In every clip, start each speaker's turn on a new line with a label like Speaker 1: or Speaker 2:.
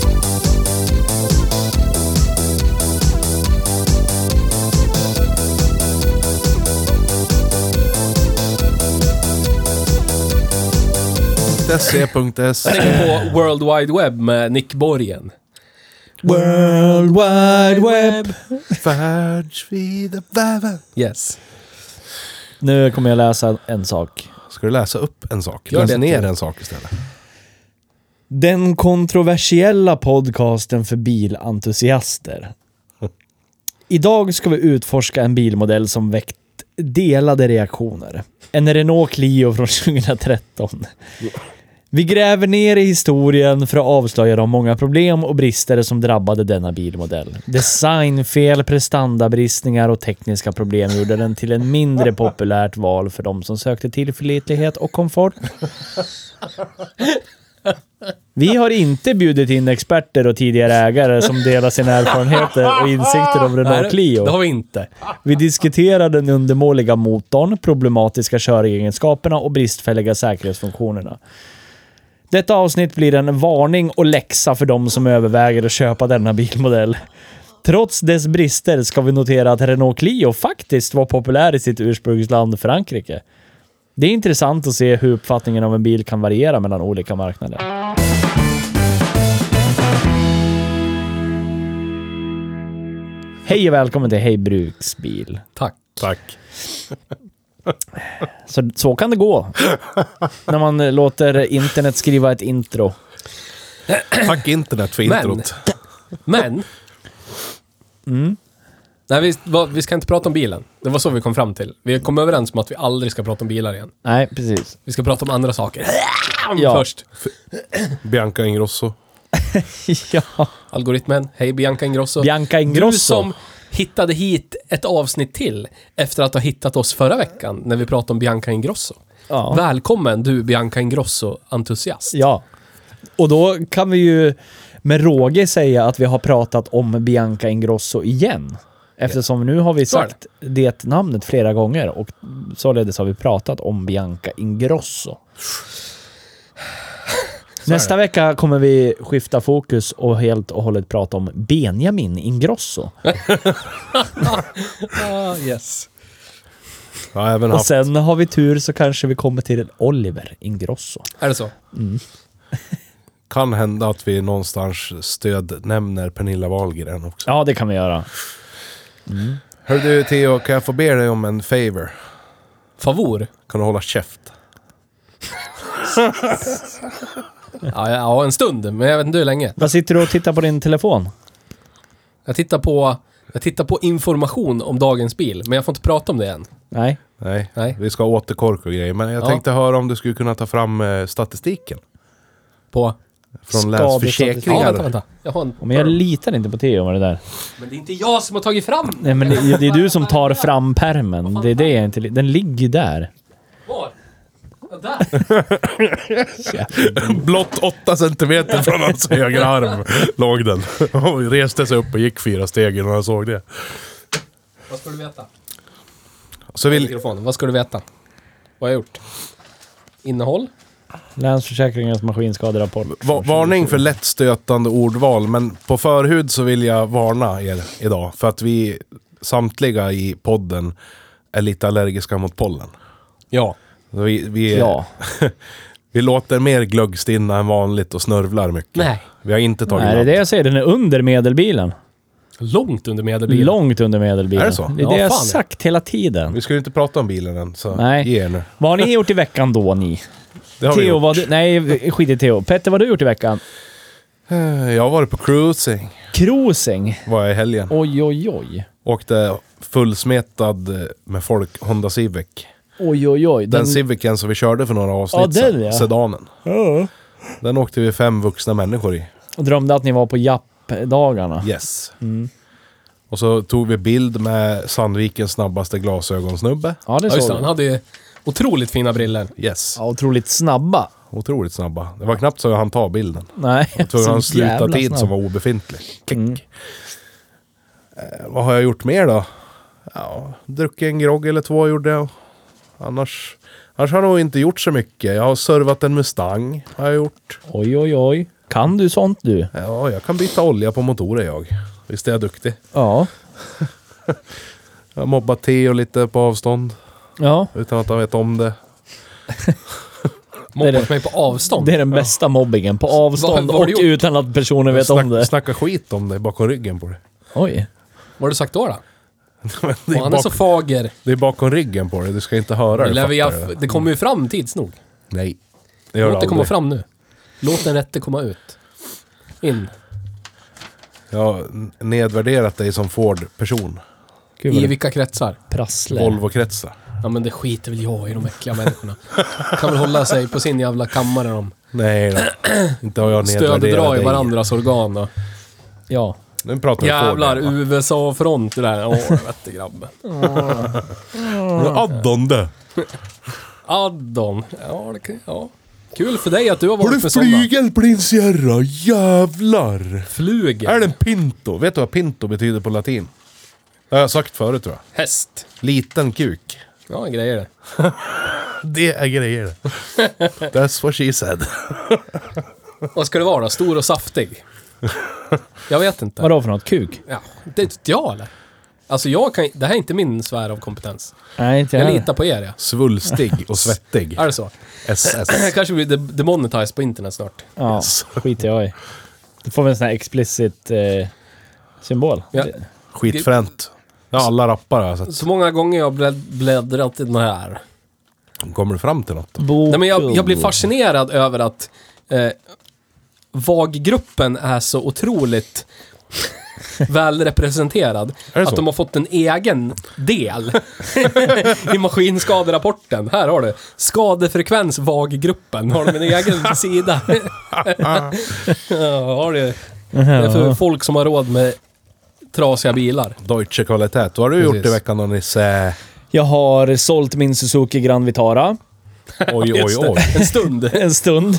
Speaker 1: Jag
Speaker 2: E .se.se
Speaker 1: tänker på World Wide Web med Nick Borgen.
Speaker 2: World Wide Web Färds vid väven
Speaker 1: Yes.
Speaker 3: Nu kommer jag läsa en sak.
Speaker 2: Ska du läsa upp en sak?
Speaker 1: Gör
Speaker 2: Läs
Speaker 1: det.
Speaker 2: ner en sak istället.
Speaker 3: Den kontroversiella podcasten för bilentusiaster. Idag ska vi utforska en bilmodell som väckt delade reaktioner. En Renault Clio från 2013. Vi gräver ner i historien för att avslöja de många problem och brister som drabbade denna bilmodell. Designfel, prestandabristningar och tekniska problem gjorde den till en mindre populärt val för de som sökte tillförlitlighet och komfort. Vi har inte bjudit in experter och tidigare ägare som delar sina erfarenheter och insikter om Renault Clio.
Speaker 1: Det har vi inte.
Speaker 3: Vi diskuterar den undermåliga motorn, problematiska köregenskaperna och bristfälliga säkerhetsfunktionerna. Detta avsnitt blir en varning och läxa för de som överväger att köpa denna bilmodell. Trots dess brister ska vi notera att Renault Clio faktiskt var populär i sitt ursprungsland Frankrike. Det är intressant att se hur uppfattningen av en bil kan variera mellan olika marknader. Hej och välkommen till Hej Bruksbil.
Speaker 1: Tack.
Speaker 2: Tack.
Speaker 3: Så, så kan det gå. När man eh, låter internet skriva ett intro.
Speaker 2: Tack internet för
Speaker 1: Men-
Speaker 2: introt.
Speaker 1: Men...
Speaker 3: Mm.
Speaker 1: Nej, vi, vad- vi ska inte prata om bilen. Det var så vi kom fram till. Vi kom överens om att vi aldrig ska prata om bilar igen.
Speaker 3: Nej, precis.
Speaker 1: Vi ska prata om andra saker.
Speaker 3: Ja.
Speaker 1: Först.
Speaker 2: Bianca Ingrosso.
Speaker 3: ja.
Speaker 1: Algoritmen. Hej Bianca Ingrosso.
Speaker 3: Bianca Ingrosso.
Speaker 1: Du som hittade hit ett avsnitt till efter att ha hittat oss förra veckan när vi pratade om Bianca Ingrosso.
Speaker 3: Ja.
Speaker 1: Välkommen du Bianca Ingrosso-entusiast.
Speaker 3: ja. Och då kan vi ju med råge säga att vi har pratat om Bianca Ingrosso igen. Eftersom nu har vi
Speaker 1: Så är det.
Speaker 3: sagt det namnet flera gånger och således har vi pratat om Bianca Ingrosso. Nästa vecka kommer vi skifta fokus och helt och hållet prata om Benjamin Ingrosso.
Speaker 1: Ah, yes.
Speaker 2: Jag har även
Speaker 3: Och
Speaker 2: haft...
Speaker 3: sen har vi tur så kanske vi kommer till en Oliver Ingrosso.
Speaker 1: Är det så?
Speaker 2: Kan hända att vi någonstans stöd nämner Pernilla Wahlgren också.
Speaker 3: Ja, det kan vi göra.
Speaker 2: Hör du Theo, kan jag få be dig om en favor?
Speaker 1: Favor?
Speaker 2: Kan du hålla käft?
Speaker 1: Ja, ja, en stund, men jag vet inte hur länge.
Speaker 3: Vad sitter du och tittar på din telefon?
Speaker 1: Jag tittar på, jag tittar på information om dagens bil, men jag får inte prata om det än.
Speaker 3: Nej.
Speaker 2: Nej,
Speaker 1: Nej.
Speaker 2: vi ska ha återkork och grejer. Men jag
Speaker 1: Ja.
Speaker 2: tänkte höra om du skulle kunna ta fram eh, statistiken.
Speaker 1: På...
Speaker 2: Från
Speaker 3: Skadestatistik.
Speaker 1: Ja,
Speaker 2: Länsförsäkringar.
Speaker 1: vänta, vänta. Jag har en...
Speaker 3: Men jag litar inte på Theo med det där.
Speaker 1: Men det är inte jag som har tagit fram den!
Speaker 3: Nej, men det, det är du som tar fram pärmen. Det är det jag inte... li- Den ligger ju där.
Speaker 1: Var? Ja, där.
Speaker 2: Blott 8 centimeter från hans högra arm låg den. Och reste sig upp och gick fyra steg innan han såg det.
Speaker 1: Vad ska du veta?
Speaker 2: Så vill...
Speaker 1: Mikrofonen, vad ska du veta? Vad har jag gjort? Innehåll?
Speaker 3: Länsförsäkringens maskinskaderapport.
Speaker 2: Va varning för lättstötande ordval, men på förhud så vill jag varna er idag. För att vi samtliga i podden är lite allergiska mot pollen.
Speaker 1: Ja.
Speaker 2: Vi, vi,
Speaker 3: Ja.
Speaker 2: vi låter mer glöggstinna än vanligt och snörvlar mycket.
Speaker 1: Nej.
Speaker 2: Vi har inte tagit
Speaker 3: Nej, det är
Speaker 2: napp.
Speaker 3: det jag säger. Den är under medelbilen.
Speaker 1: Långt under medelbilen.
Speaker 3: Långt under medelbilen.
Speaker 2: Är det så?
Speaker 3: Det är
Speaker 1: Ja,
Speaker 3: det jag
Speaker 1: fan.
Speaker 3: sagt hela tiden.
Speaker 2: Vi ska ju inte prata om bilen än, så
Speaker 3: Nej.
Speaker 2: ge er nu.
Speaker 3: Vad har ni gjort i veckan då, ni?
Speaker 2: Det har vi
Speaker 3: Theo,
Speaker 2: gjort.
Speaker 3: vad du... Nej, skit i Theo. Petter, vad har du gjort i veckan?
Speaker 2: Eh, Jag har varit på cruising,
Speaker 3: Cruising.
Speaker 2: var jag i helgen.
Speaker 3: Oj, oj, oj.
Speaker 2: Åkte fullsmetad eh, med folk, Honda Civic.
Speaker 3: Oj, oj, oj.
Speaker 2: Den, Civicen som vi körde för några avsnitt
Speaker 3: Ja, den,
Speaker 2: sedan,
Speaker 3: ja.
Speaker 2: sedanen.
Speaker 3: Ja.
Speaker 2: Den åkte vi fem vuxna människor i.
Speaker 3: Och drömde att ni var på Japp-dagarna.
Speaker 2: Yes.
Speaker 3: Mm.
Speaker 2: Och så tog vi bild med Sandvikens snabbaste glasögonsnubbe.
Speaker 3: Ja, det
Speaker 1: Ja, just det,
Speaker 3: såg
Speaker 1: han
Speaker 3: vi.
Speaker 1: hade ju otroligt fina briller.
Speaker 2: Yes.
Speaker 3: Ja, otroligt snabba.
Speaker 2: Otroligt snabba. Det var knappt så jag hann ta bilden.
Speaker 3: Nej,
Speaker 2: Jag tror han
Speaker 3: så jävla
Speaker 2: slutade tid
Speaker 3: snabb.
Speaker 2: som var obefintlig. Klick.
Speaker 3: Mm.
Speaker 2: Eh, vad har jag gjort mer då? Ja, druckit en grogg eller två gjorde jag. Annars, annars har jag nog inte gjort så mycket. Jag har servat en Mustang. Har jag gjort.
Speaker 3: Oj, oj, oj. Kan du sånt du?
Speaker 2: Ja, jag kan byta olja på motorer jag. Visst är jag duktig.
Speaker 3: Ja.
Speaker 2: Jag har mobbat Theo lite på avstånd.
Speaker 3: Ja,
Speaker 2: Utan att han vet om det.
Speaker 3: Det är
Speaker 1: Mobbat
Speaker 3: det.
Speaker 1: mig på avstånd.
Speaker 3: det är den bästa mobbingen. På avstånd
Speaker 1: vad har
Speaker 3: och
Speaker 1: du gjort?
Speaker 3: utan att personen vet om det.
Speaker 2: Snacka skit om dig bakom ryggen på dig.
Speaker 3: Oj.
Speaker 1: Vad har du sagt då? då?
Speaker 2: Men det,
Speaker 1: Och
Speaker 2: är
Speaker 1: han är
Speaker 2: bak,
Speaker 1: så fager.
Speaker 2: det är bakom ryggen på dig. Du ska inte höra
Speaker 1: Det,
Speaker 2: det.
Speaker 1: lär vi,
Speaker 2: fattar du
Speaker 1: det kommer ju fram tids nog.
Speaker 2: Nej. Det gör
Speaker 1: Låt det
Speaker 2: det
Speaker 1: komma
Speaker 2: aldrig.
Speaker 1: fram nu. Låt den rätte komma ut. In.
Speaker 2: Jag har n- nedvärderat dig som Ford-person.
Speaker 3: Gud vad
Speaker 1: I
Speaker 3: det
Speaker 1: vilka kretsar?
Speaker 3: prasslar.
Speaker 2: Volvo-kretsar.
Speaker 1: Ja men det skiter väl jag i de äckliga människorna. Kan väl hålla sig på sin jävla kammare de
Speaker 2: Nej då. Inte har jag nedvärderat dig.
Speaker 1: stödedrar i varandras organ och
Speaker 3: Ja.
Speaker 2: Nu pratar vi
Speaker 1: Jävlar,
Speaker 2: Ford.
Speaker 1: USA-front det där. Åh, vette grabben.
Speaker 2: Jävlar! Addande!
Speaker 1: Addon. Ja, det kan, ja. Kul för dig att du har
Speaker 2: Har du
Speaker 1: varit med sådana.
Speaker 2: flygel på din Sierra? Jävlar!
Speaker 1: Flug.
Speaker 2: Är det en pinto? Vet du vad pinto betyder på latin? Det har jag sagt förut tror jag.
Speaker 1: Häst.
Speaker 2: Liten kuk.
Speaker 1: Ja, grejer det.
Speaker 2: Det är grejer. That's what she said.
Speaker 1: Vad ska det vara då? Stor och saftig? Jag vet inte.
Speaker 3: Vadå för något? Kuk?
Speaker 1: Ja, det vet jag eller? Alltså jag kan Det här är inte min sfär av kompetens.
Speaker 3: Nej, inte
Speaker 1: Jag
Speaker 3: jag.
Speaker 1: litar på er ja.
Speaker 2: Svulstig och svettig.
Speaker 1: Är det så?
Speaker 2: SS.
Speaker 1: Kanske blir det demonetized på internet snart.
Speaker 3: Ja, skiter jag i. Då får vi en sån här explicit eh, symbol.
Speaker 1: Ja.
Speaker 2: Skitfränt. Ja, alla rappare har jag sett.
Speaker 1: Så många gånger jag bläd- bläddrat i den här.
Speaker 2: Kommer du fram till något?
Speaker 3: Bo-
Speaker 1: Nej, men jag, jag blir fascinerad över att eh, VAG-gruppen är så otroligt väl representerad.
Speaker 2: Är det
Speaker 1: Att
Speaker 2: så?
Speaker 1: de har fått en egen del i maskinskaderapporten. Här har du. Skadefrekvens VAG-gruppen. Har de en egen sida? ja, har det. det är för folk som har råd med trasiga bilar.
Speaker 2: Deutsche Qualität. Vad har du gjort
Speaker 1: Precis.
Speaker 2: i veckan då Nisse?
Speaker 3: Jag har sålt min Suzuki Grand Vitara
Speaker 2: Oj, oj,
Speaker 1: Just det.
Speaker 2: oj.
Speaker 1: En stund.
Speaker 3: en stund.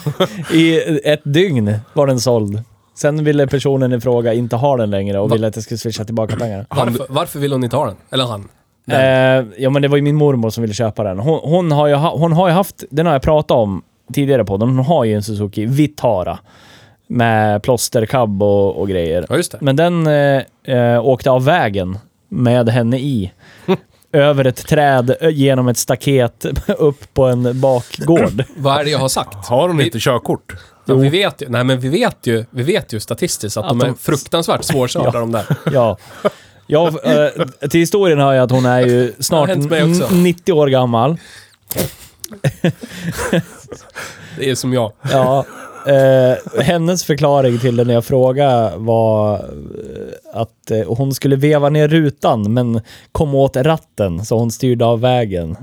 Speaker 3: I ett dygn var den såld. Sen ville personen i fråga inte ha den längre och
Speaker 1: Va?
Speaker 3: ville att jag skulle swisha tillbaka pengarna.
Speaker 1: Varför, varför vill hon inte ha den? Eller han?
Speaker 3: Eh, ja, men det var ju min mormor som ville köpa den. Hon, hon, har, ju ha, hon har ju haft, den har jag pratat om tidigare på den. hon har ju en Suzuki Vitara. Med plåsterkabb och, och grejer.
Speaker 1: Ja, just det.
Speaker 3: Men den eh, eh, åkte av vägen med henne i. Över ett träd, ö- genom ett staket, upp på en bakgård.
Speaker 1: Vad är det jag har sagt?
Speaker 2: Har hon
Speaker 1: Vi-
Speaker 2: inte körkort?
Speaker 1: Ja, vi vet ju, nej men vi vet ju, vi vet ju statistiskt att,
Speaker 3: Att
Speaker 1: de är
Speaker 3: de-
Speaker 1: fruktansvärt svårkörda de där.
Speaker 3: Ja. Ja, eh, till historien hör jag att hon är ju snart
Speaker 1: Det har hänt mig också.
Speaker 3: n- 90 år gammal.
Speaker 1: Det är som jag.
Speaker 3: Ja. Eh, hennes förklaring till det när jag frågade var eh, att eh, hon skulle veva ner rutan men kom åt ratten så hon styrde av vägen.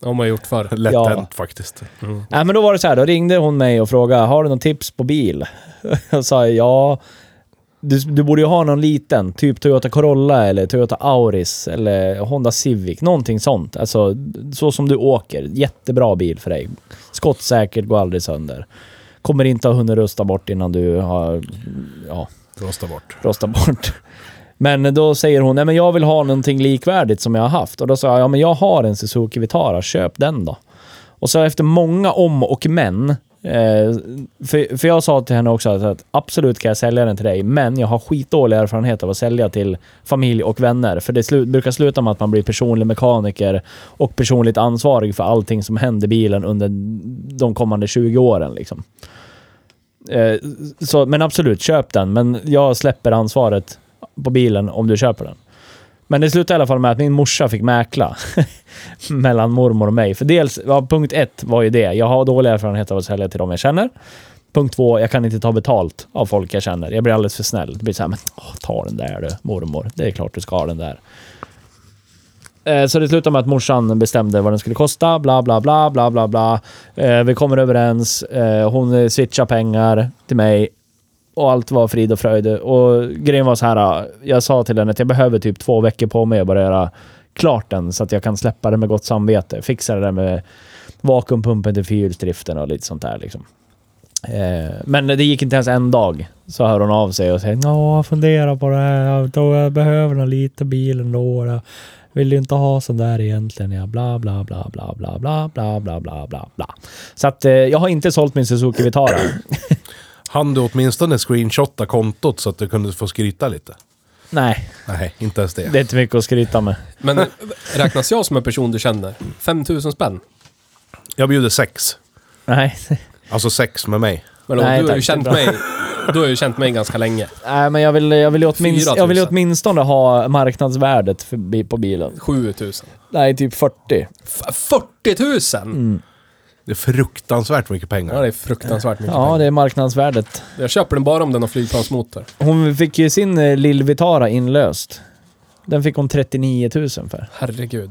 Speaker 1: Det har man gjort förr.
Speaker 2: Lätt
Speaker 3: Ja.
Speaker 2: hänt faktiskt.
Speaker 3: Mm. Nej, men då var det så här, då ringde hon mig och frågade, har du någon tips på bil? Jag sa, ja, du, du borde ju ha någon liten, typ Toyota Corolla eller Toyota Auris eller Honda Civic, någonting sånt. Alltså, så som du åker, jättebra bil för dig. Skottsäkert, går aldrig sönder. Kommer inte ha hunnit rusta bort innan du har, ja,
Speaker 2: Rosta bort.
Speaker 3: rosta bort. Men då säger hon, nej men jag vill ha någonting likvärdigt som jag har haft. Och då sa jag, ja men jag har en Suzuki Vitara, köp den då. Och så efter många om och men, eh, för, för jag sa till henne också att, att absolut kan jag sälja den till dig, men jag har skitdålig erfarenhet av att sälja till familj och vänner. För det slu, brukar sluta med att man blir personlig mekaniker och personligt ansvarig för allting som händer i bilen under de kommande 20 åren. Liksom. Eh, så, men absolut, köp den. Men jag släpper ansvaret på bilen om du köper den. Men det slutade i alla fall med att min morsa fick mäkla mellan mormor och mig. För dels, ja, punkt ett var ju det. Jag har dålig erfarenhet av att sälja till dem jag känner. Punkt två, jag kan inte ta betalt av folk jag känner. Jag blir alldeles för snäll. Det blir så här, men åh, ta den där du, mormor. Det är klart du ska ha den där. Eh, Så det slutade med att morsan bestämde vad den skulle kosta, bla bla bla bla bla bla. Eh, Vi kommer överens, eh, hon eh, switchar pengar till mig och allt var frid och fröjd. Och grejen var så här, eh, jag sa till henne att jag behöver typ två veckor på mig att bara göra klart den så att jag kan släppa det med gott samvete. Fixa det där med vakuumpumpen till fyrhjulsdriften och lite sånt där liksom. Eh, Men det gick inte ens en dag. Så hör hon av sig och säger ja, jag funderar på det här. Jag tror jag behöver en liten bil ändå. Jag vill ju inte ha sån där egentligen. Ja, bla, bla, bla, bla, bla, bla, bla, bla, bla, bla, bla. Så att eh, jag har inte sålt min Suzuki Vitara.
Speaker 2: Han du åtminstone screenshotta kontot så att du kunde få skryta lite?
Speaker 3: Nej,
Speaker 2: Nej, inte ens det.
Speaker 3: det är inte mycket att skryta med.
Speaker 1: Men räknas jag som en person du känner? 5000 spänn?
Speaker 2: Jag bjuder sex.
Speaker 3: Nej,
Speaker 2: Alltså sex med mig.
Speaker 1: Men om
Speaker 3: Nej,
Speaker 1: du har ju
Speaker 3: tack,
Speaker 1: känt
Speaker 3: det är bra.
Speaker 1: mig... Du har ju känt mig ganska länge.
Speaker 3: Nej men jag vill, jag vill, ju åtminst,
Speaker 1: 4 000.
Speaker 3: jag vill ju åtminstone ha marknadsvärdet för, bi- på bilen.
Speaker 1: 7000.
Speaker 3: Nej, typ 40.
Speaker 1: F- 40 000!
Speaker 3: Mm.
Speaker 2: Det är fruktansvärt mycket
Speaker 1: Ja,
Speaker 2: pengar.
Speaker 1: det är fruktansvärt mycket
Speaker 3: Ja,
Speaker 1: pengar.
Speaker 3: det är marknadsvärdet.
Speaker 1: Jag köper den bara om den har flygplansmotor.
Speaker 3: Hon fick ju sin eh, Lill Vitara inlöst. Den fick hon 39 000 för.
Speaker 1: Herregud.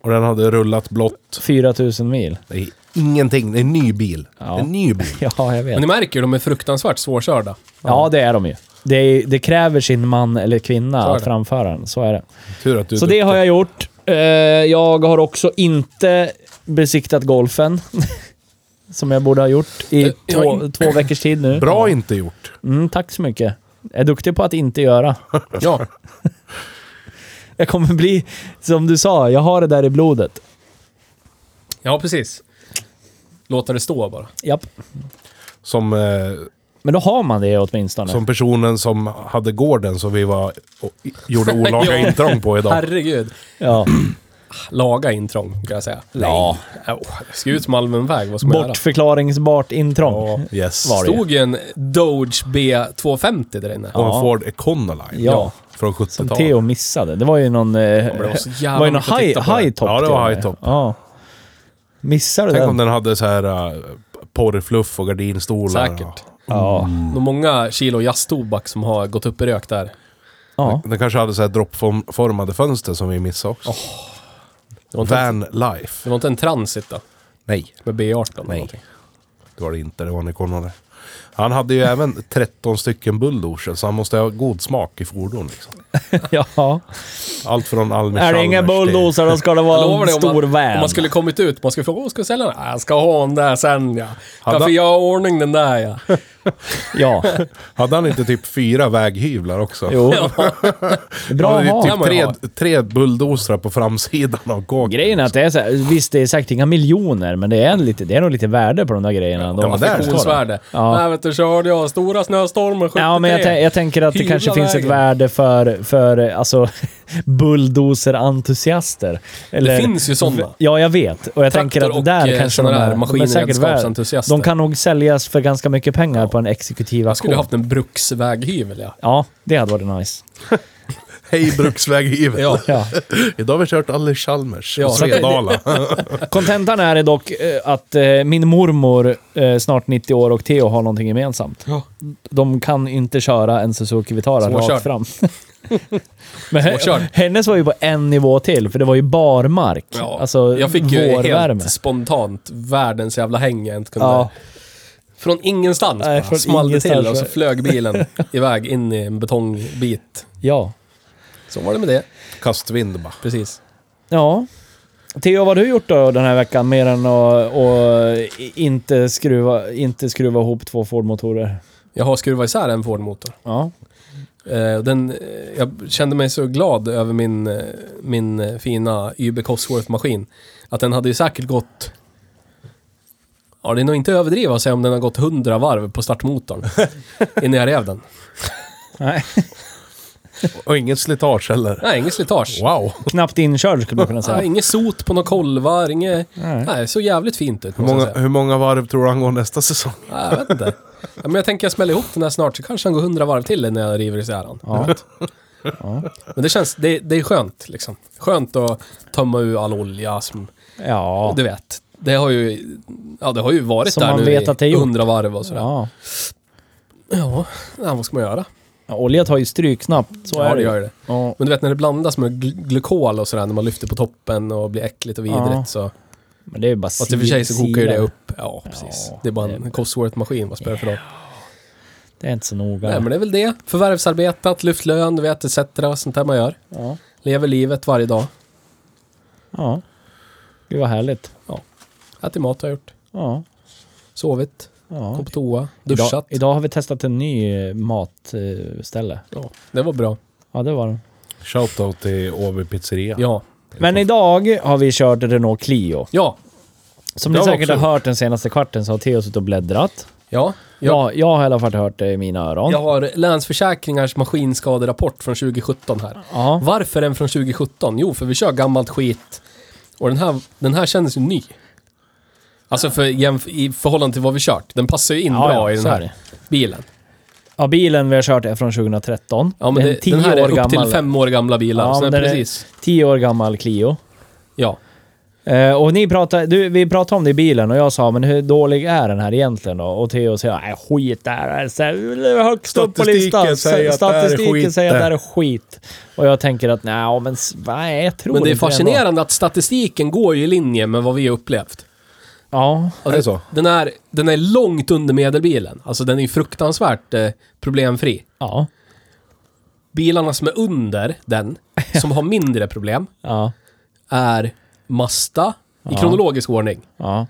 Speaker 2: Och den hade rullat blått.
Speaker 3: 4 000 mil.
Speaker 2: Det är ingenting. Det är en ny bil.
Speaker 3: Ja.
Speaker 2: Det är en ny bil.
Speaker 3: Ja, jag
Speaker 1: Men
Speaker 3: vet.
Speaker 1: ni märker ju, de är fruktansvärt svårkörda.
Speaker 3: Ja, det är de ju. Det, är, det kräver sin man eller kvinna
Speaker 1: Så är
Speaker 3: att
Speaker 1: det.
Speaker 3: framföra den. Så är det.
Speaker 2: Tur att du är
Speaker 3: Så det har
Speaker 2: duktig.
Speaker 3: jag gjort. Eh, Jag har också inte besiktat golfen. Som jag borde ha gjort i
Speaker 1: Eh, jag har
Speaker 3: två, två veckors tid nu.
Speaker 2: Bra inte gjort.
Speaker 3: Mm, tack så mycket. Jag är duktig på att inte göra.
Speaker 1: Ja.
Speaker 3: Jag kommer bli, som du sa, jag har det där i blodet.
Speaker 1: Ja, precis. Låta det stå bara.
Speaker 3: Japp.
Speaker 2: Som, eh,
Speaker 3: Men då har man det åtminstone.
Speaker 2: som personen som hade gården som vi var och gjorde olaga
Speaker 1: Ja.
Speaker 2: intrång på idag.
Speaker 1: Herregud.
Speaker 3: Ja.
Speaker 1: Laga intrång, kan jag säga. Ja. det ska ut som allmän väg, vad som är det?
Speaker 3: Bortförklaringsbart intrång.
Speaker 2: Ja, yes.
Speaker 3: Var det?
Speaker 1: stod ju en Doge B250 där inne.
Speaker 2: Och en Ford Econoline.
Speaker 3: Ja.
Speaker 2: Från
Speaker 3: Som
Speaker 2: 70-talet.
Speaker 3: Theo missade. Det var ju någon... Eh,
Speaker 1: men det var så jävla
Speaker 3: var ju någon
Speaker 1: mycket att
Speaker 3: high,
Speaker 1: titta
Speaker 2: Ja,
Speaker 1: på det.
Speaker 3: high top.
Speaker 2: det var
Speaker 3: till och med.
Speaker 2: high top.
Speaker 3: Ja. Missade du
Speaker 2: Tänk om
Speaker 3: den?
Speaker 2: den hade så här uh, porrfluff och gardinstolar.
Speaker 1: Säkert.
Speaker 3: Ja.
Speaker 1: Det är många kilo jazztobak som har gått upp i rök där.
Speaker 3: ja.
Speaker 2: Den kanske hade så här droppformade fönster som vi missade också.
Speaker 1: Det var inte, en,
Speaker 2: Van life.
Speaker 1: det var inte en transit då?
Speaker 2: Nej,
Speaker 1: Med B18 eller
Speaker 2: Nej.
Speaker 1: någonting.
Speaker 2: det var det inte. Det var en Econoline. Han hade ju även 13 stycken bulldozer, så han måste ha god smak i fordon. Liksom.
Speaker 3: ja.
Speaker 2: Allt från Almi
Speaker 3: Är det inga
Speaker 2: Chalmers till-
Speaker 3: bulldozer då ska det
Speaker 1: Jag
Speaker 3: vara
Speaker 1: lovar
Speaker 3: en
Speaker 1: dig, om
Speaker 3: stor
Speaker 1: man,
Speaker 3: van.
Speaker 1: Om man skulle kommit ut, man skulle fråga "Åh, ska du sälja den? "Ah, Jag ska ha den där sen ja.
Speaker 2: Hade-
Speaker 1: Därför jag har ordning den där ja.
Speaker 3: Ja.
Speaker 2: Hade han inte typ fyra väghyvlar också?
Speaker 3: Jo. Det är Bra att
Speaker 2: Det var ju
Speaker 3: ha.
Speaker 1: kan man ju
Speaker 2: typ
Speaker 1: ha.
Speaker 2: tre, tre bulldozrar på framsidan av gången.
Speaker 3: Grejen är att det är så här, visst det är säkert inga miljoner, men det är, en lite, det är nog lite värde på de där grejerna. ändå.
Speaker 2: Ja, men där står det.
Speaker 1: Affektionsvärde.
Speaker 3: Ja.
Speaker 1: Nej vet du, körde jag stora snöstormen 73.
Speaker 3: Ja, men jag, tän- jag tänker att det
Speaker 1: Hyvla
Speaker 3: kanske finns ett
Speaker 1: vägen.
Speaker 3: värde för, för eh, alltså, bulldozer-entusiaster. Eller-
Speaker 1: finns ju sådana.
Speaker 3: Ja, jag vet. Och jag
Speaker 1: Traktor
Speaker 3: tänker
Speaker 1: och,
Speaker 3: att där
Speaker 1: eh,
Speaker 3: kanske
Speaker 1: såna
Speaker 3: de
Speaker 1: där
Speaker 3: är, de är säkert värda.
Speaker 1: maskinredskapsentusiaster.
Speaker 3: De kan nog säljas för ganska mycket pengar på en exekutiv
Speaker 1: jag skulle
Speaker 3: auktion.
Speaker 1: haft en bruksväghyvel ja.
Speaker 3: Ja, det hade varit nice.
Speaker 2: Hej bruksväghyvel!
Speaker 1: Ja.
Speaker 3: Ja.
Speaker 2: Idag har vi kört Almi Chalmers
Speaker 1: Ja,
Speaker 2: och Svedala.
Speaker 3: Kontentan är dock eh, att eh, min mormor, eh, snart 90 år, och Theo har någonting gemensamt.
Speaker 1: Ja.
Speaker 3: De kan inte köra en Suzuki Vitara
Speaker 1: Svårkört.
Speaker 3: rakt fram. Men he-
Speaker 1: Svårkört.
Speaker 3: hennes var ju på en nivå till, för det var ju barmark.
Speaker 1: Ja.
Speaker 3: Alltså
Speaker 1: jag fick ju
Speaker 3: vårvärme.
Speaker 1: helt spontant världens jävla häng jag inte kunde...
Speaker 3: Ja.
Speaker 1: Från ingenstans
Speaker 3: Nej,
Speaker 1: bara,
Speaker 3: från
Speaker 1: small det till och
Speaker 3: ingenstans.
Speaker 1: så flög bilen iväg in i en betongbit.
Speaker 3: ja.
Speaker 1: Så var det med det.
Speaker 2: Kastvind bara.
Speaker 1: Precis.
Speaker 3: Ja. Theo, vad har du gjort då den här veckan mer än att, att i- inte, skruva, inte skruva ihop två Ford-motorer?
Speaker 1: Jag har skruvat isär en Ford-motor.
Speaker 3: Ja.
Speaker 1: Eh, Den, eh, jag kände mig så glad över min, eh, min eh, fina YB Cosworth-maskin. Att den hade ju säkert gått... Ja, det är nog inte överdrivet att säga om den har gått 100 varv på startmotorn. innan jag rev den.
Speaker 3: Nej.
Speaker 2: Och inget slitage heller.
Speaker 1: Nej, inget slitage.
Speaker 2: Wow!
Speaker 3: Knappt inkörd skulle man kunna
Speaker 1: Ja,
Speaker 3: säga.
Speaker 1: inget sot på några kolvar, inget...
Speaker 3: Nej.
Speaker 1: Nej, så jävligt fint ut.
Speaker 2: Hur
Speaker 1: måste jag
Speaker 2: många,
Speaker 1: säga.
Speaker 2: hur många varv tror du han går nästa säsong?
Speaker 1: Nej, jag vet inte. Ja, men jag tänker jag smäller ihop den här snart, så kanske han går 100 varv till när jag river isär den.
Speaker 3: Ja. Ja.
Speaker 1: Men det känns, det, det är skönt liksom. Skönt att tömma ur all olja som,
Speaker 3: Ja.
Speaker 1: du vet. Det har ju, ja det har ju varit
Speaker 3: Som
Speaker 1: där
Speaker 3: man
Speaker 1: nu
Speaker 3: vet att det är
Speaker 1: i
Speaker 3: gjort.
Speaker 1: hundra varv och sådär. Ja,
Speaker 3: ja.
Speaker 1: ja vad ska man göra?
Speaker 3: Ja, olja tar ju stryk snabbt, så
Speaker 1: ja,
Speaker 3: är
Speaker 1: det
Speaker 3: det
Speaker 1: gör det.
Speaker 3: Ja.
Speaker 1: Men du vet när det blandas med gl- glukol och sådär, när man lyfter på toppen och blir äckligt och vidrigt
Speaker 3: Ja.
Speaker 1: så...
Speaker 3: Men det är ju bara
Speaker 1: Fast i och för sig så kokar ju
Speaker 3: sila.
Speaker 1: det upp. Ja, precis. det är bara
Speaker 3: det är-
Speaker 1: en Cosworth-maskin, vad spelar det för roll?
Speaker 3: Det är inte så noga.
Speaker 1: Nej, men det är väl det. Förvärvsarbetat, lyft lön, du vet, etc. Sånt där man gör.
Speaker 3: ja.
Speaker 1: Lever livet varje dag.
Speaker 3: ja. Gud vad härligt.
Speaker 1: Ätit mat har jag gjort.
Speaker 3: Ja.
Speaker 1: Sovit,
Speaker 3: ja.
Speaker 1: gått på toa,
Speaker 3: Idag,
Speaker 1: duschat.
Speaker 3: idag har vi testat en ny eh, matställe.
Speaker 1: Ja, det var bra.
Speaker 3: Ja, det var det.
Speaker 2: Shoutout till Åby pizzeria.
Speaker 1: Ja.
Speaker 3: Men idag har vi kört Renault Clio.
Speaker 1: Ja.
Speaker 3: Som
Speaker 2: Det
Speaker 3: ni
Speaker 2: har vi
Speaker 3: säkert har
Speaker 2: också
Speaker 3: hört den senaste kvarten så har Theo suttit och bläddrat.
Speaker 1: Ja.
Speaker 3: Ja.
Speaker 1: ja.
Speaker 3: jag har i alla fall hört det i mina öron.
Speaker 1: Jag
Speaker 3: Ja.
Speaker 1: har Länsförsäkringars maskinskaderapport från 2017 här. Varför den från 2017? Jo, för vi kör gammalt skit. Och den här, den här kändes ju ny. Alltså för, jämf- i förhållande till vad vi kört. Den passar ju in
Speaker 3: Ja,
Speaker 1: bra
Speaker 3: ja,
Speaker 1: i den
Speaker 3: så är
Speaker 1: här
Speaker 3: det.
Speaker 1: bilen.
Speaker 3: Ja, bilen vi har kört är från 2013.
Speaker 1: Ja, men
Speaker 3: Det är
Speaker 1: det,
Speaker 3: en 10
Speaker 1: den här
Speaker 3: år
Speaker 1: är upp
Speaker 3: gammal.
Speaker 1: till fem år gamla bilar.
Speaker 3: Ja,
Speaker 1: så
Speaker 3: men
Speaker 1: den är
Speaker 3: den är-
Speaker 1: precis.
Speaker 3: 10 år gammal Clio.
Speaker 1: Ja.
Speaker 3: Eh, och ni pratade, du, vi pratade om det i bilen och jag sa, men hur dålig är den här egentligen då? Och Theo säger, nej skit där. Alltså, högst upp på
Speaker 2: Statistiken
Speaker 3: listan.
Speaker 2: säger att det här är
Speaker 3: Statistiken
Speaker 2: skit
Speaker 3: säger att det här
Speaker 2: där.
Speaker 3: är skit. Och jag tänker att, nej men s- nej, jag tror
Speaker 1: Men det är
Speaker 3: inte ändå."
Speaker 1: fascinerande att statistiken går ju i linje med vad vi har upplevt.
Speaker 3: Ja,
Speaker 1: Och
Speaker 2: Är det så?
Speaker 1: Den, är, den är långt under medelbilen. Alltså den är ju fruktansvärt eh, problemfri.
Speaker 3: ja,
Speaker 1: Bilarna som är under den, som har mindre problem,
Speaker 3: ja,
Speaker 1: är Mazda i
Speaker 3: Ja.
Speaker 1: kronologisk ordning.
Speaker 3: ja,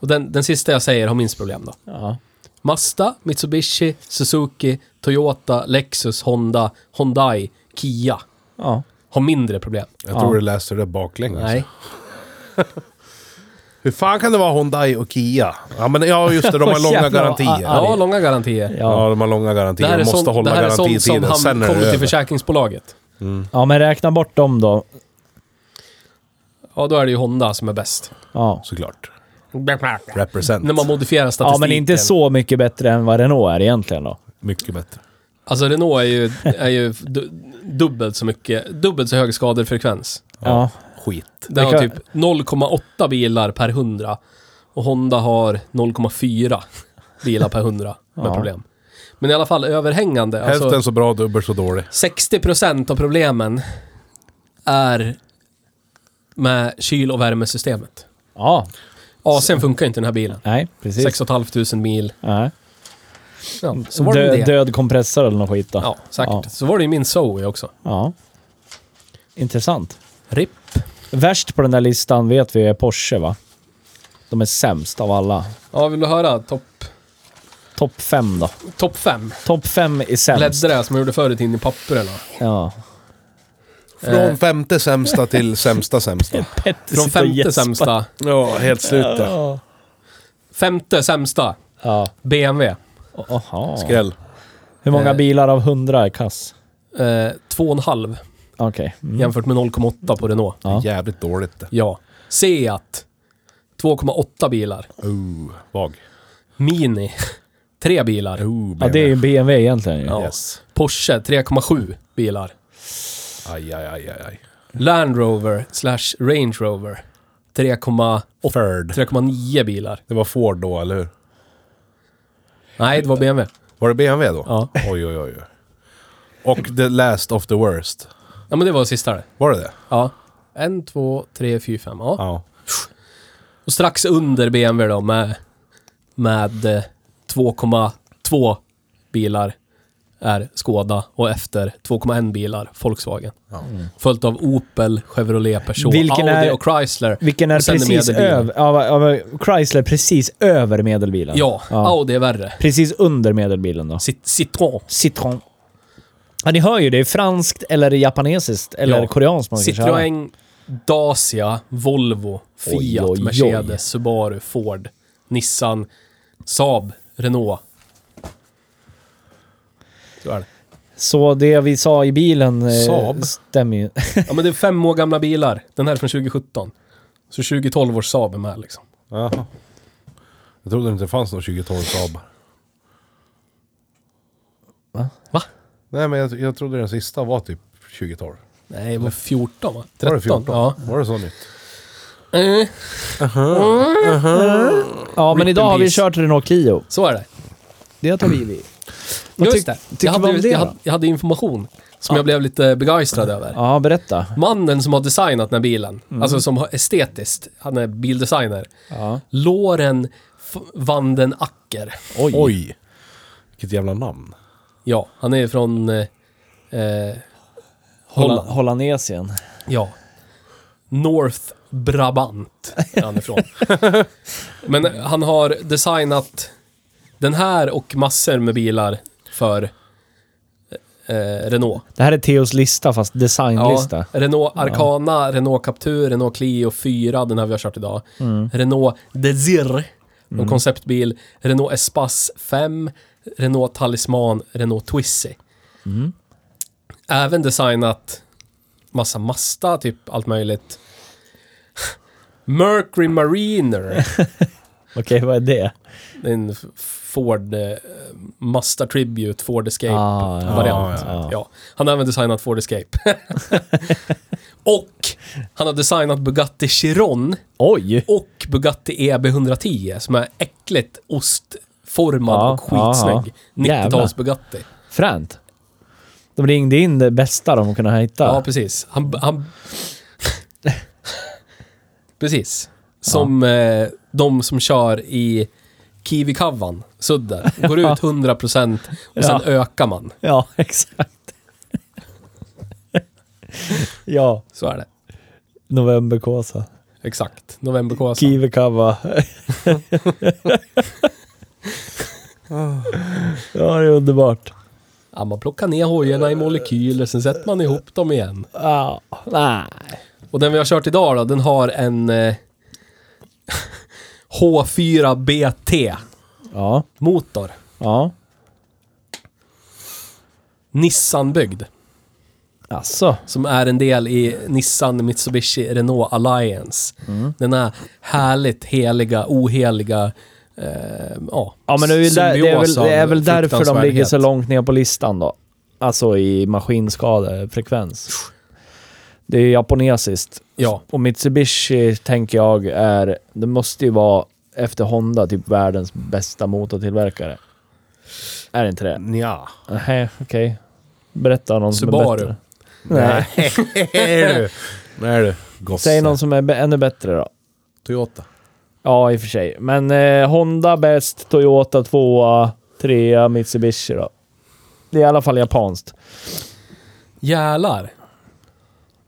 Speaker 1: Och den, den sista jag säger har minst problem då.
Speaker 3: ja.
Speaker 1: Mazda, Mitsubishi, Suzuki, Toyota, Lexus, Honda, Hyundai, Kia
Speaker 3: ja.
Speaker 1: har mindre problem.
Speaker 2: Jag tror du läser det baklänges.
Speaker 1: Nej.
Speaker 2: Hur fan kan det vara Hyundai och Kia? Ja, men ja just det. De har
Speaker 3: Åh,
Speaker 2: långa
Speaker 3: jävlar,
Speaker 2: garantier.
Speaker 3: vad
Speaker 1: Ja,
Speaker 3: arg.
Speaker 1: långa garantier.
Speaker 3: Ja.
Speaker 2: Ja, de har långa garantier.
Speaker 1: Det här
Speaker 2: De
Speaker 1: är
Speaker 2: måste
Speaker 1: sånt, det
Speaker 2: hålla
Speaker 1: här är sånt som
Speaker 2: garantitiden.
Speaker 1: han
Speaker 2: Sen är
Speaker 1: kommer
Speaker 2: det
Speaker 1: till
Speaker 2: över.
Speaker 1: försäkringsbolaget.
Speaker 3: ja, men räkna bort dem då.
Speaker 1: Ja, då är det ju Honda som är bäst.
Speaker 3: Ja.
Speaker 2: Såklart. Represent.
Speaker 1: När man modifierar
Speaker 3: ja,
Speaker 1: statistiken.
Speaker 3: men inte så mycket bättre än vad Renault är egentligen då.
Speaker 2: Mycket bättre.
Speaker 1: Alltså Renault är ju, är ju du, dubbelt så mycket, dubbelt så hög skadefrekvens.
Speaker 3: Ja,
Speaker 2: Skit.
Speaker 1: Den har
Speaker 3: Vilka-
Speaker 1: typ 0,8 bilar per 100 och Honda har 0,4 bilar per 100 med
Speaker 3: Ja.
Speaker 1: problem. Men i alla fall överhängande, alltså
Speaker 2: Hälften så bra, dubbelt så dålig.
Speaker 1: 60% av problemen är med kyl och värmesystemet.
Speaker 3: ja.
Speaker 1: AC'n funkar ju inte i den här bilen.
Speaker 3: nej, precis.
Speaker 1: 6 500 mil.
Speaker 3: Nej.
Speaker 1: Ja, så var det
Speaker 3: Dö,
Speaker 1: det.
Speaker 3: död kompressor eller något skit då.
Speaker 1: Ja, säkert.
Speaker 3: Ja.
Speaker 1: Så var det ju min Zoe också.
Speaker 3: ja. Intressant.
Speaker 1: RIP.
Speaker 3: Värst på den där listan vet vi är Porsche va? De är sämst av alla.
Speaker 1: Ja, vill du höra topp
Speaker 3: Topp fem då.
Speaker 1: top fem?
Speaker 3: Topp fem är sämst.
Speaker 1: Bläddra som jag gjorde förut in i papperna.
Speaker 3: Ja.
Speaker 1: Eh.
Speaker 2: Från femte sämsta till sämsta sämsta.
Speaker 1: Från femte sämsta.
Speaker 2: Ja, helt slut där.
Speaker 1: Femte sämsta.
Speaker 3: Ja.
Speaker 1: BMW.
Speaker 3: Aha.
Speaker 2: Skräll.
Speaker 3: Hur många
Speaker 1: Eh.
Speaker 3: bilar av 100 är kass?
Speaker 1: Eh, två och en halv
Speaker 3: Okej. Mm.
Speaker 1: jämfört med 0,8 på Renault.
Speaker 3: Ja.
Speaker 2: Jävligt dåligt det.
Speaker 1: Ja. Seat. 2,8 bilar.
Speaker 2: Oh, vag.
Speaker 1: Mini. Tre bilar.
Speaker 2: Oh,
Speaker 3: Ja, det är ju BMW egentligen ju.
Speaker 1: Ja.
Speaker 2: Yes.
Speaker 1: Porsche 3,7 bilar.
Speaker 2: Aj, aj, aj, aj, aj.
Speaker 1: Land Rover slash Range Rover 3,8
Speaker 2: Third.
Speaker 1: 3,9 bilar.
Speaker 2: Det var Ford då, eller hur?
Speaker 1: Nej, det var BMW.
Speaker 2: Var det BMW då?
Speaker 1: Ja.
Speaker 2: Oj, oj, oj. oj. Och the last of the worst.
Speaker 1: Ja, men det var sista det.
Speaker 2: Var det det?
Speaker 1: Ja. En, två, tre, fyra, fem. Ja.
Speaker 2: Ja.
Speaker 1: Och strax under BMW då med, med eh, 2,2 bilar är Skoda och efter 2,1 bilar Volkswagen. Följt av Opel, Chevrolet, Peugeot,
Speaker 3: Vilken
Speaker 1: Audi
Speaker 3: är-
Speaker 1: och Chrysler.
Speaker 3: Vilken är
Speaker 1: Och sen är
Speaker 3: precis
Speaker 1: medelbilen.
Speaker 3: över... Ja, va- ja, va- Chrysler precis över medelbilen.
Speaker 1: Ja, Audi är värre.
Speaker 3: Precis under medelbilen då.
Speaker 1: Cit- Citroën.
Speaker 3: Citron. Ja, ni hör ju. Det är franskt eller japanesiskt eller
Speaker 1: Ja.
Speaker 3: koreanskt man ska köra.
Speaker 1: Citroën, Dacia, Volvo, Fiat,
Speaker 3: Oj, oj, oj.
Speaker 1: Mercedes, Subaru, Ford, Nissan, Saab, Renault. Så är det.
Speaker 3: Så det vi sa i bilen eh,
Speaker 2: Saab.
Speaker 3: stämmer ju.
Speaker 1: Ja men det är fem år gamla bilar. Den här är från 2017. Så 2012 års Saab är med liksom.
Speaker 2: Jaha. Jag trodde inte det fanns någon 2012 Saab.
Speaker 1: Va?
Speaker 2: Nej, men jag, jag trodde den sista var typ 2012.
Speaker 1: Nej, det var 14 va? 13?
Speaker 2: Var det 14?
Speaker 1: Ja.
Speaker 2: Var det så nytt?
Speaker 1: Eh,
Speaker 3: Ja, men
Speaker 1: Rip
Speaker 3: idag
Speaker 1: in
Speaker 3: har vi
Speaker 1: peace.
Speaker 3: kört Renault Clio.
Speaker 1: så är det.
Speaker 3: Det tar vi vid. Vad
Speaker 1: Just
Speaker 3: tyck-
Speaker 1: det.
Speaker 3: tycker
Speaker 1: Jag hade,
Speaker 3: du om det
Speaker 1: jag,
Speaker 3: då?
Speaker 1: hade, jag hade information som jag blev lite begeistrad över.
Speaker 3: Ja, berätta.
Speaker 1: Mannen som har designat den här bilen, alltså som har estetiskt, han är bildesigner.
Speaker 3: Ja.
Speaker 1: Loren F- Vanden Acker.
Speaker 2: Oj. Vilket jävla namn.
Speaker 1: Ja, han är från eh, eh,
Speaker 3: Holla,
Speaker 1: Holland.
Speaker 3: Hollandsien.
Speaker 1: Ja. North Brabant är han ifrån. Men han har designat den här och massor med bilar för eh, Renault.
Speaker 3: Det här är Theos lista, fast designlista.
Speaker 1: Renault Arcana, Renault Captur, Renault Clio 4, den här vi har kört idag. Renault Desir, en konceptbil. Renault Espace 5, Renault Talisman, Renault Twizy. Även designat massa Mazda, typ allt möjligt. Mercury Mariner,
Speaker 3: Okej, vad är det?
Speaker 1: det är en f- Ford eh, Mazda Tribute, Ford Escape
Speaker 3: Ah, ja.
Speaker 1: variant.
Speaker 3: Ja, ja.
Speaker 1: Ja. Han har även designat Ford Escape. och han har designat Bugatti Chiron
Speaker 3: Oj!
Speaker 1: och Bugatti E EB 110 som är äckligt ostformad
Speaker 3: Ja,
Speaker 1: och skitsnygg.
Speaker 3: ja, ja.
Speaker 1: 90-tals Bugatti.
Speaker 3: Fränt. De ringde in det bästa de kunde hitta.
Speaker 1: Ja, precis. Han... han precis. Som eh, de som kör i Kiwikavan, Sudden. Går ut 100% och sen
Speaker 3: Ja.
Speaker 1: ökar man.
Speaker 3: Ja, exakt. ja,
Speaker 1: Så är det.
Speaker 3: novemberkåsa.
Speaker 1: Exakt. Novemberkåsa.
Speaker 3: Kivekava. ja, det är underbart.
Speaker 1: Ja, man plockar ner hojarna i molekyler, sen sätter man ihop dem igen.
Speaker 3: Ja, nej.
Speaker 1: Och den vi har kört idag då, den har en eh, H4BT
Speaker 3: Ja,
Speaker 1: motor.
Speaker 3: ja.
Speaker 1: Nissanbyggd.
Speaker 3: Alltså.
Speaker 1: Som är en del i Nissan Mitsubishi Renault Alliance.
Speaker 3: Mm.
Speaker 1: Den här härligt heliga, oheliga eh, ja,
Speaker 3: Ja, men det är, ju där, det är väl,
Speaker 1: symbios av
Speaker 3: det är väl därför de ligger
Speaker 1: fruktansvärdhet.
Speaker 3: så långt ner på listan då. Alltså i maskinskadefrekvens. Det är ju japonesiskt.
Speaker 1: Ja,
Speaker 3: Och Mitsubishi tänker jag är, det måste ju vara efter Honda typ världens bästa motortillverkare. Är det inte det?
Speaker 2: Nja.
Speaker 3: Nej, okej. Berätta någon som är
Speaker 1: Subaru.
Speaker 3: bättre.
Speaker 2: Nej. Nej du. Nej du. Gosse.
Speaker 3: Säg någon som är be- ännu bättre då.
Speaker 2: Toyota.
Speaker 3: Ja, i och för sig. Men eh, Honda bäst, Toyota tvåa, trea, Mitsubishi då. Det är i alla fall japanskt.
Speaker 1: Jävlar.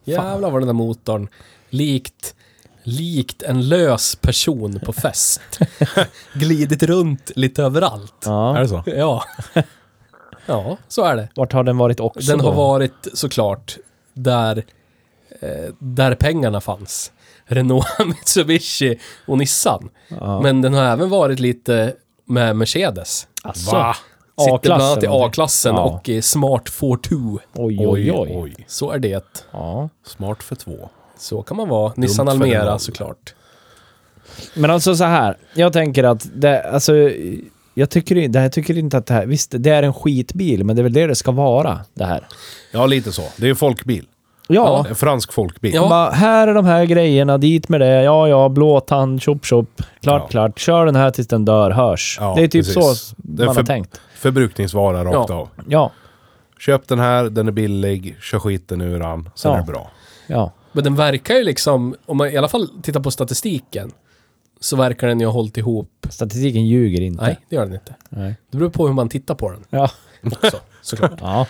Speaker 1: Jävlar vad den där motorn likt, likt en lös person på fest. Glidit runt lite överallt.
Speaker 2: Är
Speaker 3: Ja.
Speaker 2: det så?
Speaker 1: Ja. Ja, så är det.
Speaker 3: Vart har den varit också
Speaker 1: Den har
Speaker 3: då?
Speaker 1: varit såklart där, eh, där pengarna fanns. Renault, Mitsubishi och Nissan.
Speaker 3: Ja.
Speaker 1: Men den har även varit lite med Mercedes.
Speaker 3: Alltså,
Speaker 2: Va?
Speaker 1: Sitter bland annat i
Speaker 3: någonting.
Speaker 1: A-klassen
Speaker 3: Ja.
Speaker 1: och i Smart 42.
Speaker 3: Oj, oj, oj.
Speaker 1: Så är det.
Speaker 3: Ja.
Speaker 2: Smart för två.
Speaker 1: Så kan man vara. Nissan
Speaker 2: för den
Speaker 1: Almera
Speaker 2: rollen.
Speaker 1: såklart.
Speaker 3: Men alltså så här. Jag tänker att det, alltså, jag tycker, i- det här, jag tycker inte att det här... Visst, det är en skitbil, men det är väl det det ska vara, det här.
Speaker 2: Ja, lite så. Det är en folkbil.
Speaker 3: Ja.
Speaker 2: En fransk folkbil.
Speaker 1: Ja.
Speaker 3: Bara, här är de här grejerna, dit med det, ja ja, blå tand, tjopp tjopp. Klart,
Speaker 2: Ja.
Speaker 3: klart. Kör den här tills den dör, hörs.
Speaker 2: Ja,
Speaker 3: det är typ
Speaker 2: precis.
Speaker 3: så
Speaker 2: Det är
Speaker 3: man har
Speaker 2: för-
Speaker 3: tänkt.
Speaker 2: Förbrukningsvara rakt
Speaker 1: Ja.
Speaker 2: av.
Speaker 3: Ja,
Speaker 2: Köp den här, den är billig, kör skiten ur den, sen
Speaker 3: Ja.
Speaker 2: är det bra.
Speaker 3: ja.
Speaker 1: Men den verkar ju liksom, om man i alla fall tittar på statistiken, så verkar den ju ha hållit ihop.
Speaker 3: Statistiken ljuger inte.
Speaker 1: Nej, det gör den inte.
Speaker 3: Nej.
Speaker 1: Det beror på hur man tittar på den
Speaker 3: Ja.
Speaker 1: också, såklart.
Speaker 3: Ja.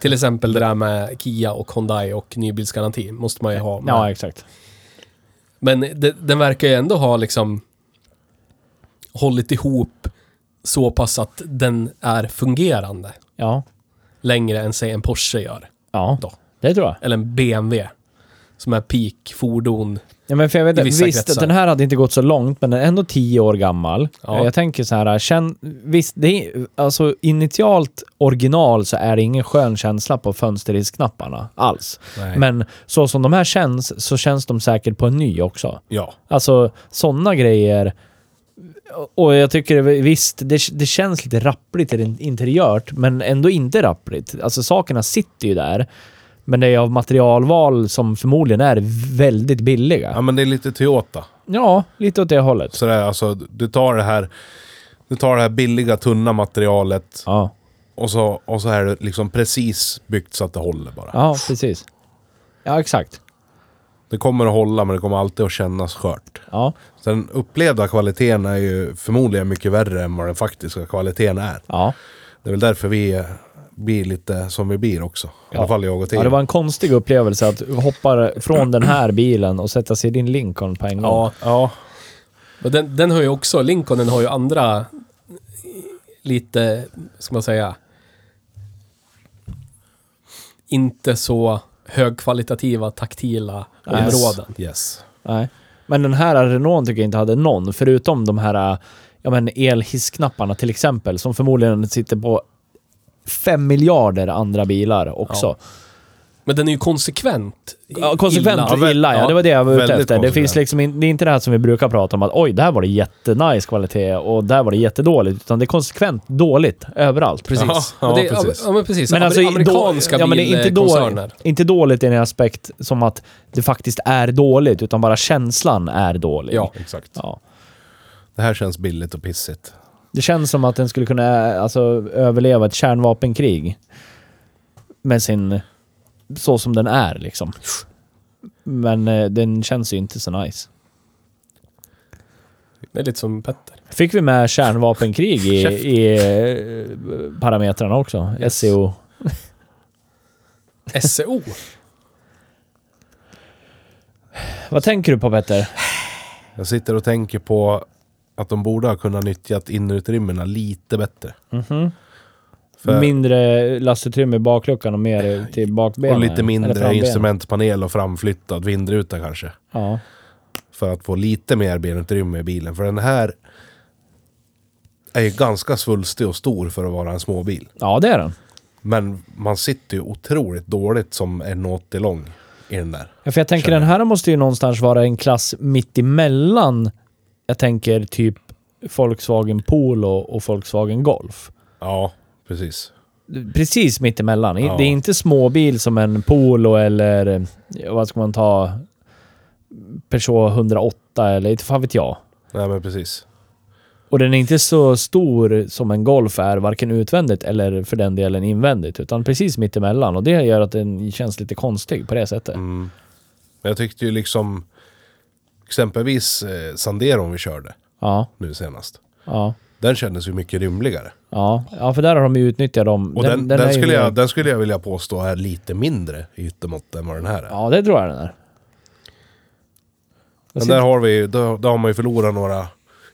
Speaker 1: Till exempel det där med Kia och Hyundai och nybilsgaranti måste man ju ha. med.
Speaker 3: ja, exakt.
Speaker 1: Men det, den verkar ju ändå ha liksom hållit ihop så pass att den är fungerande
Speaker 3: Ja.
Speaker 1: längre än säg en Porsche gör.
Speaker 3: Ja,
Speaker 1: Då.
Speaker 3: det tror jag.
Speaker 1: Eller en BMW. Som är peak-fordon.
Speaker 3: Ja, men för jag vet,
Speaker 1: I vissa
Speaker 3: visst,
Speaker 1: kretsar.
Speaker 3: den här hade inte gått så långt, men den är ändå tio år gammal. Eh,
Speaker 1: Ja.
Speaker 3: Jag tänker så här, känn, visst, det är, alltså initialt original så är det ingen skön känsla på fönsterrisknapparna alls.
Speaker 2: Nej.
Speaker 3: Men så som de här känns, så känns de säkert på en ny också.
Speaker 2: Ja.
Speaker 3: Alltså sådana grejer. Och jag tycker det- visst, det, det känns lite rappligt i den interiört, men ändå inte rappligt. Alltså sakerna sitter ju där. Men det är av materialval som förmodligen är väldigt
Speaker 2: ja,
Speaker 3: billiga.
Speaker 2: men det är lite Toyota.
Speaker 3: Ja, lite åt det hållet.
Speaker 2: Sådär, alltså, du tar det här... Du tar det här billiga, tunna materialet
Speaker 3: Ja,
Speaker 2: Och så, och så är det liksom precis byggt så att det håller bara.
Speaker 3: Ja, precis. Ja, exakt.
Speaker 2: Det kommer att hålla men det kommer alltid att kännas skört.
Speaker 3: Ja,
Speaker 2: Så den upplevda kvaliteten är ju förmodligen mycket värre än vad den faktiska kvaliteten är.
Speaker 3: ja.
Speaker 2: Det är väl därför vi blir lite som vi blir också. I alla fall jag och Theo.
Speaker 3: ja. Det var en konstig upplevelse att hoppa från den här bilen och sätta sig i din Lincoln på en gång.
Speaker 1: Ja.
Speaker 2: Ja,
Speaker 1: Men den, den har ju också, Lincolnen har ju andra lite, ska man säga, inte så högkvalitativa taktila
Speaker 3: Yes.
Speaker 1: områden.
Speaker 2: Yes.
Speaker 3: Nej. Men den här Renault tycker jag inte hade någon, förutom de här ja, men elhissknapparna till exempel, som förmodligen sitter på fem miljarder andra bilar också.
Speaker 1: Men den är ju konsekvent
Speaker 3: Ja, konsekvent illa, ja, det var det jag var ute
Speaker 2: väldigt
Speaker 3: efter. Det, finns
Speaker 2: konsekvent.
Speaker 3: liksom in, det är inte det här som vi brukar prata om, att oj, där var det jättenice kvalitet och där var det jättedåligt, utan det är konsekvent dåligt överallt.
Speaker 1: Precis.
Speaker 2: Ja,
Speaker 1: Ja, det,
Speaker 2: ja,
Speaker 1: ja,
Speaker 2: precis.
Speaker 1: ja, men precis.
Speaker 3: Men
Speaker 1: Amer-
Speaker 3: alltså, i-
Speaker 1: amerikanska
Speaker 3: då- ja, men det är inte då-
Speaker 1: bilkoncerner.
Speaker 3: Inte dåligt i en aspekt som att det faktiskt är dåligt, utan bara känslan är dålig.
Speaker 1: Ja.
Speaker 2: Exakt.
Speaker 3: ja.
Speaker 2: Det här känns billigt och pissigt.
Speaker 3: Det känns som att den skulle kunna alltså, överleva ett kärnvapenkrig. Med sin... Så som den är liksom. Men eh, den känns ju inte så nice.
Speaker 1: Det är lite som Petter.
Speaker 3: Fick vi med kärnvapenkrig i,
Speaker 1: Käft.
Speaker 3: i eh, parametrarna också? E
Speaker 1: Yes.
Speaker 3: SEO.
Speaker 1: SEO.
Speaker 3: Vad tänker du på Petter?
Speaker 2: Jag sitter och tänker på att de borde ha kunnat nyttjat innerutrymmena lite bättre. För-
Speaker 3: Mindre lastutrymme i bakluckan och mer till bakbenen?
Speaker 2: Och lite
Speaker 3: eller
Speaker 2: mindre
Speaker 3: frambenen?
Speaker 2: instrumentpanel och framflyttad vindruta kanske.
Speaker 3: Ja.
Speaker 2: För att få lite mer benutrymme i bilen. För den här är ju ganska svulstig och stor för att vara en småbil.
Speaker 3: ja, det är den.
Speaker 2: Men man sitter ju otroligt dåligt som en 80 lång i den där.
Speaker 3: Ja, för jag tänker
Speaker 2: Känner.
Speaker 3: den här måste ju någonstans vara en klass mitt emellan. Jag tänker typ Volkswagen Polo och Volkswagen Golf.
Speaker 2: Ja, precis.
Speaker 3: Precis mitt emellan. I-
Speaker 2: Ja.
Speaker 3: Det är inte småbil som en Polo eller eh, vad ska man ta? Peugeot 108 eller inte fan vet jag.
Speaker 2: Nej men precis.
Speaker 3: Och den är inte så stor som en Golf är, varken utvändigt eller för den delen invändigt, utan precis mitt emellan. Och det gör att den känns lite konstig på det sättet.
Speaker 2: Mm. Men jag tyckte ju liksom exempelvis eh, Sanderon vi körde
Speaker 3: Ja,
Speaker 2: nu senast.
Speaker 3: ja,
Speaker 2: Den kändes ju mycket rymligare.
Speaker 3: ja, ja, för där har de ju utnyttjat dem.
Speaker 2: Och den, den,
Speaker 3: är ju
Speaker 2: skulle,
Speaker 3: mer-
Speaker 2: jag, den skulle jag vilja påstå är lite mindre i yttermått än vad den här är.
Speaker 3: Ja, det tror jag den är.
Speaker 2: Men där har, vi, då, då har man ju förlorat några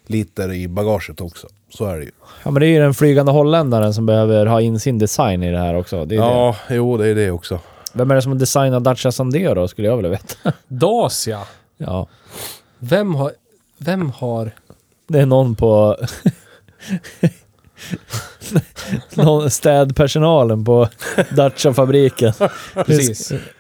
Speaker 2: liter i bagaget också. Så är det ju.
Speaker 3: Ja, men det är ju den flygande holländaren som behöver ha in sin design i det här också. Det är det.
Speaker 2: Ja, jo det är det också.
Speaker 3: Vem är det som har designat Dacia Sandero då, skulle jag vilja veta.
Speaker 1: Dacia.
Speaker 3: Ja,
Speaker 1: Vem har... Vem har...
Speaker 3: det är någon på... någon städpersonalen på Dacia-fabriken.
Speaker 1: Precis.
Speaker 3: Hur,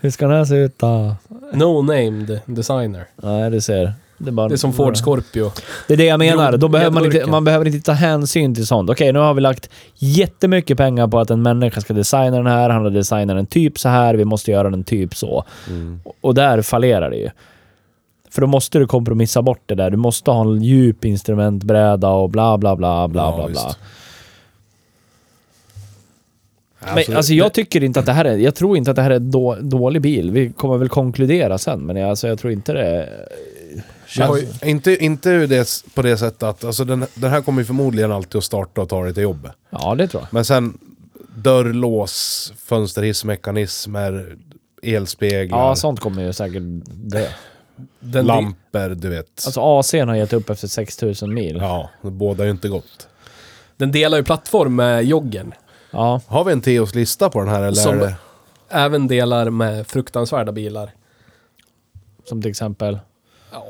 Speaker 3: hur ska den här se ut då?
Speaker 1: No-named designer.
Speaker 3: Nej, du ser. Det är, bara
Speaker 1: Det är som Ford Scorpio.
Speaker 3: Det är det jag menar. Då
Speaker 1: Grod-
Speaker 3: behöver man, inte,
Speaker 1: gräddburken.
Speaker 3: man behöver inte ta hänsyn till sånt. Okej, nu har vi lagt jättemycket pengar på att en människa ska designa den här. Han har designat den typ så här. Vi måste göra den typ så. Och där fallerar det ju. För då måste du kompromissa bort det där. Du måste ha en djup instrumentbräda och bla bla bla bla
Speaker 2: Ja,
Speaker 3: bla bla.
Speaker 2: visst.
Speaker 3: Men, alltså, jag tycker inte att det här är... Jag tror inte att det här är en då, dålig bil. Vi kommer väl konkludera sen, men jag, alltså, jag tror inte det... är-
Speaker 2: det, alltså, inte, inte ur det, på det sättet att, alltså den, den här kommer ju förmodligen alltid att starta och ta dig till jobbet.
Speaker 3: Ja, det tror jag.
Speaker 2: Men sen dörrlås, fönsterhissmekanismer, elspeglar,
Speaker 3: Ja, sånt kommer ju säkert dö.
Speaker 1: Den
Speaker 2: lampor, du vet.
Speaker 3: Alltså AC'n har gett upp efter 6000 mil. Ja.
Speaker 2: ja, det bådar ju inte gott.
Speaker 1: Den delar ju plattform med joggen.
Speaker 3: ja.
Speaker 2: Har vi en Theos lista på den här eller?
Speaker 1: Som-
Speaker 2: är det-
Speaker 1: Även delar med fruktansvärda bilar.
Speaker 3: Som till exempel.
Speaker 1: Ja,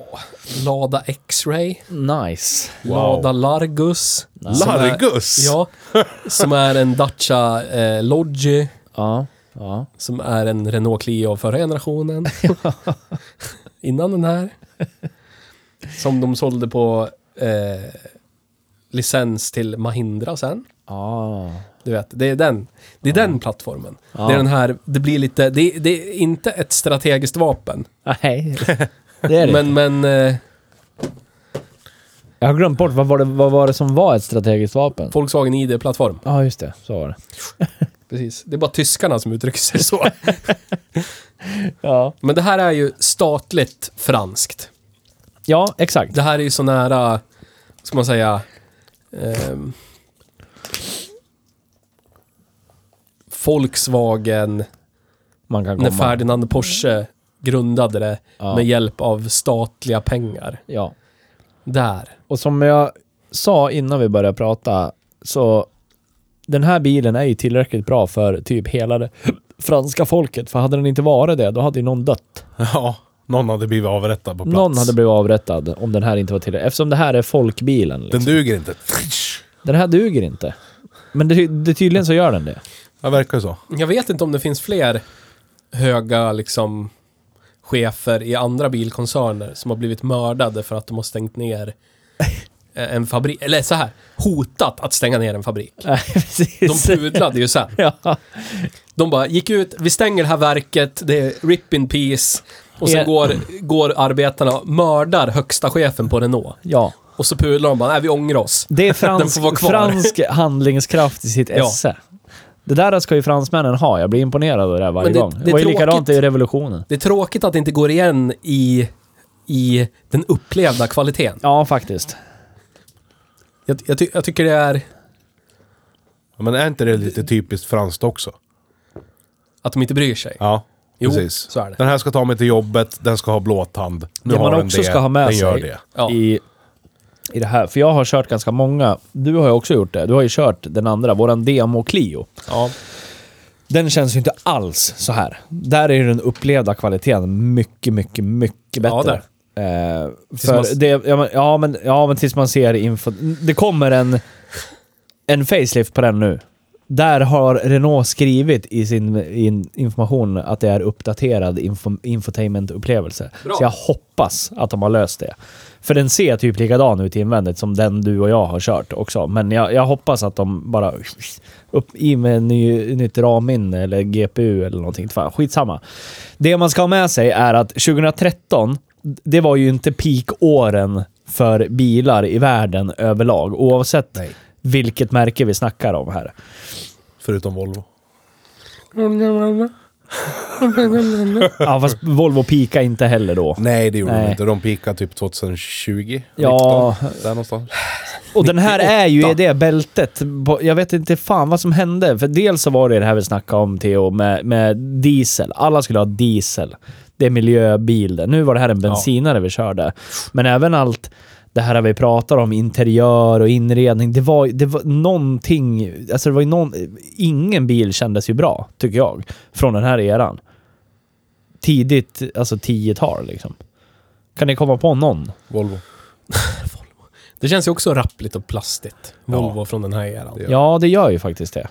Speaker 1: Lada X-Ray.
Speaker 3: Nice.
Speaker 1: Lada Largus. som är-
Speaker 2: Largus?
Speaker 1: Ja. Som är en Dacia eh, Loggi.
Speaker 3: Ja. Ja.
Speaker 1: Som är en Renault Clio av förra generationen. Innan den här. Som de sålde på eh, licens till Mahindra sen.
Speaker 3: Ja.
Speaker 1: Du vet, det är den. Det är den plattformen. Det är den här, det blir lite, det, det är inte ett
Speaker 3: Ah,
Speaker 1: strategiskt vapen.
Speaker 3: Nej. Det är det.
Speaker 1: Men, men... Eh,
Speaker 3: Jag har glömt bort, vad var det, vad var det som var ett strategiskt vapen?
Speaker 1: Volkswagen ID-plattform.
Speaker 3: Ja, just det. Så var det.
Speaker 1: Precis. Det är bara tyskarna som uttrycker sig så.
Speaker 3: Ja,
Speaker 1: Men det här är ju statligt franskt.
Speaker 3: ja exakt.
Speaker 1: Det här är ju så nära, vad ska man säga, ehm, Volkswagen,
Speaker 3: Man kan
Speaker 1: när
Speaker 3: komma.
Speaker 1: Ferdinand Porsche grundade det
Speaker 3: Ja.
Speaker 1: med hjälp av statliga pengar.
Speaker 3: Ja.
Speaker 1: Där.
Speaker 3: Och som jag sa innan vi började prata, så den här bilen är ju tillräckligt bra för typ hela det franska folket. För hade den inte varit det, då hade ju någon dött.
Speaker 2: Ja, någon hade blivit avrättad på plats.
Speaker 3: Någon hade blivit avrättad om den här inte var tillräckligt. Eftersom det här är folkbilen. Liksom.
Speaker 2: Den duger inte.
Speaker 3: Den här duger inte. Men det, det tydligen så gör den det.
Speaker 2: Det verkar ju så.
Speaker 1: Jag vet inte om det finns fler höga liksom chefer i andra bilkoncerner som har blivit mördade för att de har stängt ner eh, en fabrik, eller så här, hotat att stänga ner en fabrik.
Speaker 3: Nej, precis.
Speaker 1: De pudlade ju sen.
Speaker 3: ja.
Speaker 1: De bara gick ut, vi stänger det här verket, det är rip in peace. Och sen
Speaker 3: Ja.
Speaker 1: går, går arbetarna och mördar högsta chefen på Renault.
Speaker 3: ja.
Speaker 1: Och så pudlar de bara, nej vi ångrar oss.
Speaker 3: Det är
Speaker 1: Den får vara
Speaker 3: fransk,
Speaker 1: kvar.
Speaker 3: fransk handlingskraft i sitt
Speaker 1: Ja.
Speaker 3: esse. Det där ska ju fransmännen ha. Jag blir imponerad av det där varje
Speaker 1: Men det-
Speaker 3: gång.
Speaker 1: det är
Speaker 3: Det var ju likadant
Speaker 1: tråkigt.
Speaker 3: i revolutionen.
Speaker 1: Det är tråkigt att det inte går igen i, i den upplevda kvaliteten.
Speaker 3: Ja, faktiskt.
Speaker 1: Jag, jag, ty, jag tycker det är
Speaker 2: Men är inte det lite typiskt franskt också?
Speaker 1: att de inte bryr sig.
Speaker 2: Ja,
Speaker 1: Jo,
Speaker 2: precis.
Speaker 1: så är det.
Speaker 2: Den här ska ta mig till jobbet, den ska ha blåtand. Nu
Speaker 3: det
Speaker 2: har
Speaker 3: man
Speaker 2: den
Speaker 3: också
Speaker 2: det.
Speaker 3: ska ha med
Speaker 2: den
Speaker 3: sig
Speaker 2: gör det.
Speaker 1: Ja.
Speaker 3: i, i det här. För jag har kört ganska många. Du har ju också gjort det. Du har ju kört den andra, våran Demo Clio.
Speaker 1: Ja.
Speaker 3: Den känns ju inte alls så här. Där är ju den upplevda kvaliteten mycket, mycket, mycket
Speaker 1: Ja,
Speaker 3: bättre. Eh, för
Speaker 1: man s-
Speaker 3: det, ja, men, ja, men, ja, men tills man ser info. Det kommer en, en facelift på den nu. Där har Renault skrivit i sin in, information att det är uppdaterad info, infotainment-upplevelse.
Speaker 1: Bra.
Speaker 3: Så jag hoppas att de har löst det. För den ser typ likadan ut invändigt som den du och jag har kört också. Men jag, jag hoppas att de bara upp i med en ny, nytt RAM-minne eller GPU eller någonting. Fan, skitsamma. Det man ska ha med sig är att 2013, det var ju inte peak-åren för bilar i världen överlag. Oavsett
Speaker 2: Nej.
Speaker 3: vilket märke vi snackar om här.
Speaker 2: Förutom Volvo.
Speaker 3: Ja, fast Volvo pika inte heller då.
Speaker 2: Nej, det gjorde
Speaker 3: Nej.
Speaker 2: de inte. De peakade typ 2020.
Speaker 3: Ja.
Speaker 2: 19, där någonstans.
Speaker 3: Och den här är ju i
Speaker 2: 98.
Speaker 3: det bältet. på- Jag vet inte fan vad som hände. För dels så var det det här vi snackade om Theo med, med diesel. Alla skulle ha diesel. Det är miljöbil. det. Nu var det här en bensinare vi körde. Men även allt det här vi pratar om, interiör och inredning. Det var, det var någonting... Alltså det var ju någon, ingen bil kändes ju bra, tycker jag. Från den här eran. Tidigt, alltså 10-tal liksom. Kan ni komma på någon?
Speaker 2: Volvo.
Speaker 1: Det känns ju också rappligt och plastigt. Volvo från den här eran.
Speaker 2: Det- Ja.
Speaker 3: Ja, det gör ju faktiskt det.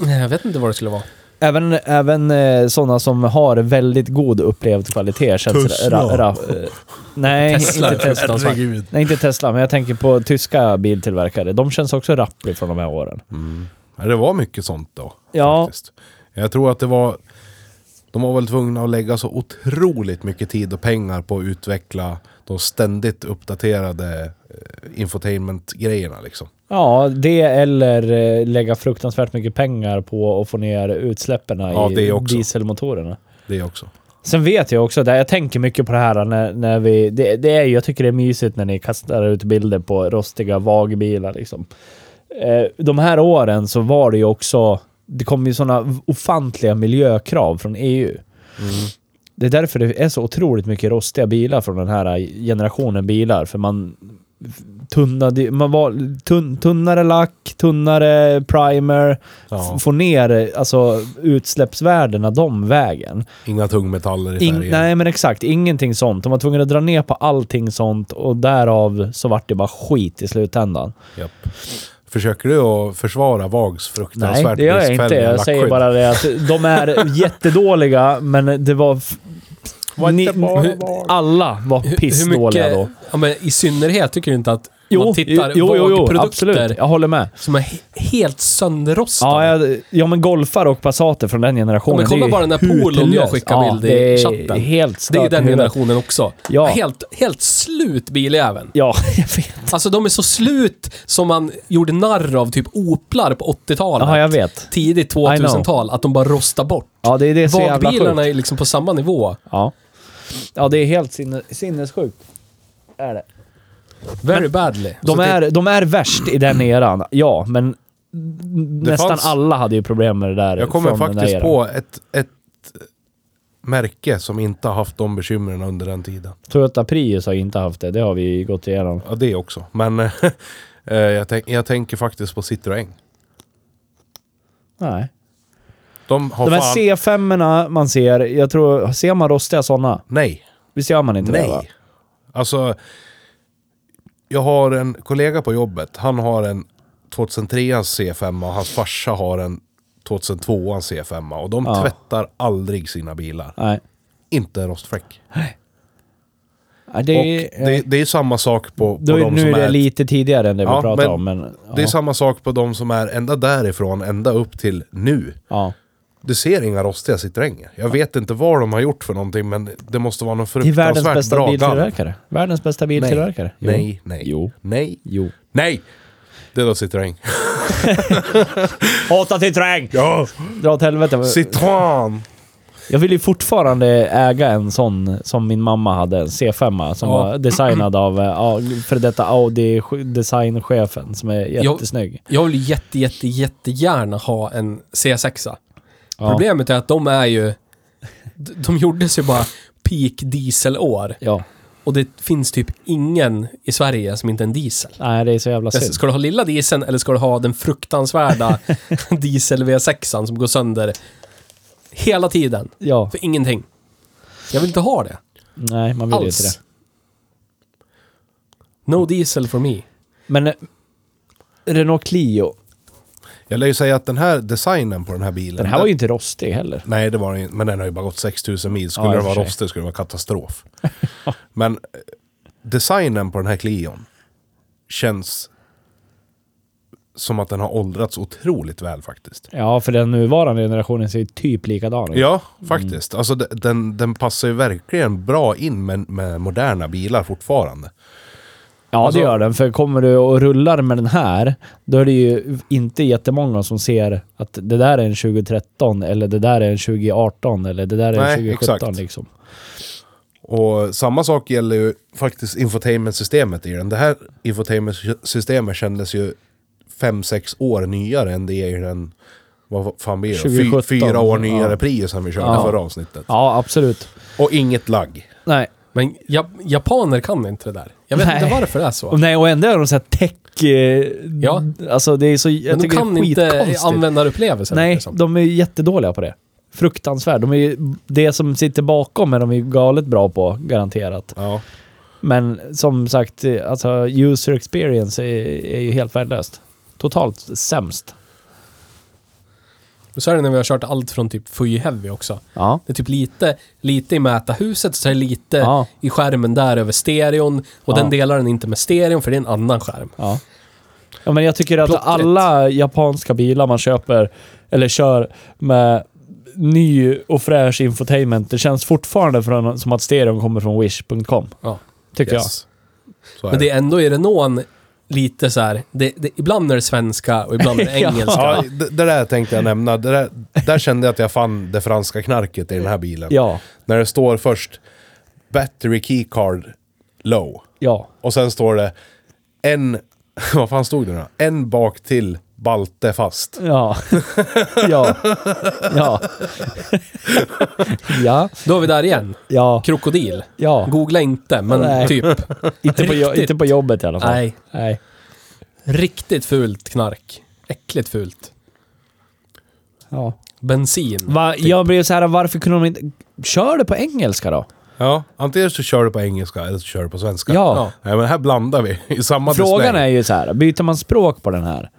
Speaker 1: Nej, Jag vet inte vad det skulle vara.
Speaker 3: Även, även eh, sådana som har väldigt god upplevd kvalitet känns
Speaker 2: Tesla.
Speaker 3: eh, nej,
Speaker 1: Tesla
Speaker 3: inte
Speaker 1: är
Speaker 3: Tesla. fan. Nej, inte Tesla, men jag tänker på tyska biltillverkare. De känns också rappliga från de här åren.
Speaker 2: Ja, Det var mycket sånt då.
Speaker 3: Ja.
Speaker 2: Faktiskt. Jag tror att det var... De var väl tvungna att lägga så otroligt mycket tid och pengar på att utveckla de ständigt uppdaterade eh, infotainment-grejerna liksom.
Speaker 3: Ja, det eller eh, lägga fruktansvärt mycket pengar på att få ner utsläppen
Speaker 2: Ja,
Speaker 3: i
Speaker 2: det också.
Speaker 3: dieselmotorerna.
Speaker 2: Det också.
Speaker 3: Sen vet jag också, det här- jag tänker mycket på det här när, när vi... Det, det är, ju- jag tycker det är mysigt när ni kastar ut bilder på rostiga vagbilar. Liksom. Eh, de här åren så var det ju också... Det kom ju sådana ofantliga miljökrav från EU. Det är därför det är så otroligt mycket rostiga bilar från den här generationen bilar. För man tunnade... Man var tunn, tunnare lack, tunnare primer.
Speaker 2: Ja.
Speaker 3: F- Få ner alltså, utsläppsvärdena de vägen.
Speaker 2: Inga tungmetaller i
Speaker 3: In,
Speaker 2: färgen.
Speaker 3: nej men exakt, ingenting sånt. De var tvungna att dra ner på allting sånt och därav så vart det bara skit i slutändan.
Speaker 2: Japp. Försöker du att försvara Vags
Speaker 3: Nej,
Speaker 2: fruktansvärt
Speaker 3: det gör jag inte.
Speaker 2: bristfälliga
Speaker 3: Jag säger
Speaker 2: lackskydd?
Speaker 3: bara det att de är jättedåliga, men det var... f-
Speaker 2: Var inte
Speaker 3: Ni,
Speaker 2: bara
Speaker 3: hur-
Speaker 2: var.
Speaker 3: alla var
Speaker 1: Hur- hur
Speaker 3: pissdåliga
Speaker 1: mycket-
Speaker 3: då.
Speaker 1: Ja, men i synnerhet tycker du inte att man tittar
Speaker 3: jo, jo, jo,
Speaker 1: vågprodukter
Speaker 3: absolut. Jag håller med.
Speaker 1: som är he- helt sönderrostade.
Speaker 3: Ja, jag, ja, men golfar och Passater från den generationen.
Speaker 1: Ja, men kolla
Speaker 3: det är ju
Speaker 1: bara den här
Speaker 3: hur
Speaker 1: polon jag
Speaker 3: tillös.
Speaker 1: skickar bild i
Speaker 3: det är
Speaker 1: chatten.
Speaker 3: Helt
Speaker 1: det är ju
Speaker 3: stört i
Speaker 1: den
Speaker 3: huvudet.
Speaker 1: generationen också.
Speaker 3: Ja.
Speaker 1: Helt, helt slut biljäveln.
Speaker 3: Ja, jag vet.
Speaker 1: Alltså de är så slut som man gjorde narr av typ oplar på 80-talet.
Speaker 3: Ja, jag vet.
Speaker 1: Tidigt 2000-tal. Att de bara rostar bort.
Speaker 3: Ja, det är det är så jävla
Speaker 1: Bakbilarna
Speaker 3: sjukt.
Speaker 1: är liksom på samma nivå.
Speaker 3: Ja. ja, det är helt sinne, sinnessjukt. Är det.
Speaker 1: Very badly. Så
Speaker 3: De,
Speaker 1: det-
Speaker 3: är, de är värst i den eran, ja, men nästan
Speaker 2: fanns-
Speaker 3: alla hade ju problem med det där.
Speaker 2: Jag kommer
Speaker 3: från den där
Speaker 2: faktiskt
Speaker 3: eran.
Speaker 2: på ett, ett märke som inte har haft de bekymren under den tiden.
Speaker 3: Toyota Prius har inte haft det, det har vi gått igenom.
Speaker 2: Ja, det också. Men eh, jag, tänk, jag tänker faktiskt på Citroën.
Speaker 3: Nej.
Speaker 2: De har
Speaker 3: De här
Speaker 2: fan...
Speaker 3: c 5 man ser, jag tror, ser man rostiga sådana?
Speaker 2: Nej.
Speaker 3: Visst gör man inte det? va?
Speaker 2: Nej. Alltså, jag har en kollega på jobbet. Han har en 2003 C5 och hans farsa har en 2002 C5 och de
Speaker 3: Ja.
Speaker 2: tvättar aldrig sina bilar.
Speaker 3: Nej.
Speaker 2: Inte en rostfläck.
Speaker 3: Ja, Det,
Speaker 2: och
Speaker 3: är-
Speaker 2: det, det är samma sak på, på
Speaker 3: då, är-
Speaker 2: de
Speaker 3: nu
Speaker 2: som
Speaker 3: är det
Speaker 2: är...
Speaker 3: lite tidigare än det vi
Speaker 2: Ja,
Speaker 3: pratar
Speaker 2: men
Speaker 3: om, men... Ja.
Speaker 2: Det är samma sak på de som är ända därifrån, ända upp till nu.
Speaker 3: ja.
Speaker 2: Du ser inga rostiga Citroënger. Jag vet inte vad de har gjort för någonting, men det måste vara någon
Speaker 3: Det är världens
Speaker 2: fruktansvärt
Speaker 3: bästa
Speaker 2: bra gammal.
Speaker 3: biltillverkare. Världens bästa biltillverkare. Jo.
Speaker 2: Nej, nej,
Speaker 3: Jo.
Speaker 2: nej,
Speaker 3: Jo.
Speaker 2: nej! Det är då Citroën.
Speaker 3: Hata Citroën!
Speaker 2: Ja,
Speaker 3: Dra åt helvete.
Speaker 2: Citroën!
Speaker 3: Jag vill ju fortfarande äga en sån som min mamma hade, en C5 som
Speaker 1: Ja.
Speaker 3: var designad av eh, ja, för detta Audi-designchefen som är jättesnygg.
Speaker 1: Jag vill ju jätte, jätte, jättegärna ha en C6.
Speaker 3: Ja.
Speaker 1: Problemet är att de är ju... d- De gjordes ju bara peak dieselår.
Speaker 3: Ja.
Speaker 1: Och det finns typ ingen i Sverige som inte är en diesel.
Speaker 3: Nej, det är så jävla synd.
Speaker 1: Ska du ha lilla dieseln eller ska du ha den fruktansvärda diesel V6 som går sönder hela tiden?
Speaker 3: Ja.
Speaker 1: För ingenting. Jag vill inte ha det.
Speaker 3: Nej, man vill ju inte
Speaker 1: Alls.
Speaker 3: det.
Speaker 1: No diesel for me.
Speaker 3: Men eh, Renault Clio.
Speaker 2: Jag lär ju säga att den här designen på den här bilen...
Speaker 3: Den här var ju inte rostig heller.
Speaker 2: Nej, det var den inte. Men den har ju bara gått 6000 mil. Skulle
Speaker 3: Ja, i
Speaker 2: den
Speaker 3: och för
Speaker 2: vara
Speaker 3: sig.
Speaker 2: rostig skulle det vara katastrof. men eh, designen på den här Clion känns som att den har åldrats otroligt väl faktiskt.
Speaker 3: Ja, för den nuvarande generationen ser ju typ likadan ut.
Speaker 2: Ja, faktiskt. Alltså de- den, den passar ju verkligen bra in med, med moderna bilar fortfarande.
Speaker 3: Ja,
Speaker 2: Alltså-
Speaker 3: det gör den. För kommer du och rullar med den här, då är det ju inte jättemånga som ser att det där är en 2013 eller det där är en 2018 eller det där är
Speaker 2: Nej,
Speaker 3: en 2017
Speaker 2: exakt.
Speaker 3: liksom.
Speaker 2: Och samma sak gäller ju faktiskt infotainmentsystemet i den. Det här infotainmentsystemet kändes ju 5-6 år nyare än det är i den, vad fan blir det? Fy,
Speaker 3: 2017.
Speaker 2: fyra år nyare
Speaker 3: Ja.
Speaker 2: pris som vi körde
Speaker 3: Ja.
Speaker 2: förra avsnittet.
Speaker 3: Ja, absolut.
Speaker 2: Och inget lagg.
Speaker 3: Nej.
Speaker 1: Men ja, japaner kan inte det där. Jag vet
Speaker 3: Nej.
Speaker 1: inte varför det är så.
Speaker 3: Och, nej, och ändå är de så här tech... Eh, ja.
Speaker 1: Ja.
Speaker 3: Alltså det är så... Jag
Speaker 1: Men de
Speaker 3: tycker
Speaker 1: kan
Speaker 3: det är
Speaker 1: inte
Speaker 3: skitkonstigt.
Speaker 1: användarupplevelsen.
Speaker 3: Nej,
Speaker 1: liksom.
Speaker 3: de är ju jättedåliga på det. Fruktansvärt. De är ju, det som sitter bakom är de ju galet bra på, garanterat.
Speaker 2: Ja.
Speaker 3: Men som sagt, eh, alltså user experience är, är ju helt värdelöst. Totalt sämst.
Speaker 1: Och så är det när vi har kört allt från typ Fuji Heavy också.
Speaker 3: Ja.
Speaker 1: Det är typ lite, lite i mätarhuset, så är det lite
Speaker 3: Ja.
Speaker 1: i skärmen där över stereon. Och
Speaker 3: Ja.
Speaker 1: den delar den inte med stereon för det är en annan skärm.
Speaker 3: Ja. ja men jag tycker att
Speaker 1: Plottrigt.
Speaker 3: alla japanska bilar man köper eller kör med ny och fräsch infotainment, det känns fortfarande från, som att stereon kommer från wish.com.
Speaker 1: Ja.
Speaker 3: Tycker
Speaker 2: Yes. Så är
Speaker 1: Men det är ändå i Renault lite så här, det, det, ibland är det svenska och ibland är det
Speaker 3: Ja.
Speaker 1: engelska.
Speaker 2: Ja, det, det där tänkte jag nämna. Det där, där kände jag att jag fann det franska knarket i den här bilen.
Speaker 3: jag. Ja,
Speaker 2: När det står först battery keycard low.
Speaker 3: ja.
Speaker 2: Och sen står det en, vad fan stod det nu då? En bak till balte fast.
Speaker 3: Ja. ja. Ja. ja.
Speaker 1: Då är vi där igen.
Speaker 3: Ja.
Speaker 1: Krokodil.
Speaker 3: Ja.
Speaker 1: Googla inte, men
Speaker 3: Nej.
Speaker 1: typ.
Speaker 3: Inte på, jo-
Speaker 1: Riktigt.
Speaker 3: inte på jobbet i alla fall.
Speaker 1: Nej.
Speaker 3: Nej.
Speaker 1: Riktigt fult knark. Äckligt fult.
Speaker 3: Ja.
Speaker 1: Bensin.
Speaker 3: Va,
Speaker 2: Typ.
Speaker 3: Jag blev så här, varför kunde de inte... Kör det på engelska då?
Speaker 2: Ja, antingen så kör du på engelska eller så kör du på svenska.
Speaker 3: Ja.
Speaker 2: Nej, men här blandar vi i samma
Speaker 3: Frågan
Speaker 2: display.
Speaker 3: är ju så här, byter man språk på den här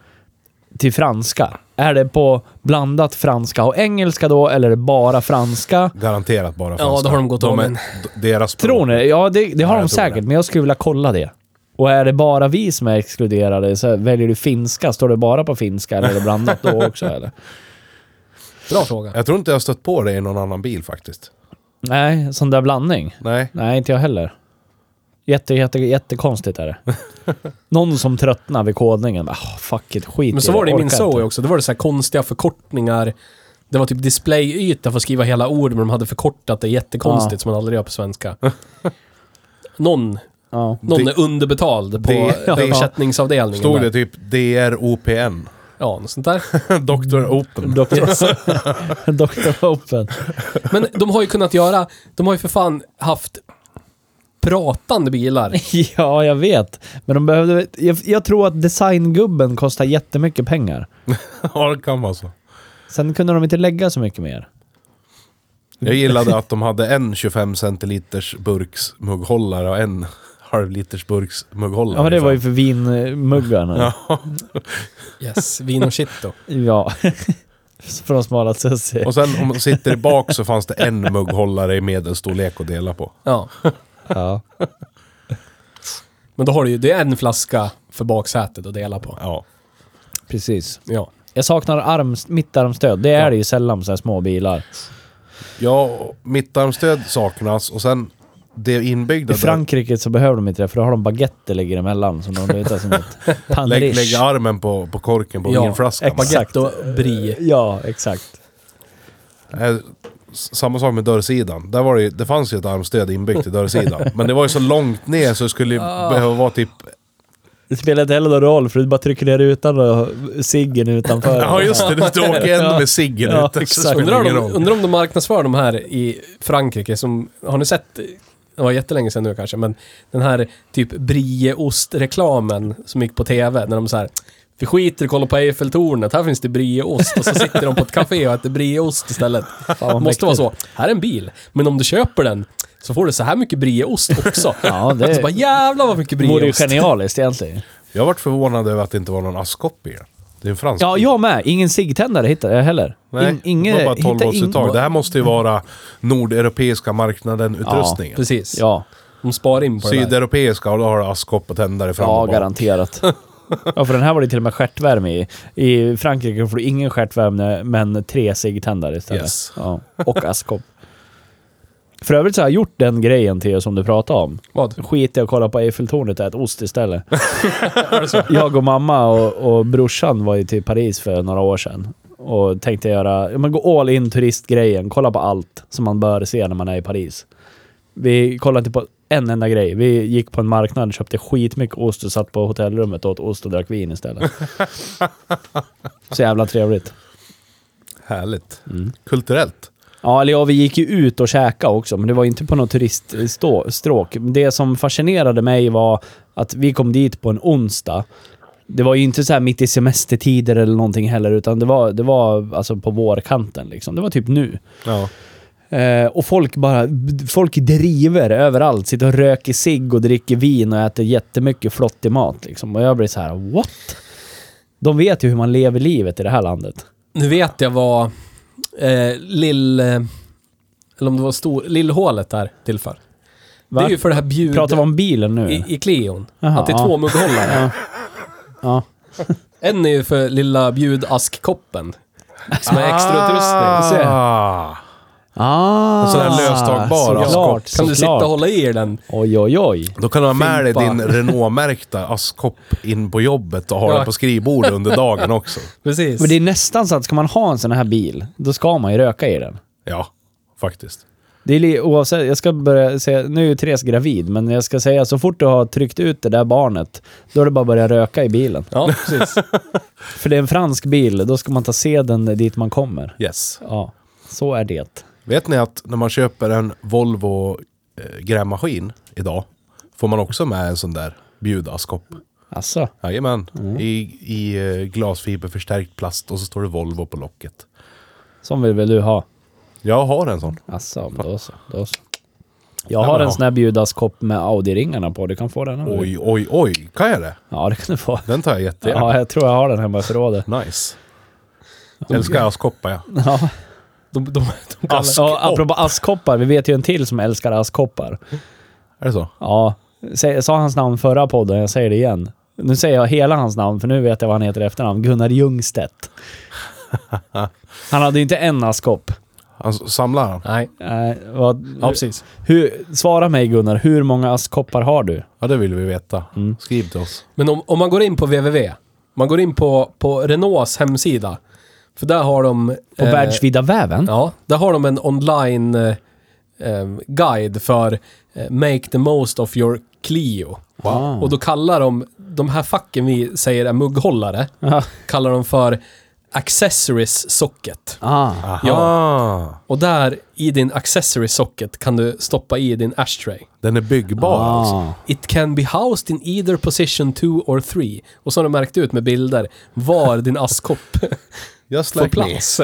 Speaker 3: till franska? Är det på blandat franska och engelska då, eller är det bara franska?
Speaker 2: Garanterat bara franska.
Speaker 1: då har de gått om
Speaker 2: är-
Speaker 1: en.
Speaker 2: Deras språk.
Speaker 3: Tror ni? Ja, det, det har
Speaker 2: Ja,
Speaker 3: de
Speaker 2: jag tror
Speaker 3: säkert,
Speaker 2: det.
Speaker 3: men jag skulle vilja kolla det. Och är det bara vi som är exkluderade, så väljer du finska? Står det bara på finska eller är det blandat då också eller?
Speaker 1: Bra fråga.
Speaker 2: Jag tror inte jag har stött på det i någon annan bil faktiskt.
Speaker 3: Nej, sån där blandning.
Speaker 2: Nej.
Speaker 3: Nej, inte jag heller. Jätte, jätte, jättekonstigt är det. Någon som tröttnar vid kodningen. Bara, "Ah, fuck it, skit
Speaker 1: Men så var det i min
Speaker 3: orkar
Speaker 1: Zoe
Speaker 3: inte."
Speaker 1: också. Det var det så här konstiga förkortningar. Det var typ displayyta för att skriva hela ord, men de hade förkortat det jättekonstigt som man aldrig gör på svenska. Någon,
Speaker 3: Ja.
Speaker 1: någon
Speaker 2: Det-
Speaker 1: är underbetald på
Speaker 2: det- ja.
Speaker 1: ersättningsavdelningen.
Speaker 2: Stod
Speaker 1: där.
Speaker 2: det typ DROPN?
Speaker 1: Ja, något sånt där.
Speaker 2: Dr. Open.
Speaker 3: Dr. Dr. Open.
Speaker 1: Men de har ju kunnat göra, de har ju för fan haft pratande bilar.
Speaker 3: Ja, jag vet. Men de behövde... Jag, jag tror att designgubben kostar jättemycket pengar.
Speaker 2: ja, det kan vara så.
Speaker 3: Sen kunde de inte lägga så mycket mer.
Speaker 2: Jag gillade att de hade en 25 centiliters burks mugghållare och en halvliters Liksom. burks mugghållare.
Speaker 3: Ja, men det var ju för vinmuggarna. Ja.
Speaker 2: Ja.
Speaker 1: Yes, vin och shit då.
Speaker 3: För de smala sussi.
Speaker 2: Och sen om man sitter i bak så fanns det en mugghållare i medelstorlek att dela på.
Speaker 1: Ja.
Speaker 3: Ja.
Speaker 1: Men då har du ju, det är en flaska för baksätet att dela på.
Speaker 2: Ja.
Speaker 3: Precis.
Speaker 1: Ja.
Speaker 3: Jag saknar arms, mittarmstöd. Det är det ju sällan på så här små bilar.
Speaker 2: Ja, och mittarmstöd saknas och sen det inbyggda
Speaker 3: I Frankrike så behöver de inte det, för då har de baguetter ligger emellan som de lutar som ett
Speaker 2: där. Lägg,
Speaker 3: panrish.
Speaker 2: lägg armen på, på korken på
Speaker 1: Ja,
Speaker 2: vinflaskan.
Speaker 1: Baguette och brie.
Speaker 3: Ja, exakt.
Speaker 2: Eh, s- Samma sak med dörrsidan. Där var det, ju, det fanns ju ett armstöd inbyggt i dörrsidan. Men det var ju så långt ner så det skulle ju
Speaker 3: Ah.
Speaker 2: behöva vara typ...
Speaker 3: Det spelar inte heller någon roll, för du bara trycker ner utan och ciggen utanför.
Speaker 2: Ja just det, du åker ändå med ciggen
Speaker 3: Ja,
Speaker 2: ute.
Speaker 3: exakt.
Speaker 2: Så spelar det
Speaker 1: Undrar
Speaker 2: ingen
Speaker 1: om,
Speaker 2: roll.
Speaker 1: undrar om de marknadsför de här i Frankrike som, har ni sett, det var jättelänge sedan nu kanske, men den här typ brieost-reklamen som gick på TV när de så här vi skiter i att kolla på Eiffeltornet, här finns det brieost och så sitter de på ett café och äter brieost istället.
Speaker 3: vad
Speaker 1: Måste vara
Speaker 3: mäktigt.
Speaker 1: så. Här är en bil, men om du köper den så får du så här mycket brieost också.
Speaker 3: Ja, det-
Speaker 1: Så bara jävlar vad mycket
Speaker 3: Det vore ju
Speaker 1: brieost.
Speaker 3: genialiskt egentligen.
Speaker 2: Jag vart förvånad över att det inte var någon askkopp i den. Det är en fransk
Speaker 3: Ja,
Speaker 2: bil.
Speaker 3: jag med. Ingen ciggtändare hittade jag heller.
Speaker 2: Nej,
Speaker 3: In, ingen,
Speaker 2: det var bara 12
Speaker 3: hittade ingen-
Speaker 2: voltsuttag. Det här måste ju vara nordeuropeiska marknaden-utrustningen.
Speaker 1: Precis.
Speaker 3: Ja,
Speaker 1: De sparar in på det där.
Speaker 2: Sydeuropeiska, och då har du askkopp och tändare fram
Speaker 3: ja
Speaker 2: och bak.
Speaker 3: garanterat. Ja, för den här var det till och med stjärtvärme i. I Frankrike får du ingen stjärtvärme, men tre ciggtändare istället.
Speaker 1: Yes.
Speaker 3: Ja, och askkopp. För övrigt så har jag gjort den grejen till er som du pratade om.
Speaker 1: Vad?
Speaker 3: Skit i att kolla på Eiffeltornet och ät ost istället. jag och mamma och, och brorsan var ju till Paris för några år sedan. Och tänkte göra, ja men gå all in turistgrejen, kolla på allt som man bör se när man är i Paris. Vi kollade inte på en enda grej. Vi gick på en marknad, köpte skitmycket ost och satt på hotellrummet och åt ost och drack vin istället. Så jävla trevligt.
Speaker 2: Härligt. Kulturellt.
Speaker 3: Ja, eller ja, vi gick ju ut och käkade också, men det var inte på något turiststråk. Det som fascinerade mig var att vi kom dit på en onsdag. Det var ju inte så här mitt i semestertider eller någonting heller, utan det var, det var alltså på vårkanten liksom. Det var typ nu.
Speaker 2: Ja.
Speaker 3: Eh, och folk bara, folk driver överallt. Sitter och röker cigg och dricker vin och äter jättemycket flottig mat liksom. Och jag blir så här: what? De vet ju hur man lever livet i det här landet.
Speaker 1: Nu vet jag vad eh, lill... Eh, eller om det var stor, lillhålet där tillför.
Speaker 3: Va?
Speaker 1: Det är ju för det här bjud...
Speaker 3: Pratar vi om bilen nu?
Speaker 1: I, I Cleon.
Speaker 3: Jaha,
Speaker 1: att det är
Speaker 3: ja.
Speaker 1: två mugghållare.
Speaker 3: Ja. ja.
Speaker 1: En är ju för lilla bjudaskkoppen. Som är extra utrustning.
Speaker 3: ser.
Speaker 2: Ah.
Speaker 3: Ah,
Speaker 2: En sån här löstagbar
Speaker 1: alltså.
Speaker 3: Såklart,
Speaker 1: Kan du sitta och hålla i den?
Speaker 3: Oj, oj, oj.
Speaker 2: Då kan du ha med dig
Speaker 3: Fimpa.
Speaker 2: din Renault-märkta askkopp in på jobbet och ha
Speaker 1: Ja.
Speaker 2: den på skrivbordet under dagen också.
Speaker 1: Precis.
Speaker 3: Men det är nästan så att ska man ha en sån här bil, då ska man ju röka i den.
Speaker 2: Ja, faktiskt.
Speaker 3: Det är li- oavsett, jag ska börja säga, nu är ju Therese gravid, men jag ska säga så fort du har tryckt ut det där barnet, då är det bara att börja röka i bilen.
Speaker 1: Ja, precis.
Speaker 3: För det är en fransk bil, då ska man ta seden dit man kommer.
Speaker 2: Yes.
Speaker 3: Ja, så är det.
Speaker 2: Vet ni att när man köper en Volvo eh, grävmaskin idag får man också med en sån där bjudaskkopp.
Speaker 3: Alltså,
Speaker 2: Jajamän. I, i eh, glasfiberförstärkt plast och så står det Volvo på locket.
Speaker 3: sån vill väl du ha?
Speaker 2: Jag har en sån.
Speaker 3: Alltså, då så. Då så. Jag har en sån här bjudaskopp med Audi-ringarna på, du kan få den. om du vill.
Speaker 2: Oj, oj, oj. Kan jag det?
Speaker 3: Ja, det kan du få.
Speaker 2: Den tar jag jättegärna.
Speaker 3: Ja, jag tror jag har den hemma i förrådet.
Speaker 2: Nice. Jag älskar askkoppar ja.
Speaker 3: Ja.
Speaker 1: De, de, de kallar...
Speaker 3: Ask, ja, apropå askkoppar, vi vet ju en till som älskar askkoppar.
Speaker 2: Är det så?
Speaker 3: Ja, Sä- Jag sa hans namn förra podden, jag säger det igen. Nu säger jag hela hans namn, för nu vet jag vad han heter i efternamn. Gunnar Ljungstedt. Han hade ju inte en askkopp.
Speaker 2: Han s- samlar han.
Speaker 1: Nej,
Speaker 3: Eh, vad,
Speaker 1: ja precis.
Speaker 3: hur, svara mig Gunnar, hur många askkoppar har du?
Speaker 2: Ja, det vill vi veta.
Speaker 1: Mm.
Speaker 2: Skriv till oss.
Speaker 1: Men om, om man går in på www, man går in på, på Renaults hemsida, för där har de...
Speaker 3: På världsvida väven?
Speaker 1: Eh, Ja, där har de en online eh, eh, guide för eh, Make the most of your Clio.
Speaker 2: Ah.
Speaker 3: Wow.
Speaker 1: Och då kallar de, de här facken vi säger är mugghållare,
Speaker 3: Ja.
Speaker 1: kallar de för accessories socket.
Speaker 3: Ah.
Speaker 2: Aha. Ah.
Speaker 1: Och där i din accessory socket kan du stoppa i din ashtray.
Speaker 2: Den är
Speaker 1: Ah.
Speaker 2: byggbar
Speaker 3: Ah.
Speaker 2: alltså.
Speaker 1: It can be housed in either position two or three. Och så har de märkt ut med bilder var din askkopp
Speaker 2: Just
Speaker 1: får
Speaker 2: like
Speaker 1: plats.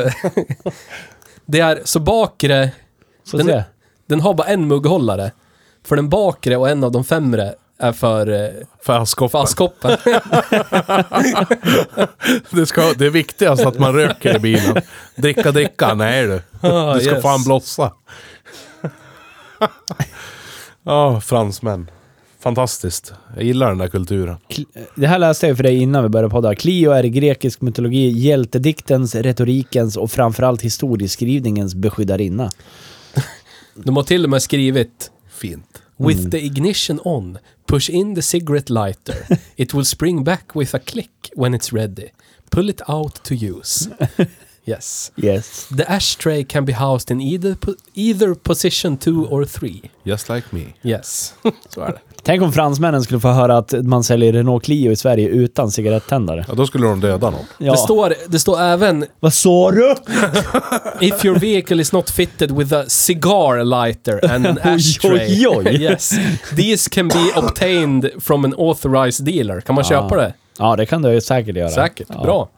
Speaker 1: det är, så bakre,
Speaker 3: Så
Speaker 1: Den-
Speaker 3: se.
Speaker 1: den har bara en mugghållare. För den bakre och en av de femre är för, eh,
Speaker 2: me. För askkoppen.
Speaker 1: för askkoppen.
Speaker 2: Det, ska, det är viktigast att man röker i bilen. Dricka, dricka. Nej du.
Speaker 1: Ah,
Speaker 2: Du ska
Speaker 1: yes.
Speaker 2: fan blossa. Ja, Ah, fransmän. Fantastiskt. Jag gillar den där kulturen.
Speaker 3: Kl- Det här läste jag för dig innan vi började podda. Clio är i grekisk mytologi hjältediktens, retorikens och framförallt historieskrivningens beskyddarinna.
Speaker 1: De har till och med skrivit
Speaker 2: Fint.
Speaker 1: With the ignition on, push in the cigarette lighter. It will spring back with a click when it's ready. Pull it out to use. Yes.
Speaker 3: Yes.
Speaker 1: The ashtray can be housed in either, po- either position two or three.
Speaker 2: Just like me.
Speaker 1: Yes. Så är det.
Speaker 3: Tänk om fransmännen skulle få höra att man säljer Renault Clio i Sverige utan cigarettändare.
Speaker 2: Ja, då skulle de döda någon.
Speaker 3: Ja.
Speaker 1: Det, står, det står även
Speaker 3: Vad sa du?
Speaker 1: If your vehicle is not fitted with a cigar lighter and an ashtray.
Speaker 3: oj, oj.
Speaker 1: Yes. These can be obtained from an authorized dealer. Kan man
Speaker 3: Ah.
Speaker 1: köpa det?
Speaker 3: Ja, det kan du ju säkert göra.
Speaker 1: Säkert.
Speaker 3: Ja.
Speaker 1: Bra.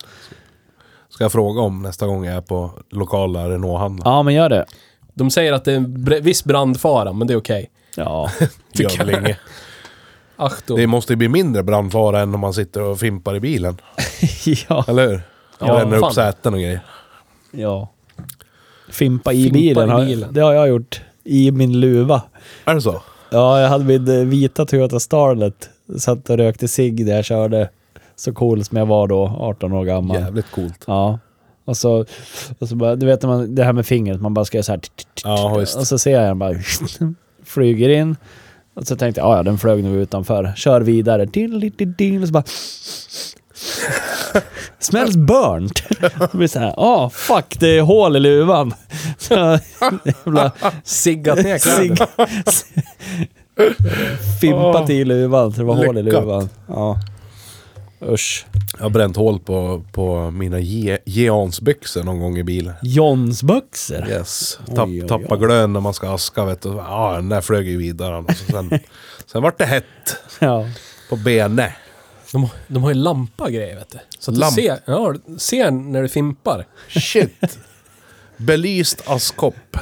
Speaker 2: Ska jag fråga om nästa gång jag är på lokala Renault-handlaren.
Speaker 3: Ja, men gör det.
Speaker 1: De säger att det är en bre- viss brandfara, men det är okej.
Speaker 3: Ja.
Speaker 2: Gör väl inget.
Speaker 1: Ach då.
Speaker 2: Det måste ju bli mindre brandfara än om man sitter och fimpar i bilen.
Speaker 3: ja.
Speaker 2: Eller hur?
Speaker 1: Ja,
Speaker 2: Ja, Bränner
Speaker 1: fan.
Speaker 2: upp säten och grejer.
Speaker 3: ja. Fimpa i
Speaker 1: Fimpa i
Speaker 3: bilen. har-
Speaker 1: bilen.
Speaker 3: Det har jag gjort. I min luva.
Speaker 2: Är det så?
Speaker 3: Ja, jag hade min eh, vita Toyota Starlet. Satt och rökte cigg där jag körde. Så cool som jag var då, 18 år gammal.
Speaker 2: Jävligt coolt.
Speaker 3: Ja. Och så, och så bara, du vet när man, det här med fingret, man bara ska göra så här. t- t- t-
Speaker 2: Ja, visst.
Speaker 3: Och så ser jag den bara flyger in. Och så tänkte jag, "Ah, ja den flög nu utanför. Kör vidare. Dill, dill, dill, dill. Och så bara... Smells burnt. Det blir så här, ja fuck det är hål i luvan. Så, jävla
Speaker 1: Siggat ner
Speaker 3: cigg. Fimpat i luvan så det var hål i
Speaker 2: Lyckat.
Speaker 3: luvan. Ja. Usch.
Speaker 2: Jag har bränt hål på, på mina Ge- Geansbyxor någon gång i bilen.
Speaker 3: Johns boxer.
Speaker 2: Yes.
Speaker 3: Oj,
Speaker 2: Tapp,
Speaker 3: oj, oj.
Speaker 2: Tappa glön när man ska aska vet du. Ja, den där flög ju vidare. Och så sen, sen vart det hett
Speaker 3: Ja.
Speaker 2: på benet.
Speaker 1: De, har- de har ju lampa och grejer, vet du. Så att
Speaker 2: Lamp.
Speaker 1: du ser, ja, du ser när du fimpar.
Speaker 2: Shit. Belyst askkopp.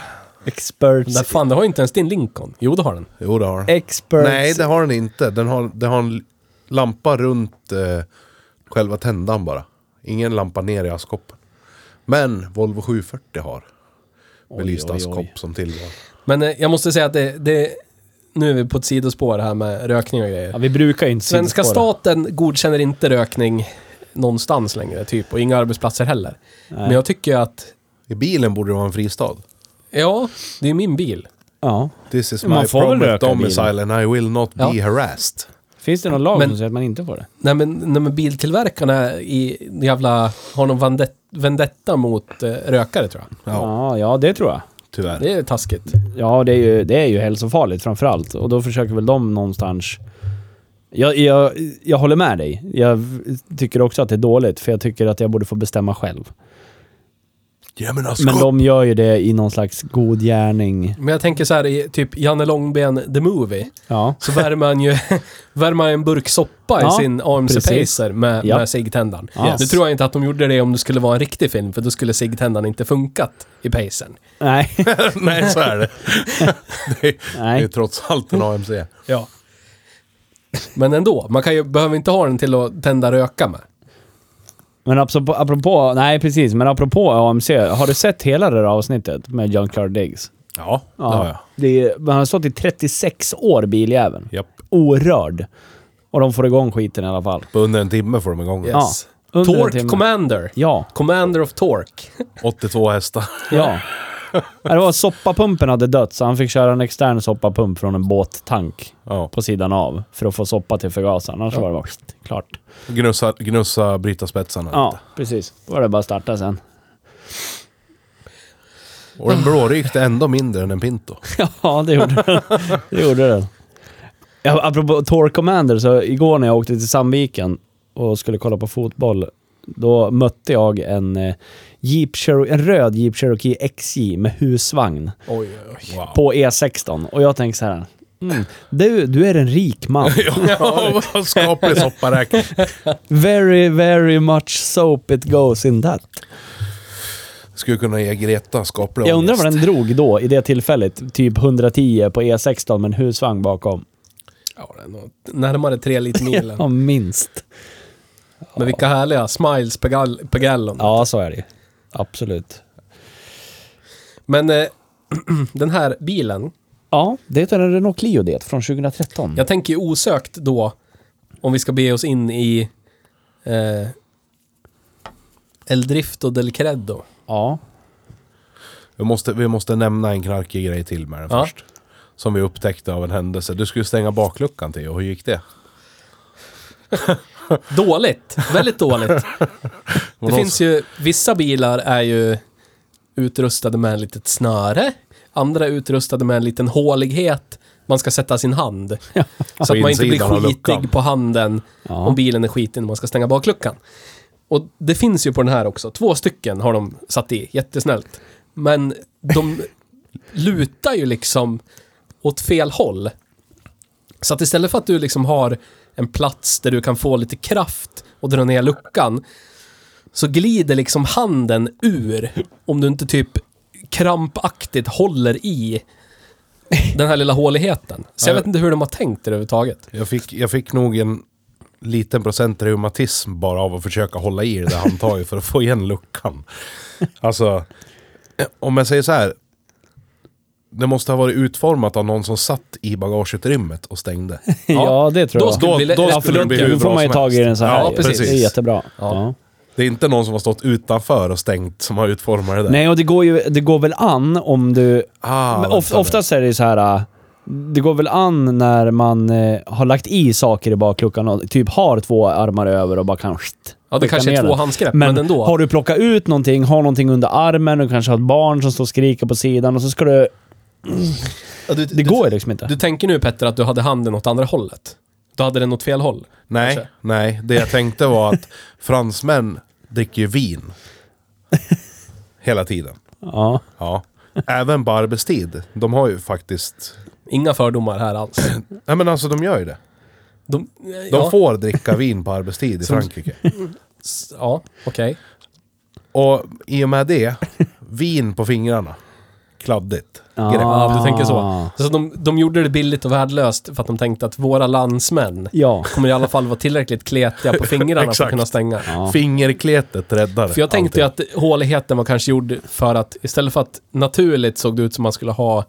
Speaker 3: Experts.
Speaker 1: Den där, fan, det har ju inte ens din Lincoln. Jo, det har den.
Speaker 2: Jo, det har den.
Speaker 3: Experts.
Speaker 2: Nej, det har den inte. Den har, den har en lampa runt eh, själva tändan bara. Ingen lampa ner i askkoppen. Men Volvo 740 har belyst
Speaker 3: oj, oj.
Speaker 2: askkopp som tillval.
Speaker 1: Men eh, jag måste säga att det, det... Nu är vi på ett sidospår här med rökning och grejer.
Speaker 3: Ja, vi brukar ju inte
Speaker 1: Svenska
Speaker 3: sidospåra.
Speaker 1: staten godkänner inte rökning någonstans längre, typ. Och inga arbetsplatser heller. Men jag tycker att...
Speaker 2: I bilen borde det vara en fristad.
Speaker 1: Ja, det är min bil.
Speaker 3: Ja.
Speaker 2: This is
Speaker 3: Man
Speaker 2: my
Speaker 3: får väl
Speaker 2: permanent
Speaker 3: röka i bilen.
Speaker 2: domicile and I will not be
Speaker 1: Ja.
Speaker 2: harassed.
Speaker 3: Finns det någon lag
Speaker 1: Men-
Speaker 3: som säger att man inte får det?
Speaker 1: Nej men, nej, men biltillverkarna i jävla... Har någon vandet, vendetta mot eh, rökare, tror
Speaker 2: Ja.
Speaker 1: jag.
Speaker 3: Ja, ja det tror jag.
Speaker 2: Tyvärr.
Speaker 1: Det är taskigt.
Speaker 3: Ja, det är ju, det är ju hälsofarligt framförallt. Och då försöker väl de någonstans... Jag, jag, jag håller med dig. Jag tycker också att det är dåligt, för jag tycker att jag borde få bestämma själv.
Speaker 2: Ja men askkopp!
Speaker 3: Men de gör ju det i någon slags god gärning.
Speaker 1: Men jag tänker så här i typ Janne Långben The Movie.
Speaker 3: Ja.
Speaker 1: Så värmer han ju värmer han en burk soppa
Speaker 3: Ja,
Speaker 1: i sin AMC
Speaker 3: precis.
Speaker 1: Pacer med,
Speaker 3: Ja.
Speaker 1: med ciggtändaren.
Speaker 3: Ja.
Speaker 1: Nu tror jag inte att de gjorde det om det skulle vara en riktig film, för då skulle ciggtändaren inte funkat i Pacern.
Speaker 3: Nej.
Speaker 2: Nej, så är det. det, är, det är
Speaker 3: Nej.
Speaker 2: trots allt en AMC.
Speaker 1: Ja. Men ändå, man kan ju, behöver inte ha den till att tända röka med.
Speaker 3: Men apropå, apropå... Nej, precis. Men apropå AMC. Har du sett hela det där avsnittet med John Carl Diggs?
Speaker 2: Ja, det har jag.
Speaker 3: Det är, men han har stått i 36 år, biljäveln.
Speaker 2: Japp.
Speaker 3: orörd. Och de får igång skiten i alla fall.
Speaker 2: På under en timme får de igång det.
Speaker 1: Yes.
Speaker 3: Ja, under en
Speaker 1: Torque
Speaker 3: timme.
Speaker 1: Commander.
Speaker 3: Ja,
Speaker 1: Commander of Torque.
Speaker 2: 82 hästar.
Speaker 3: ja. Nej, Det var soppapumpen hade dött, så han fick köra en extern soppapump från en båttank
Speaker 2: Ja.
Speaker 3: på sidan av för att få soppa till förgasaren. Annars var det bara klart.
Speaker 2: Gnussa, gnussa bryta spetsarna
Speaker 3: Ja,
Speaker 2: lite.
Speaker 3: precis. Då var det bara att starta sen.
Speaker 2: Och den blårykt är ändå mindre än en Pinto.
Speaker 3: Ja, det gjorde den. Det gjorde den. Ja, apropå Tor Commander, så igår när jag åkte till Sandviken och skulle kolla på fotboll, då mötte jag en, eh, Jeep Chero- en röd Jeep Cherokee XJ med husvagn
Speaker 1: Oj, oj, oj.
Speaker 2: Wow.
Speaker 3: på E16. Och jag tänkte så här, mm, du, du är en rik man.
Speaker 2: ja, vad skaplig sopparäkning.
Speaker 3: Very, very much soap it goes in that.
Speaker 2: Skulle kunna ge Greta skaplig
Speaker 3: Jag undrar vad
Speaker 2: ångest.
Speaker 3: den drog då, i det tillfället. Typ 110 på E16 med en husvagn bakom.
Speaker 1: Ja, det är nog närmare tre liter milen.
Speaker 3: Ja, minst.
Speaker 1: Men vilka härliga smiles per, gall- per gallon.
Speaker 3: Ja, så är det ju. Absolut.
Speaker 1: Men eh, den här bilen,
Speaker 3: Ja, det är en Renault Clio det, från 2013.
Speaker 1: jag tänker ju osökt då, om vi ska bege oss in i eh, El Drifto del Credo.
Speaker 3: Ja.
Speaker 2: Vi måste, vi måste nämna en knarkig grej till med den
Speaker 1: Ja.
Speaker 2: först. Som vi upptäckte av en händelse. Du skulle stänga bakluckan till och hur gick det?
Speaker 1: Dåligt, väldigt dåligt. Det finns ju, vissa bilar är ju utrustade med en litet snöre, andra är utrustade med en liten hålighet man ska sätta sin hand. Så att man inte blir
Speaker 2: insidan av luckan.
Speaker 1: skitig på handen
Speaker 3: Ja.
Speaker 1: om bilen är skiten när man ska stänga bakluckan. Och det finns ju på den här också, två stycken har de satt i, jättesnällt. Men de lutar ju liksom åt fel håll. Så att istället för att du liksom har en plats där du kan få lite kraft och dra ner luckan, så glider liksom handen ur om du inte typ krampaktigt håller i den här lilla håligheten. Så jag vet inte hur de har tänkt det överhuvudtaget.
Speaker 2: Jag fick, jag fick nog en liten procent reumatism bara av att försöka hålla i det där handtaget för att få igen luckan. Alltså, eh, om jag säger så här. Det måste ha varit utformat av någon som satt i bagageutrymmet och stängde.
Speaker 3: ja, det tror
Speaker 1: Då
Speaker 3: jag.
Speaker 1: skulle
Speaker 2: Då-
Speaker 1: vi lä-
Speaker 2: då
Speaker 1: ja, för
Speaker 3: ja, för
Speaker 2: skulle det bli
Speaker 3: då,
Speaker 2: hur
Speaker 3: då får
Speaker 2: bra
Speaker 3: man ju
Speaker 2: som
Speaker 3: tag i
Speaker 2: helst.
Speaker 3: den så här.
Speaker 1: Ja, precis.
Speaker 3: Det är jättebra. Ja.
Speaker 2: Det är inte någon som har stått utanför och stängt som har utformat det där.
Speaker 3: Nej, och det går ju det går väl an om du...
Speaker 2: Ah,
Speaker 3: men
Speaker 2: vänta
Speaker 3: of,
Speaker 2: nu.
Speaker 3: oftast är det ju så här... äh, Det går väl an när man eh, har lagt i saker i bakluckan och typ har två armar över och bara kan...
Speaker 1: Ja, det
Speaker 3: skicka
Speaker 1: kanske
Speaker 3: ner
Speaker 1: är två
Speaker 3: den.
Speaker 1: handskräpp, men,
Speaker 3: Men,
Speaker 1: ändå.
Speaker 3: har du plockat ut någonting, har någonting under armen, du kanske har ett barn som står och skriker på sidan och så ska du...
Speaker 1: Ja, du,
Speaker 3: Det går ju liksom inte.
Speaker 1: Du, du tänker nu Petter att du hade handen åt andra hållet. Du hade den åt fel håll.
Speaker 2: Nej,
Speaker 1: Kanske.
Speaker 2: nej, det jag tänkte var att fransmän dricker ju vin. Hela tiden.
Speaker 3: Ja.
Speaker 2: Ja. Även på arbetstid. De har ju faktiskt...
Speaker 1: Inga fördomar här alls.
Speaker 2: Nej men alltså de gör ju det.
Speaker 1: De,
Speaker 2: De
Speaker 1: ja,
Speaker 2: får dricka vin på arbetstid i Frankrike.
Speaker 1: Ja, okej.
Speaker 2: Och i och med det, vin på fingrarna. Kladdigt.
Speaker 1: Grepp.
Speaker 3: Ah.
Speaker 1: Ja, du tänker så. så de, de gjorde det billigt och värdelöst för att de tänkte att våra landsmän
Speaker 3: Ja.
Speaker 1: kommer i alla fall vara tillräckligt kletiga på fingrarna för att
Speaker 2: Exakt.
Speaker 1: kunna stänga.
Speaker 2: Fingerkletet räddar
Speaker 1: För jag tänkte ju att håligheten var kanske gjord för att istället för att naturligt såg det ut som man skulle ha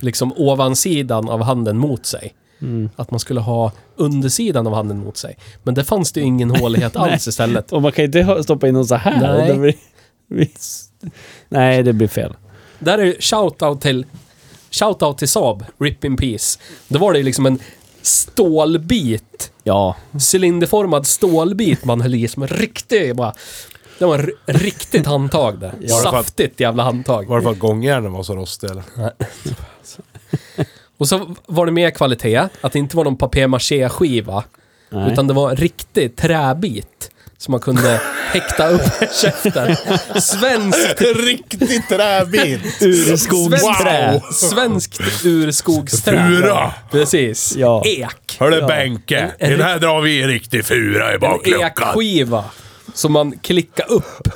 Speaker 1: liksom ovansidan av handen mot sig.
Speaker 2: Mm.
Speaker 1: Att man skulle ha undersidan av handen mot sig. Men det fanns det ju ingen hålighet alls istället.
Speaker 3: Och man kan inte ha- stoppa in någon så här.
Speaker 1: Nej.
Speaker 3: Det blir, nej, det blir fel.
Speaker 1: Där är ju shout-out till, shout-out till Saab, RIP in Peace. Då var det ju liksom en stålbit,
Speaker 3: Ja.
Speaker 1: cylinderformad stålbit man höll i som en riktig bara... Det var ett riktigt handtag där.
Speaker 2: det var-
Speaker 1: Saftigt jävla handtag.
Speaker 2: Var det för att gångjärnen var så rostig eller?
Speaker 1: Och så var det mer kvalitet, att det inte var någon papier-maché-skiva.
Speaker 3: Nej.
Speaker 1: Utan det var en riktig träbit som man kunde häkta upp med käften. Svenskt,
Speaker 2: Riktigt trävin!
Speaker 3: Urskogsträ.
Speaker 1: svenskt, svenskt urskogsträ.
Speaker 2: Fura!
Speaker 1: Precis.
Speaker 3: Ja.
Speaker 1: Ek.
Speaker 2: Hörru Benke, i den här drar vi en riktig fura i
Speaker 1: En ekskiva som man klickade upp.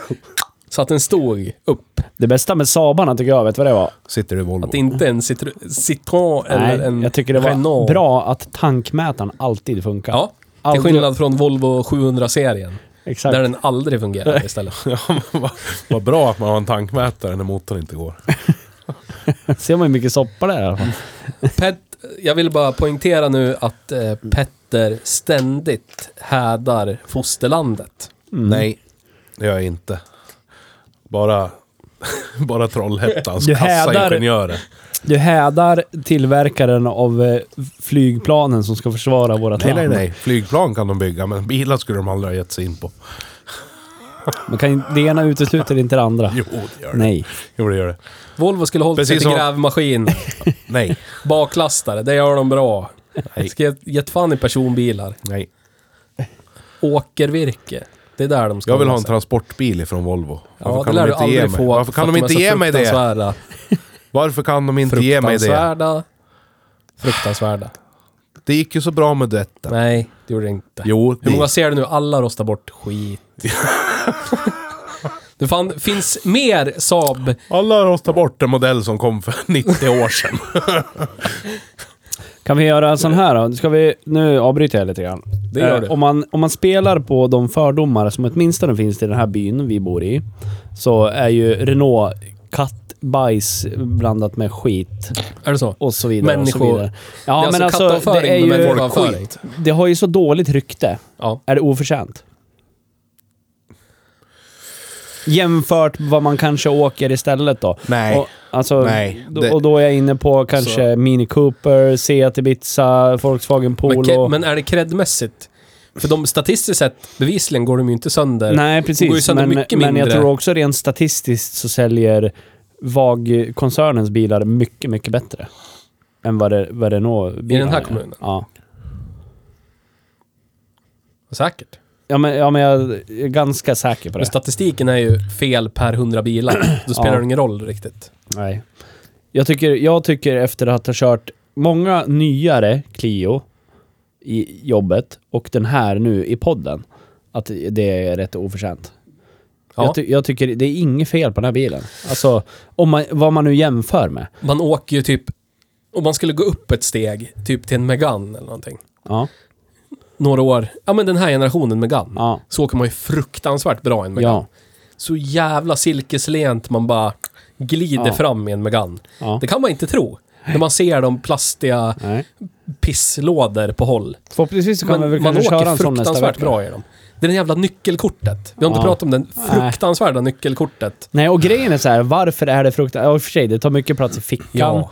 Speaker 1: Så att den stod upp.
Speaker 3: Det bästa med Sabarna tycker jag, vet vad det var?
Speaker 2: Sitter i Volvo.
Speaker 1: Att det inte är en citru- citron eller
Speaker 3: Nej,
Speaker 1: en
Speaker 3: jag tycker det var
Speaker 1: Renault.
Speaker 3: bra att tankmätaren alltid funkar.
Speaker 1: Ja. Till
Speaker 3: Aldrig-
Speaker 1: skillnad från Volvo 700-serien.
Speaker 3: Exakt.
Speaker 1: Där den aldrig fungerar istället.
Speaker 2: Vad bra att man har en tankmätare när motorn inte går.
Speaker 3: Ser man hur mycket soppa det är i alla fall.
Speaker 1: Pet, jag vill bara poängtera nu att eh, Petter ständigt hädar fosterlandet.
Speaker 2: Mm. Nej, det gör jag inte. Bara, bara Trollhättans
Speaker 3: Du hädar-
Speaker 2: kassaingenjörer.
Speaker 3: Du hädar tillverkaren av eh, flygplanen som ska försvara vårat
Speaker 2: Nej, nej,
Speaker 3: land.
Speaker 2: nej. Flygplan kan de bygga, men bilar skulle de aldrig ha gett sig in på.
Speaker 3: Man kan, ju- det ena utesluter inte det andra.
Speaker 2: Jo, det gör det.
Speaker 3: Nej.
Speaker 2: Jo, det gör det.
Speaker 1: Volvo skulle hållit sig
Speaker 2: Precis
Speaker 1: till
Speaker 2: som-
Speaker 1: grävmaskin,
Speaker 2: Nej,
Speaker 1: baklastare, det gör de bra.
Speaker 2: Nej.
Speaker 1: Ska jag- gett fan i personbilar.
Speaker 2: nej.
Speaker 1: Åkervirke, det är där de ska
Speaker 2: Jag vill ha
Speaker 1: hålla
Speaker 2: en
Speaker 1: sig.
Speaker 2: transportbil ifrån Volvo.
Speaker 1: Ja,
Speaker 2: Varför
Speaker 1: det
Speaker 2: kan
Speaker 1: lär
Speaker 2: de
Speaker 1: du
Speaker 2: inte ge
Speaker 1: aldrig
Speaker 2: mig?
Speaker 1: få.
Speaker 2: Varför kan
Speaker 1: för
Speaker 2: de
Speaker 1: att
Speaker 2: inte
Speaker 1: är
Speaker 2: ge
Speaker 1: så
Speaker 2: mig det?
Speaker 1: Fruktansvärda.
Speaker 2: Varför kan de inte ge mig det?
Speaker 1: Fruktansvärda. Fruktansvärda.
Speaker 2: Det gick ju så bra med duetten.
Speaker 1: Nej, det gjorde det inte.
Speaker 2: Jo,
Speaker 1: Hur
Speaker 2: det-
Speaker 1: många ser du nu? Alla rostar bort skit. det fan, finns mer Saab.
Speaker 2: Alla rostar bort en modell som kom för 90 år sedan.
Speaker 3: Kan vi göra en sån här då? Ska vi, nu avbryter jag lite grann. Eh,
Speaker 1: Det gör du.
Speaker 3: om, man, om man spelar på de fördomar som åtminstone finns i den här byn vi bor i, så är ju Renault kattbajs blandat med skit
Speaker 1: Är det så?
Speaker 3: och så vidare. Och så
Speaker 1: Människor.
Speaker 3: vidare. Ja,
Speaker 1: det är
Speaker 3: men
Speaker 1: alltså
Speaker 3: alltså, det är
Speaker 1: kattavföring med
Speaker 3: ju...
Speaker 1: människoavföring.
Speaker 3: Det har ju så dåligt rykte.
Speaker 1: Ja.
Speaker 3: Är det oförtjänt? Jämfört med vad man kanske åker istället då?
Speaker 2: Nej.
Speaker 3: Och, alltså,
Speaker 2: Nej,
Speaker 3: då-
Speaker 2: det-
Speaker 3: och då är jag inne på kanske Mini Cooper, Seat Ibiza, Volkswagen
Speaker 1: Men,
Speaker 3: Polo.
Speaker 1: ke- men är det kreddmässigt? För de statistiskt sett, bevisligen går de ju inte sönder.
Speaker 3: Nej,
Speaker 1: De går ju
Speaker 3: precis.
Speaker 1: sönder
Speaker 3: Men,
Speaker 1: mycket
Speaker 3: men jag
Speaker 1: mindre.
Speaker 3: tror också rent statistiskt så säljer VAG-koncernens bilar mycket, mycket bättre. Än vad, det, vad Renault-bilarna
Speaker 1: I den här
Speaker 3: är.
Speaker 1: kommunen?
Speaker 3: Ja.
Speaker 1: Säkert.
Speaker 3: Ja men, ja, men jag är ganska säker på
Speaker 1: Men
Speaker 3: det.
Speaker 1: statistiken är ju fel per hundra bilar. Då spelar
Speaker 3: Ja.
Speaker 1: det ingen roll riktigt.
Speaker 3: Nej. Jag tycker, jag tycker efter att ha kört många nyare Clio i jobbet och den här nu i podden, att det är rätt oförtjänt.
Speaker 1: Ja.
Speaker 3: Jag, ty, jag tycker det är inget fel på den här bilen. Alltså, om man, vad man nu jämför med.
Speaker 1: Man åker ju typ... Om man skulle gå upp ett steg, typ till en Megane eller någonting.
Speaker 3: Ja.
Speaker 1: Några år... Ja, men den här generationen Megane.
Speaker 3: Ja.
Speaker 1: Så åker man ju fruktansvärt bra i en Megane.
Speaker 3: Ja.
Speaker 1: Så jävla silkeslent man bara glider
Speaker 3: Ja.
Speaker 1: fram i en Megane.
Speaker 3: ja.
Speaker 1: Det kan man inte tro. När man ser de plastiga
Speaker 3: Nej.
Speaker 1: pisslådor på håll.
Speaker 3: Förhoppningsvis så kan man väl
Speaker 1: Men man
Speaker 3: kanske köra
Speaker 1: åker
Speaker 3: en sån nästa
Speaker 1: fruktansvärt
Speaker 3: vecka.
Speaker 1: bra i dem. Det är det jävla nyckelkortet. Vi har inte
Speaker 3: Ja.
Speaker 1: pratat om det
Speaker 3: Nej.
Speaker 1: fruktansvärda nyckelkortet.
Speaker 3: Nej, och grejen är så här, varför är det fruktansvärt? Ja, i och för sig, det tar mycket plats i fickan.
Speaker 1: Ja.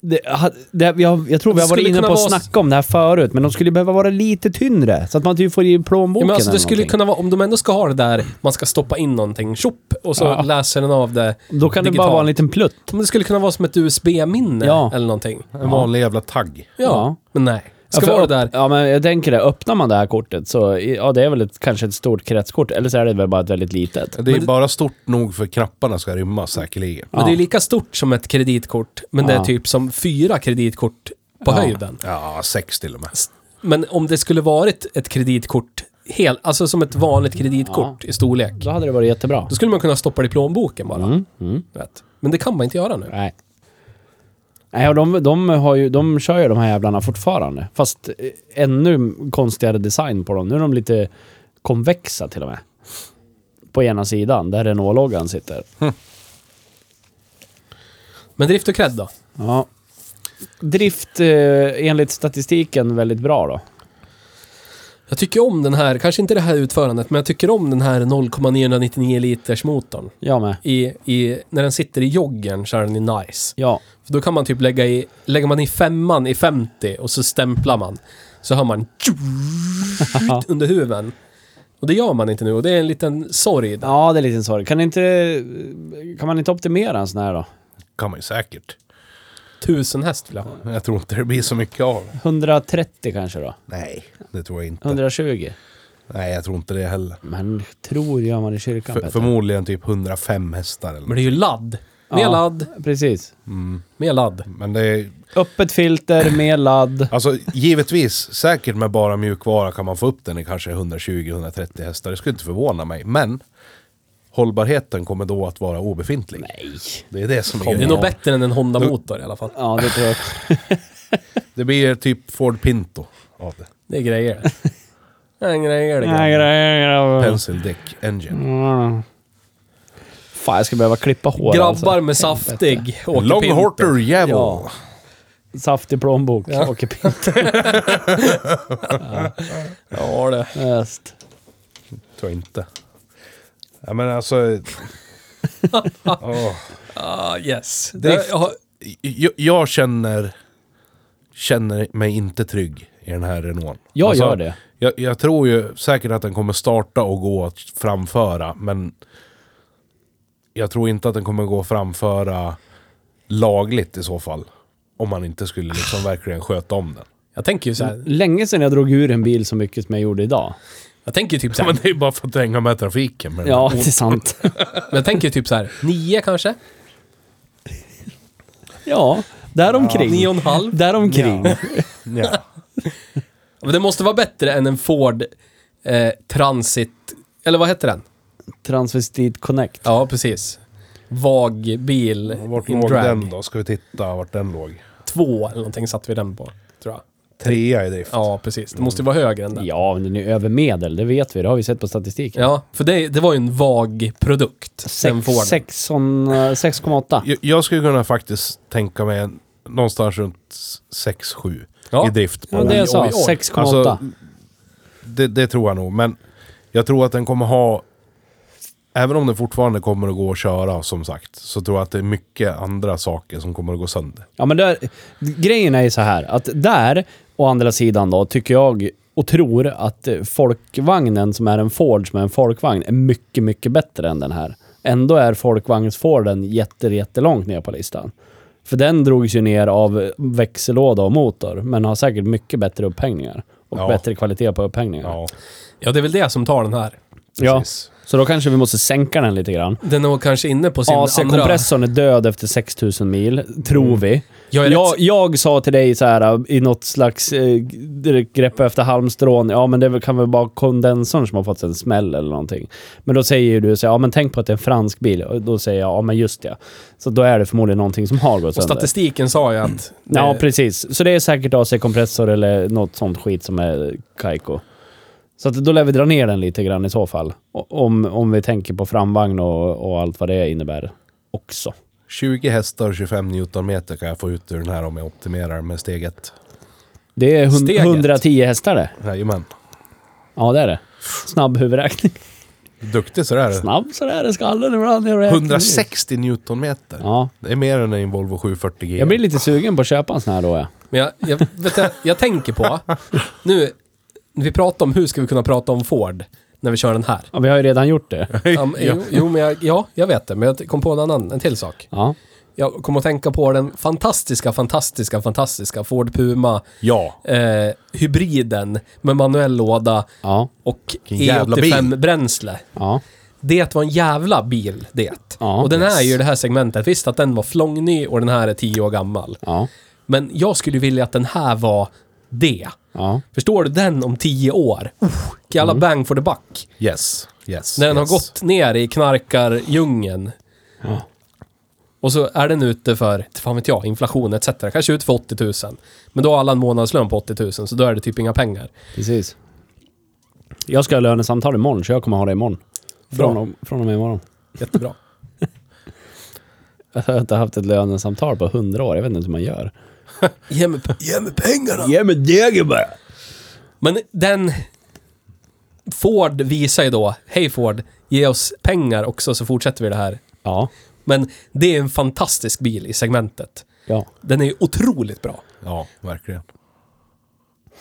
Speaker 3: Det, ha- det, vi har, jag tror vi
Speaker 1: Det
Speaker 3: har varit
Speaker 1: skulle
Speaker 3: inne
Speaker 1: kunna
Speaker 3: på att
Speaker 1: vara s-
Speaker 3: snacka om det här förut, men de skulle behöva vara lite tyngre. Så att man typ får i
Speaker 1: Ja,
Speaker 3: plånboken
Speaker 1: men alltså,
Speaker 3: eller
Speaker 1: det skulle
Speaker 3: någonting.
Speaker 1: kunna vara, om de ändå ska ha det där, man ska stoppa in någonting, tjopp, och så
Speaker 3: Ja.
Speaker 1: läser den av det.
Speaker 3: Då kan det bara
Speaker 1: digitalt.
Speaker 3: vara en liten plutt.
Speaker 1: Men det skulle kunna vara som ett USB-minne
Speaker 3: Ja.
Speaker 1: eller någonting. Ja,
Speaker 2: En vanlig jävla tagg.
Speaker 3: Ja.
Speaker 1: men nej.
Speaker 3: Ja,
Speaker 1: Ska
Speaker 3: för
Speaker 1: vara
Speaker 3: öpp-
Speaker 1: det där.
Speaker 3: Ja, men jag tänker det. Öppnar man det här kortet så, i- ja det är väl ett, kanske ett stort kretskort, eller så är det väl bara ett väldigt litet.
Speaker 2: Det är
Speaker 1: det-
Speaker 2: bara stort nog för knapparna ska rymmas säkerligen.
Speaker 1: Men det är lika stort som ett kreditkort, men det
Speaker 3: Ja.
Speaker 1: är typ som fyra kreditkort på höjden.
Speaker 2: Ja, sex till och med.
Speaker 1: Men om det skulle varit ett kreditkort, hel, alltså som ett vanligt kreditkort i storlek,
Speaker 3: Då hade det varit jättebra.
Speaker 1: då skulle man kunna stoppa det i plånboken bara.
Speaker 3: Mm, mm.
Speaker 1: Rätt. Men det kan man inte göra nu.
Speaker 3: Nej. Nej, och de, de, har ju, de kör ju de här jävlarna fortfarande. Fast eh, ännu konstigare design på dem. Nu är de lite konvexa till och med. På ena sidan, där Renault-loggan sitter.
Speaker 1: Men drift och cred då?
Speaker 3: Ja. Drift, eh, enligt statistiken, väldigt bra då.
Speaker 1: Jag tycker om den här, kanske inte det här utförandet, men jag tycker om den här 0,999 liters motorn.
Speaker 3: Jag med.
Speaker 1: I, i, när den sitter i joggen så är den ju nice.
Speaker 3: Ja.
Speaker 1: För då kan man typ lägga i, lägger man i femman i 50 och så stämplar man. Så hör man under huven. Och det gör man inte nu och det är en liten sorg. Där.
Speaker 3: ja, det är lite sorg. Kan, inte, kan man inte optimera en sån här då?
Speaker 2: kan man ju säkert.
Speaker 1: Tusen häst vill jag ha.
Speaker 2: Jag tror inte det blir så mycket av.
Speaker 3: 130 kanske då?
Speaker 2: Nej, det tror jag inte.
Speaker 3: 120?
Speaker 2: Nej, jag tror inte det heller.
Speaker 3: Men tror gör man i kyrkan
Speaker 2: För,
Speaker 3: Petter.
Speaker 2: förmodligen typ 105 hästar eller
Speaker 1: Men det är ju ladd. Mer
Speaker 3: Ja.
Speaker 1: ladd,
Speaker 3: Precis.
Speaker 1: mer ladd.
Speaker 2: Men det är...
Speaker 3: Öppet filter med ladd.
Speaker 2: Alltså givetvis, säkert med bara mjukvara kan man få upp den i kanske 120-130 hästar. Det skulle inte förvåna mig. Men hållbarheten kommer då att vara obefintlig.
Speaker 3: Nej.
Speaker 2: Det är det som
Speaker 1: Det
Speaker 2: är
Speaker 1: är nog bättre än en Honda-motor i alla fall.
Speaker 3: Ja, det tror jag.
Speaker 2: Det blir typ Ford Pinto av det.
Speaker 1: Det är grejer. Det är grejer det.
Speaker 3: Nej,
Speaker 1: grejer.
Speaker 3: grejer, grabbar.
Speaker 2: Pencil Deck Engine.
Speaker 3: Mm. Fan, jag ska behöva klippa hår
Speaker 1: Grabbar
Speaker 3: alltså.
Speaker 1: med saftig åker
Speaker 2: Long
Speaker 1: Pinto.
Speaker 2: Horter Jävel.
Speaker 3: Ja. Saftig alltså. plånbok.
Speaker 1: Ja.
Speaker 3: Åker Pinter.
Speaker 1: Ja, det.
Speaker 3: Öst.
Speaker 2: Tror jag inte. Ja, men alltså... Åh.
Speaker 1: Ah, yes.
Speaker 2: Det-
Speaker 1: Det, jag har-
Speaker 2: jag, jag känner, känner mig inte trygg i den här Renaulten.
Speaker 3: Jag
Speaker 2: Alltså,
Speaker 3: gör det.
Speaker 2: Jag, jag tror ju säkert att den kommer starta och gå att framföra, men jag tror inte att den kommer gå att framföra lagligt i så fall. Om man inte skulle liksom verkligen sköta om den.
Speaker 1: jag tänker ju så här.
Speaker 3: Länge sedan jag drog ur en bil så mycket som jag gjorde idag.
Speaker 1: Jag tänker ju typ så
Speaker 2: Ja,
Speaker 1: här.
Speaker 2: men det är ju bara för att hänga med trafiken. Men
Speaker 3: Ja, det är sant.
Speaker 1: Men jag tänker ju typ så här. Nio kanske?
Speaker 3: Ja, däromkring.
Speaker 1: Nio och en halv?
Speaker 3: Däromkring.
Speaker 2: Ja.
Speaker 1: Men det måste vara bättre än en Ford eh, Transit... Eller vad heter den?
Speaker 3: Transvestit Connect.
Speaker 1: Ja, precis. Vagbil
Speaker 2: Vart
Speaker 1: in
Speaker 2: låg
Speaker 1: drag.
Speaker 2: den då? Ska vi titta vart den låg?
Speaker 1: Två eller någonting satte vi den på, tror jag.
Speaker 2: Trea i drift.
Speaker 1: Ja, precis. Det måste ju vara högre än den. Ja,
Speaker 3: Ja, men den är ju över medel. Det vet vi. Det har vi sett på statistiken.
Speaker 1: för det, det var ju en vag produkt. den
Speaker 3: Sex-
Speaker 1: Forden.
Speaker 3: sex- sån, eh, 6,8.
Speaker 2: Jag, jag skulle kunna faktiskt tänka mig en- någonstans runt 6-7
Speaker 1: Ja.
Speaker 2: i drift. på
Speaker 3: Ja,
Speaker 2: den.
Speaker 3: det jag sa.
Speaker 1: oj, oj.
Speaker 3: 6,8.
Speaker 2: Alltså, det, det tror jag nog, men jag tror att den kommer ha... Även om den fortfarande kommer att gå att köra, som sagt, så tror jag att det är mycket andra saker som kommer att gå sönder.
Speaker 3: Ja, men där, grejen är ju så här att där, å andra sidan då, tycker jag och tror att eh, folkvagnen som är en Ford, som är en folkvagn, är mycket, mycket bättre än den här. Ändå är folkvagnsforden jätte, jättelångt ner på listan. För den drogs ju ner av växellåda och motor, men har säkert mycket bättre upphängningar. Och
Speaker 2: Ja.
Speaker 3: bättre kvalitet på upphängningar.
Speaker 2: Ja,
Speaker 1: Ja, det är väl det som tar den här.
Speaker 3: Ja.
Speaker 2: precis.
Speaker 3: Så då kanske vi måste sänka den lite grann.
Speaker 1: Den är nog kanske inne på sin andra... Mm.
Speaker 3: AC-kompressorn är död efter 6000 mil, tror vi.
Speaker 1: Jag är
Speaker 3: Jag,
Speaker 1: rätt...
Speaker 3: jag sa till dig så här äh, i något slags eh, grepp efter halmstrån, ja men det är väl- kan väl vara kondensorn som har fått en smäll eller någonting. Men då säger ju du så här, ja men tänk på att det är en fransk bil. Och då säger jag, ja men just det. Så då är det förmodligen någonting som har gått
Speaker 1: Och
Speaker 3: sönder.
Speaker 1: statistiken sa ju att...
Speaker 3: Ja,
Speaker 1: eh,
Speaker 3: precis. Så det är säkert AC-kompressor eller något sånt skit som är Kaiko. Så att då lär vi dra ner den lite grann i så fall. O- Om, om vi tänker på framvagn och, och allt vad det innebär också.
Speaker 2: 20 hästar och 25 newtonmeter kan jag få ut ur den här om jag optimerar med steget.
Speaker 3: Det är hun-
Speaker 1: Steget.
Speaker 3: 110 hästar det.
Speaker 2: Jajamän.
Speaker 3: Ja, det är det. Snabb huvudräkning.
Speaker 2: Duktig sådär.
Speaker 3: Snabb sådär i skallen ibland. jag räknar ut.
Speaker 2: 160 newtonmeter.
Speaker 3: Ja.
Speaker 2: Det är mer än en Volvo 740 G.
Speaker 3: Jag blir lite sugen på att köpa en sån här då. Ja.
Speaker 1: Men jag, jag, vet du, jag tänker på, nu, när vi pratar om hur ska vi kunna prata om Ford när vi kör den här.
Speaker 3: Ja, vi har ju redan gjort det.
Speaker 1: Ja, men, jo, jo, men jag, ja, jag vet det, men jag kom på en annan, en till sak.
Speaker 3: Ja.
Speaker 1: Jag kom att tänka på den fantastiska, fantastiska, fantastiska Ford Puma
Speaker 2: Ja.
Speaker 1: eh, hybriden med manuell låda
Speaker 3: Ja.
Speaker 1: och
Speaker 2: Vilken jävla bil.
Speaker 1: E85-bränsle.
Speaker 3: Ja.
Speaker 1: Det var en jävla bil, det.
Speaker 3: Ja,
Speaker 1: och den är
Speaker 3: yes.
Speaker 1: ju i det här segmentet. Visst att den var flångny och den här är tio år gammal.
Speaker 3: Ja.
Speaker 1: Men jag skulle ju vilja att den här var det.
Speaker 3: Ja.
Speaker 1: Förstår du den om tio år? Uh, jävla bang for the buck.
Speaker 2: Yes. Yes.
Speaker 1: När den
Speaker 2: yes.
Speaker 1: har gått ner i knarkardjungeln. Och så är den ute för, inte fan vet jag, inflation etc. Kanske ut för 80 000. Men då har alla en månadslön på 80 000, så då är det typ inga pengar.
Speaker 3: Precis. Jag ska ha lönesamtal imorgon, så jag kommer ha det imorgon.
Speaker 1: Bra.
Speaker 3: Från, och- från och med imorgon.
Speaker 1: Jättebra.
Speaker 3: Jag har inte haft ett lönesamtal på hundra år. Jag vet inte hur man gör.
Speaker 1: Ge mig, ge mig pengarna!
Speaker 3: Ge mig degen bara!
Speaker 1: Men den... Ford visar ju då, hej Ford, ge oss pengar också så fortsätter vi det här.
Speaker 3: Ja.
Speaker 1: Men det är en fantastisk bil i segmentet.
Speaker 3: Ja.
Speaker 1: Den är ju otroligt bra.
Speaker 2: Ja, verkligen.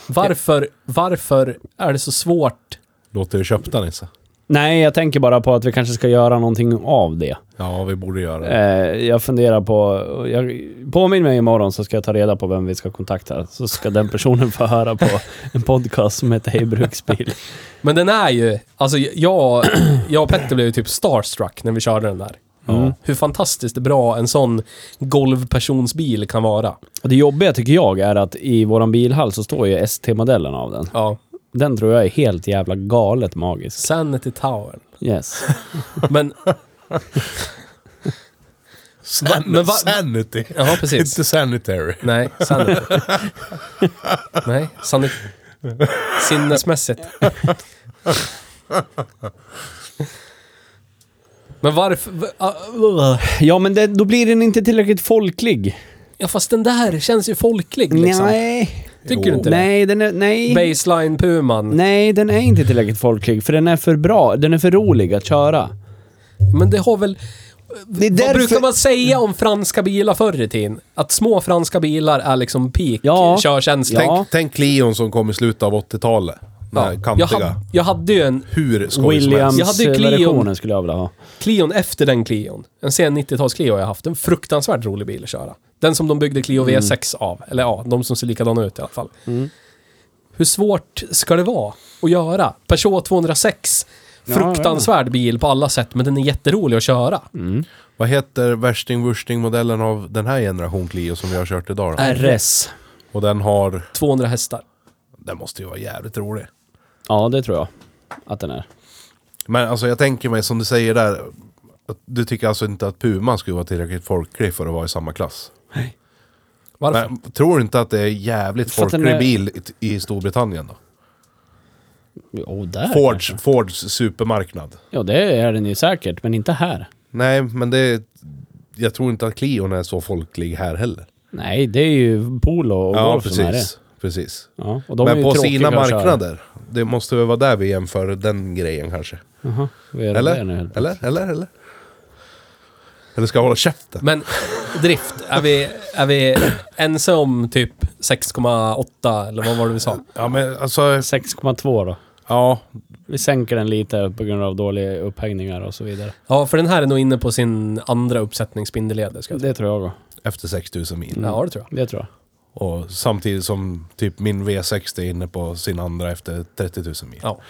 Speaker 1: Varför, varför är det så svårt?
Speaker 2: Låter du köpta Nisse?
Speaker 3: Nej, jag tänker bara på att vi kanske ska göra någonting av det.
Speaker 2: Ja, vi borde göra det.
Speaker 3: Eh, jag funderar på... Jag, påminn mig imorgon så ska jag ta reda på vem vi ska kontakta. Så ska den personen få höra på en podcast som heter Hej Bruksbil.
Speaker 1: Men den är ju, alltså jag, jag och Petter blev ju typ starstruck när vi körde den där. Hur fantastiskt bra en sån golvpersonsbil kan vara.
Speaker 3: Och det jobbiga tycker jag är att i våran bilhall så står ju ST-modellen av den.
Speaker 1: Ja.
Speaker 3: Den tror jag är helt jävla galet magisk.
Speaker 1: Sanity Tower.
Speaker 3: Yes.
Speaker 1: Men,
Speaker 2: San-
Speaker 1: men va-
Speaker 2: sanity.
Speaker 1: ja precis.
Speaker 2: Inte sanitary.
Speaker 1: Nej, sanity. Nej, sanity. Sinnesmässigt. Men varför... va-
Speaker 3: Ja, men det, då blir den inte tillräckligt folklig.
Speaker 1: Ja fast den där känns ju folklig liksom.
Speaker 3: Nej.
Speaker 1: Tycker du inte det?
Speaker 3: Nej, den är... Nej.
Speaker 1: Baseline Puman.
Speaker 3: Nej, den är inte tillräckligt folklig, för den är för bra. Den är för rolig att köra.
Speaker 1: Men det har väl...
Speaker 3: Det är
Speaker 1: Vad
Speaker 3: därför-
Speaker 1: brukar man säga om franska bilar förr i tiden? Att små franska bilar är liksom peak
Speaker 3: Ja.
Speaker 1: körkänsla.
Speaker 3: Ja.
Speaker 2: Tänk, tänk Leon som kom i slutet av 80-talet. Den här
Speaker 1: Jag,
Speaker 2: kantiga.
Speaker 1: hade, jag hade ju en
Speaker 2: Hur skoj som helst.
Speaker 1: Jag hade ju Clio.
Speaker 3: Williams-versionen skulle jag vilja ha.
Speaker 1: Clion efter den Clion. En sen 90-tals Clio jag haft. En fruktansvärt rolig bil att köra. Den som de byggde Clio
Speaker 3: Mm.
Speaker 1: V6 av. Eller ja, de som ser likadana ut i alla fall. Hur svårt ska det vara att göra? Peugeot 206. Fruktansvärd bil på alla sätt, men den är jätterolig att köra.
Speaker 3: Mm.
Speaker 2: Vad heter värsting-wursting-modellen av den här generation Clio som vi har kört idag då?
Speaker 3: RS.
Speaker 2: Och den har...
Speaker 1: 200 hästar.
Speaker 2: Den måste ju vara jävligt rolig.
Speaker 3: Ja, det tror jag att den är.
Speaker 2: Men alltså jag tänker mig som du säger där. Att du tycker alltså inte att Puma skulle vara tillräckligt folklig för att vara i samma klass?
Speaker 1: Varför?
Speaker 2: Men, tror du inte att det är jävligt
Speaker 3: För att den
Speaker 2: folklig
Speaker 3: är-
Speaker 2: bil i- i Storbritannien då?
Speaker 3: Jo, där kanske.
Speaker 2: Fords, Fords supermarknad.
Speaker 3: Ja, det är den ju säkert, men inte här.
Speaker 2: Nej, men det... Jag tror inte att Clion är så folklig här heller.
Speaker 3: Nej, det är ju polo och golf som är det.
Speaker 2: Precis.
Speaker 3: Ja, och de är
Speaker 2: men
Speaker 3: ju
Speaker 2: på
Speaker 3: tråkiga
Speaker 2: sina
Speaker 3: att köra.
Speaker 2: marknader. Det måste väl vara där vi jämför den grejen kanske.
Speaker 3: Jaha, vad är det
Speaker 2: Eller?
Speaker 3: där nu?
Speaker 2: Eller? Eller? Eller? Eller ska jag hålla käften?
Speaker 1: Men drift, är vi, är vi ense om typ 6,8 eller vad var det vi sa?
Speaker 2: Ja, men alltså...
Speaker 3: 6,2 då.
Speaker 2: Ja,
Speaker 3: Vi sänker den lite på grund av dåliga upphängningar och så vidare.
Speaker 1: Ja, för den här är nog inne på sin andra uppsättning spindelleder. Ska jag säga.
Speaker 3: Det tror jag också.
Speaker 2: efter 6000 mil.
Speaker 1: Ja, det tror jag.
Speaker 3: Det tror jag.
Speaker 2: Och samtidigt som typ min V60 är inne på sin andra efter 30 000 mil.
Speaker 1: Ja.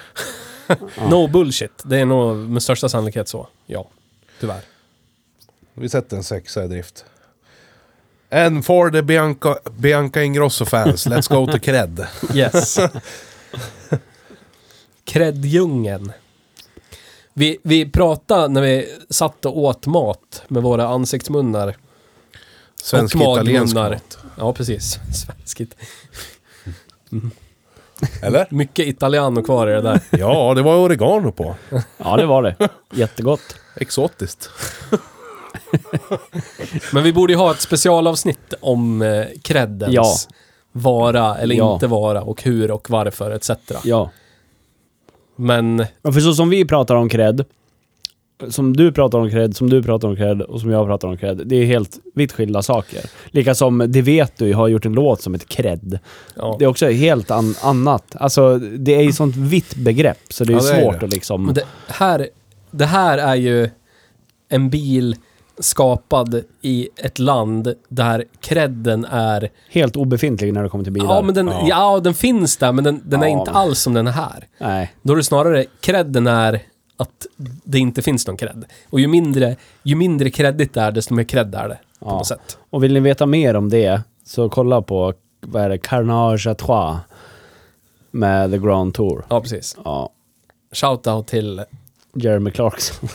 Speaker 1: no bullshit. Det är nog med största sannolikhet så. Ja. Tyvärr.
Speaker 2: Vi sätter en sexa i drift. En Ford Bianca, Bianca Ingrosso-fans, let's go to cred.
Speaker 1: Yes. Kreddjungeln. Vi, vi pratade när vi satt och åt mat med våra ansiktsmunnar.
Speaker 2: Svensk-italiensk.
Speaker 1: magmunnar. Ja, precis. Svenskigt.
Speaker 2: Eller?
Speaker 1: Mycket italiano kvar i det där.
Speaker 2: Ja, det var oregano på.
Speaker 3: Ja, det var det. Jättegott.
Speaker 2: Exotiskt.
Speaker 1: Men vi borde ju ha ett specialavsnitt om eh, creddens
Speaker 3: Ja.
Speaker 1: vara eller
Speaker 3: Ja.
Speaker 1: inte vara och hur och varför etc.
Speaker 3: Ja.
Speaker 1: Men
Speaker 3: Ja, För så som vi pratar om cred, som du pratar om cred, som du pratar om cred och som jag pratar om cred, det är helt vitt skilda saker. Lika som Det vet du har gjort en låt som heter cred.
Speaker 1: ja.
Speaker 3: Det är också helt an- annat. Alltså, det är ju sånt vitt begrepp, så det är
Speaker 2: Ja,
Speaker 3: ju
Speaker 2: det är
Speaker 3: svårt
Speaker 2: det.
Speaker 3: att liksom...
Speaker 1: Men det, här, det här är ju en bil skapad i ett land där credden är...
Speaker 3: Helt obefintlig när det kommer till bilar.
Speaker 1: Ja, men den, ja. den finns där, men den, den är
Speaker 3: Ja,
Speaker 1: inte
Speaker 3: men-
Speaker 1: alls som den är här.
Speaker 3: Nej.
Speaker 1: Då är det snarare credden är att det inte finns någon cred. Och ju mindre, ju mindre creddigt det är, desto mer cred är det. På
Speaker 3: Ja.
Speaker 1: något sätt.
Speaker 3: Och vill ni veta mer om det, så kolla på, vad är det, Carnage à Trois med The Grand Tour.
Speaker 1: Ja, precis.
Speaker 3: Ja.
Speaker 1: Shoutout till
Speaker 3: Jeremy Clarkson.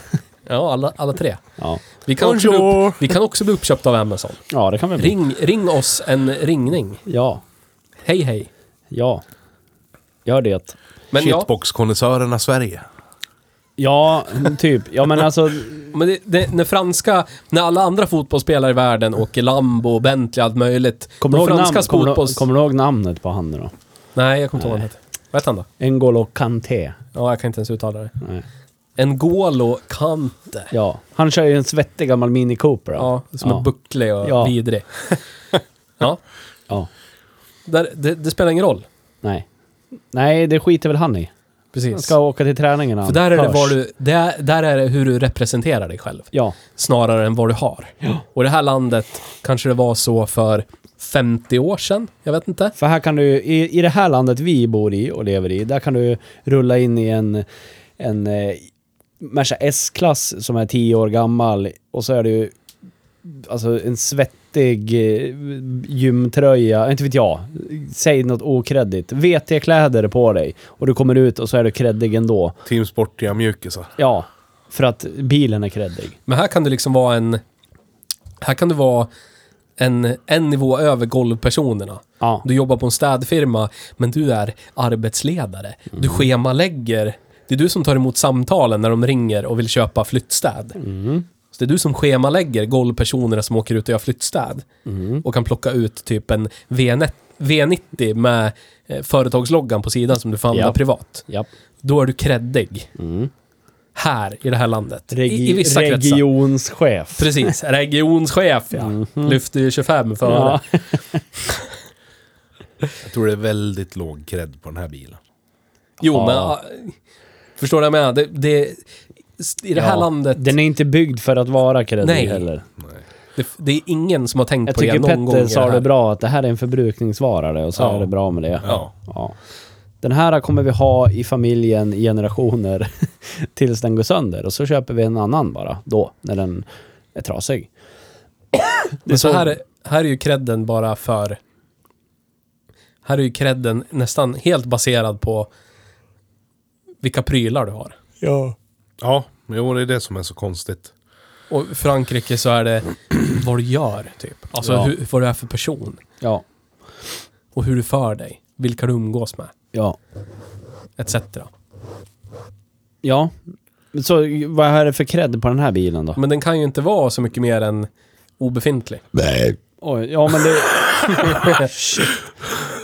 Speaker 1: ja, alla, alla tre.
Speaker 3: Ja.
Speaker 1: Vi kan, också bli
Speaker 2: Bonjour.
Speaker 1: upp, vi kan också bli uppköpta av Amazon.
Speaker 3: ja, det kan vi bli.
Speaker 1: Ring, ring oss en ringning.
Speaker 3: Ja.
Speaker 1: Hej, hej.
Speaker 3: Ja. Gör det.
Speaker 1: Men ja,
Speaker 2: Shitbox-konnässörerna Sverige.
Speaker 3: Ja, typ. Ja, men alltså...
Speaker 1: Men det, det, när franska, när alla andra fotbollsspelare i världen åker Lambo, Bentley, allt möjligt.
Speaker 3: Kommer du,
Speaker 1: de
Speaker 3: ihåg namn,
Speaker 1: franskas
Speaker 3: kommer,
Speaker 1: fotbolls...
Speaker 3: du, kommer du ihåg namnet på han nu då?
Speaker 1: Nej, jag kommer inte ihåg vad han heter. Vad heter han då?
Speaker 3: N'Golo Kanté.
Speaker 1: Ja, jag kan inte ens uttala det.
Speaker 3: Nej.
Speaker 1: N'Golo Kante.
Speaker 3: Ja. Han kör ju en svettig gammal Mini Cooper. då.
Speaker 1: Ja, som är bucklig och
Speaker 3: Ja.
Speaker 1: vidrig. ja,
Speaker 3: ja.
Speaker 1: där, det, det spelar ingen roll.
Speaker 3: Nej. Nej, det skiter väl han i. Han
Speaker 1: Precis.
Speaker 3: ska åka till träningen han
Speaker 1: För där är, det
Speaker 3: hörs.
Speaker 1: var du, där, där är det hur du representerar dig själv.
Speaker 3: Ja.
Speaker 1: Snarare än vad du har. Och i det här landet kanske det var så för 50 år sedan. Jag vet inte.
Speaker 3: För här kan du, ju- i, i det här landet vi bor i och lever i, där kan du rulla in i en, en eh, Merca S-klass som är 10 år gammal och så är det ju alltså en svettig eh, gymtröja, inte vet jag, säg något okreddigt. VT-kläder på dig och du kommer ut och så är du kreddig ändå.
Speaker 2: Team Sportiga mjukisar.
Speaker 3: Ja, för att bilen är kreddig.
Speaker 1: Men här kan du liksom vara en... Här kan du vara en, en nivå över golvpersonerna.
Speaker 3: Ja,
Speaker 1: Du jobbar på en städfirma, men du är arbetsledare. Du
Speaker 3: Mm. Mm.
Speaker 1: schemalägger. Det är du som tar emot samtalen när de ringer och vill köpa flyttstäd. Så det är du som schemalägger golvpersonerna som åker ut och gör flyttstäd.
Speaker 3: Mm.
Speaker 1: Och kan plocka ut typ en V90 V90 med eh, företagsloggan på sidan som du får använda
Speaker 3: Ja.
Speaker 1: privat.
Speaker 3: Ja.
Speaker 1: Då är du creddig.
Speaker 3: Mm.
Speaker 1: Här, i det här landet.
Speaker 4: Regi-
Speaker 1: I, I vissa kretsar.
Speaker 4: regionschef.
Speaker 1: Precis, regionschef ja. Lyfter ju 25 för
Speaker 3: Mhm. Ja.
Speaker 2: Jag tror det är väldigt låg cred på den här bilen.
Speaker 1: Jo,
Speaker 3: Ja.
Speaker 1: men... ah, Förstår du vad jag menar? Det, det, I det här
Speaker 3: Ja.
Speaker 1: landet,
Speaker 3: Den är inte byggd för att vara
Speaker 1: Nej.
Speaker 3: kreddig heller.
Speaker 1: det, det är ingen som har tänkt
Speaker 3: Jag
Speaker 1: på det
Speaker 3: tycker
Speaker 1: någon gång. i
Speaker 3: Petter sa
Speaker 1: här.
Speaker 3: det bra, att det här är en förbrukningsvara det, och så
Speaker 1: Ja.
Speaker 3: är det bra med det.
Speaker 1: Ja.
Speaker 3: Ja. Den här kommer vi ha i familjen i generationer tills den går sönder och så köper vi en annan bara då, när den är trasig.
Speaker 1: Men så här, här är ju credden bara för... Här är ju credden nästan helt baserad på vilka prylar du har.
Speaker 2: Ja, jo det är det som är så konstigt.
Speaker 1: Och i Frankrike så är det vad du gör, typ. Alltså
Speaker 3: Ja.
Speaker 1: hur, vad du är för person.
Speaker 3: Ja.
Speaker 1: Och hur du för dig. Vilka du umgås med.
Speaker 3: Ja.
Speaker 1: Etc.
Speaker 3: Ja. Så vad är det för cred på den här bilen då?
Speaker 1: Men den kan ju inte vara så mycket mer än obefintlig.
Speaker 3: Oj, ja men det...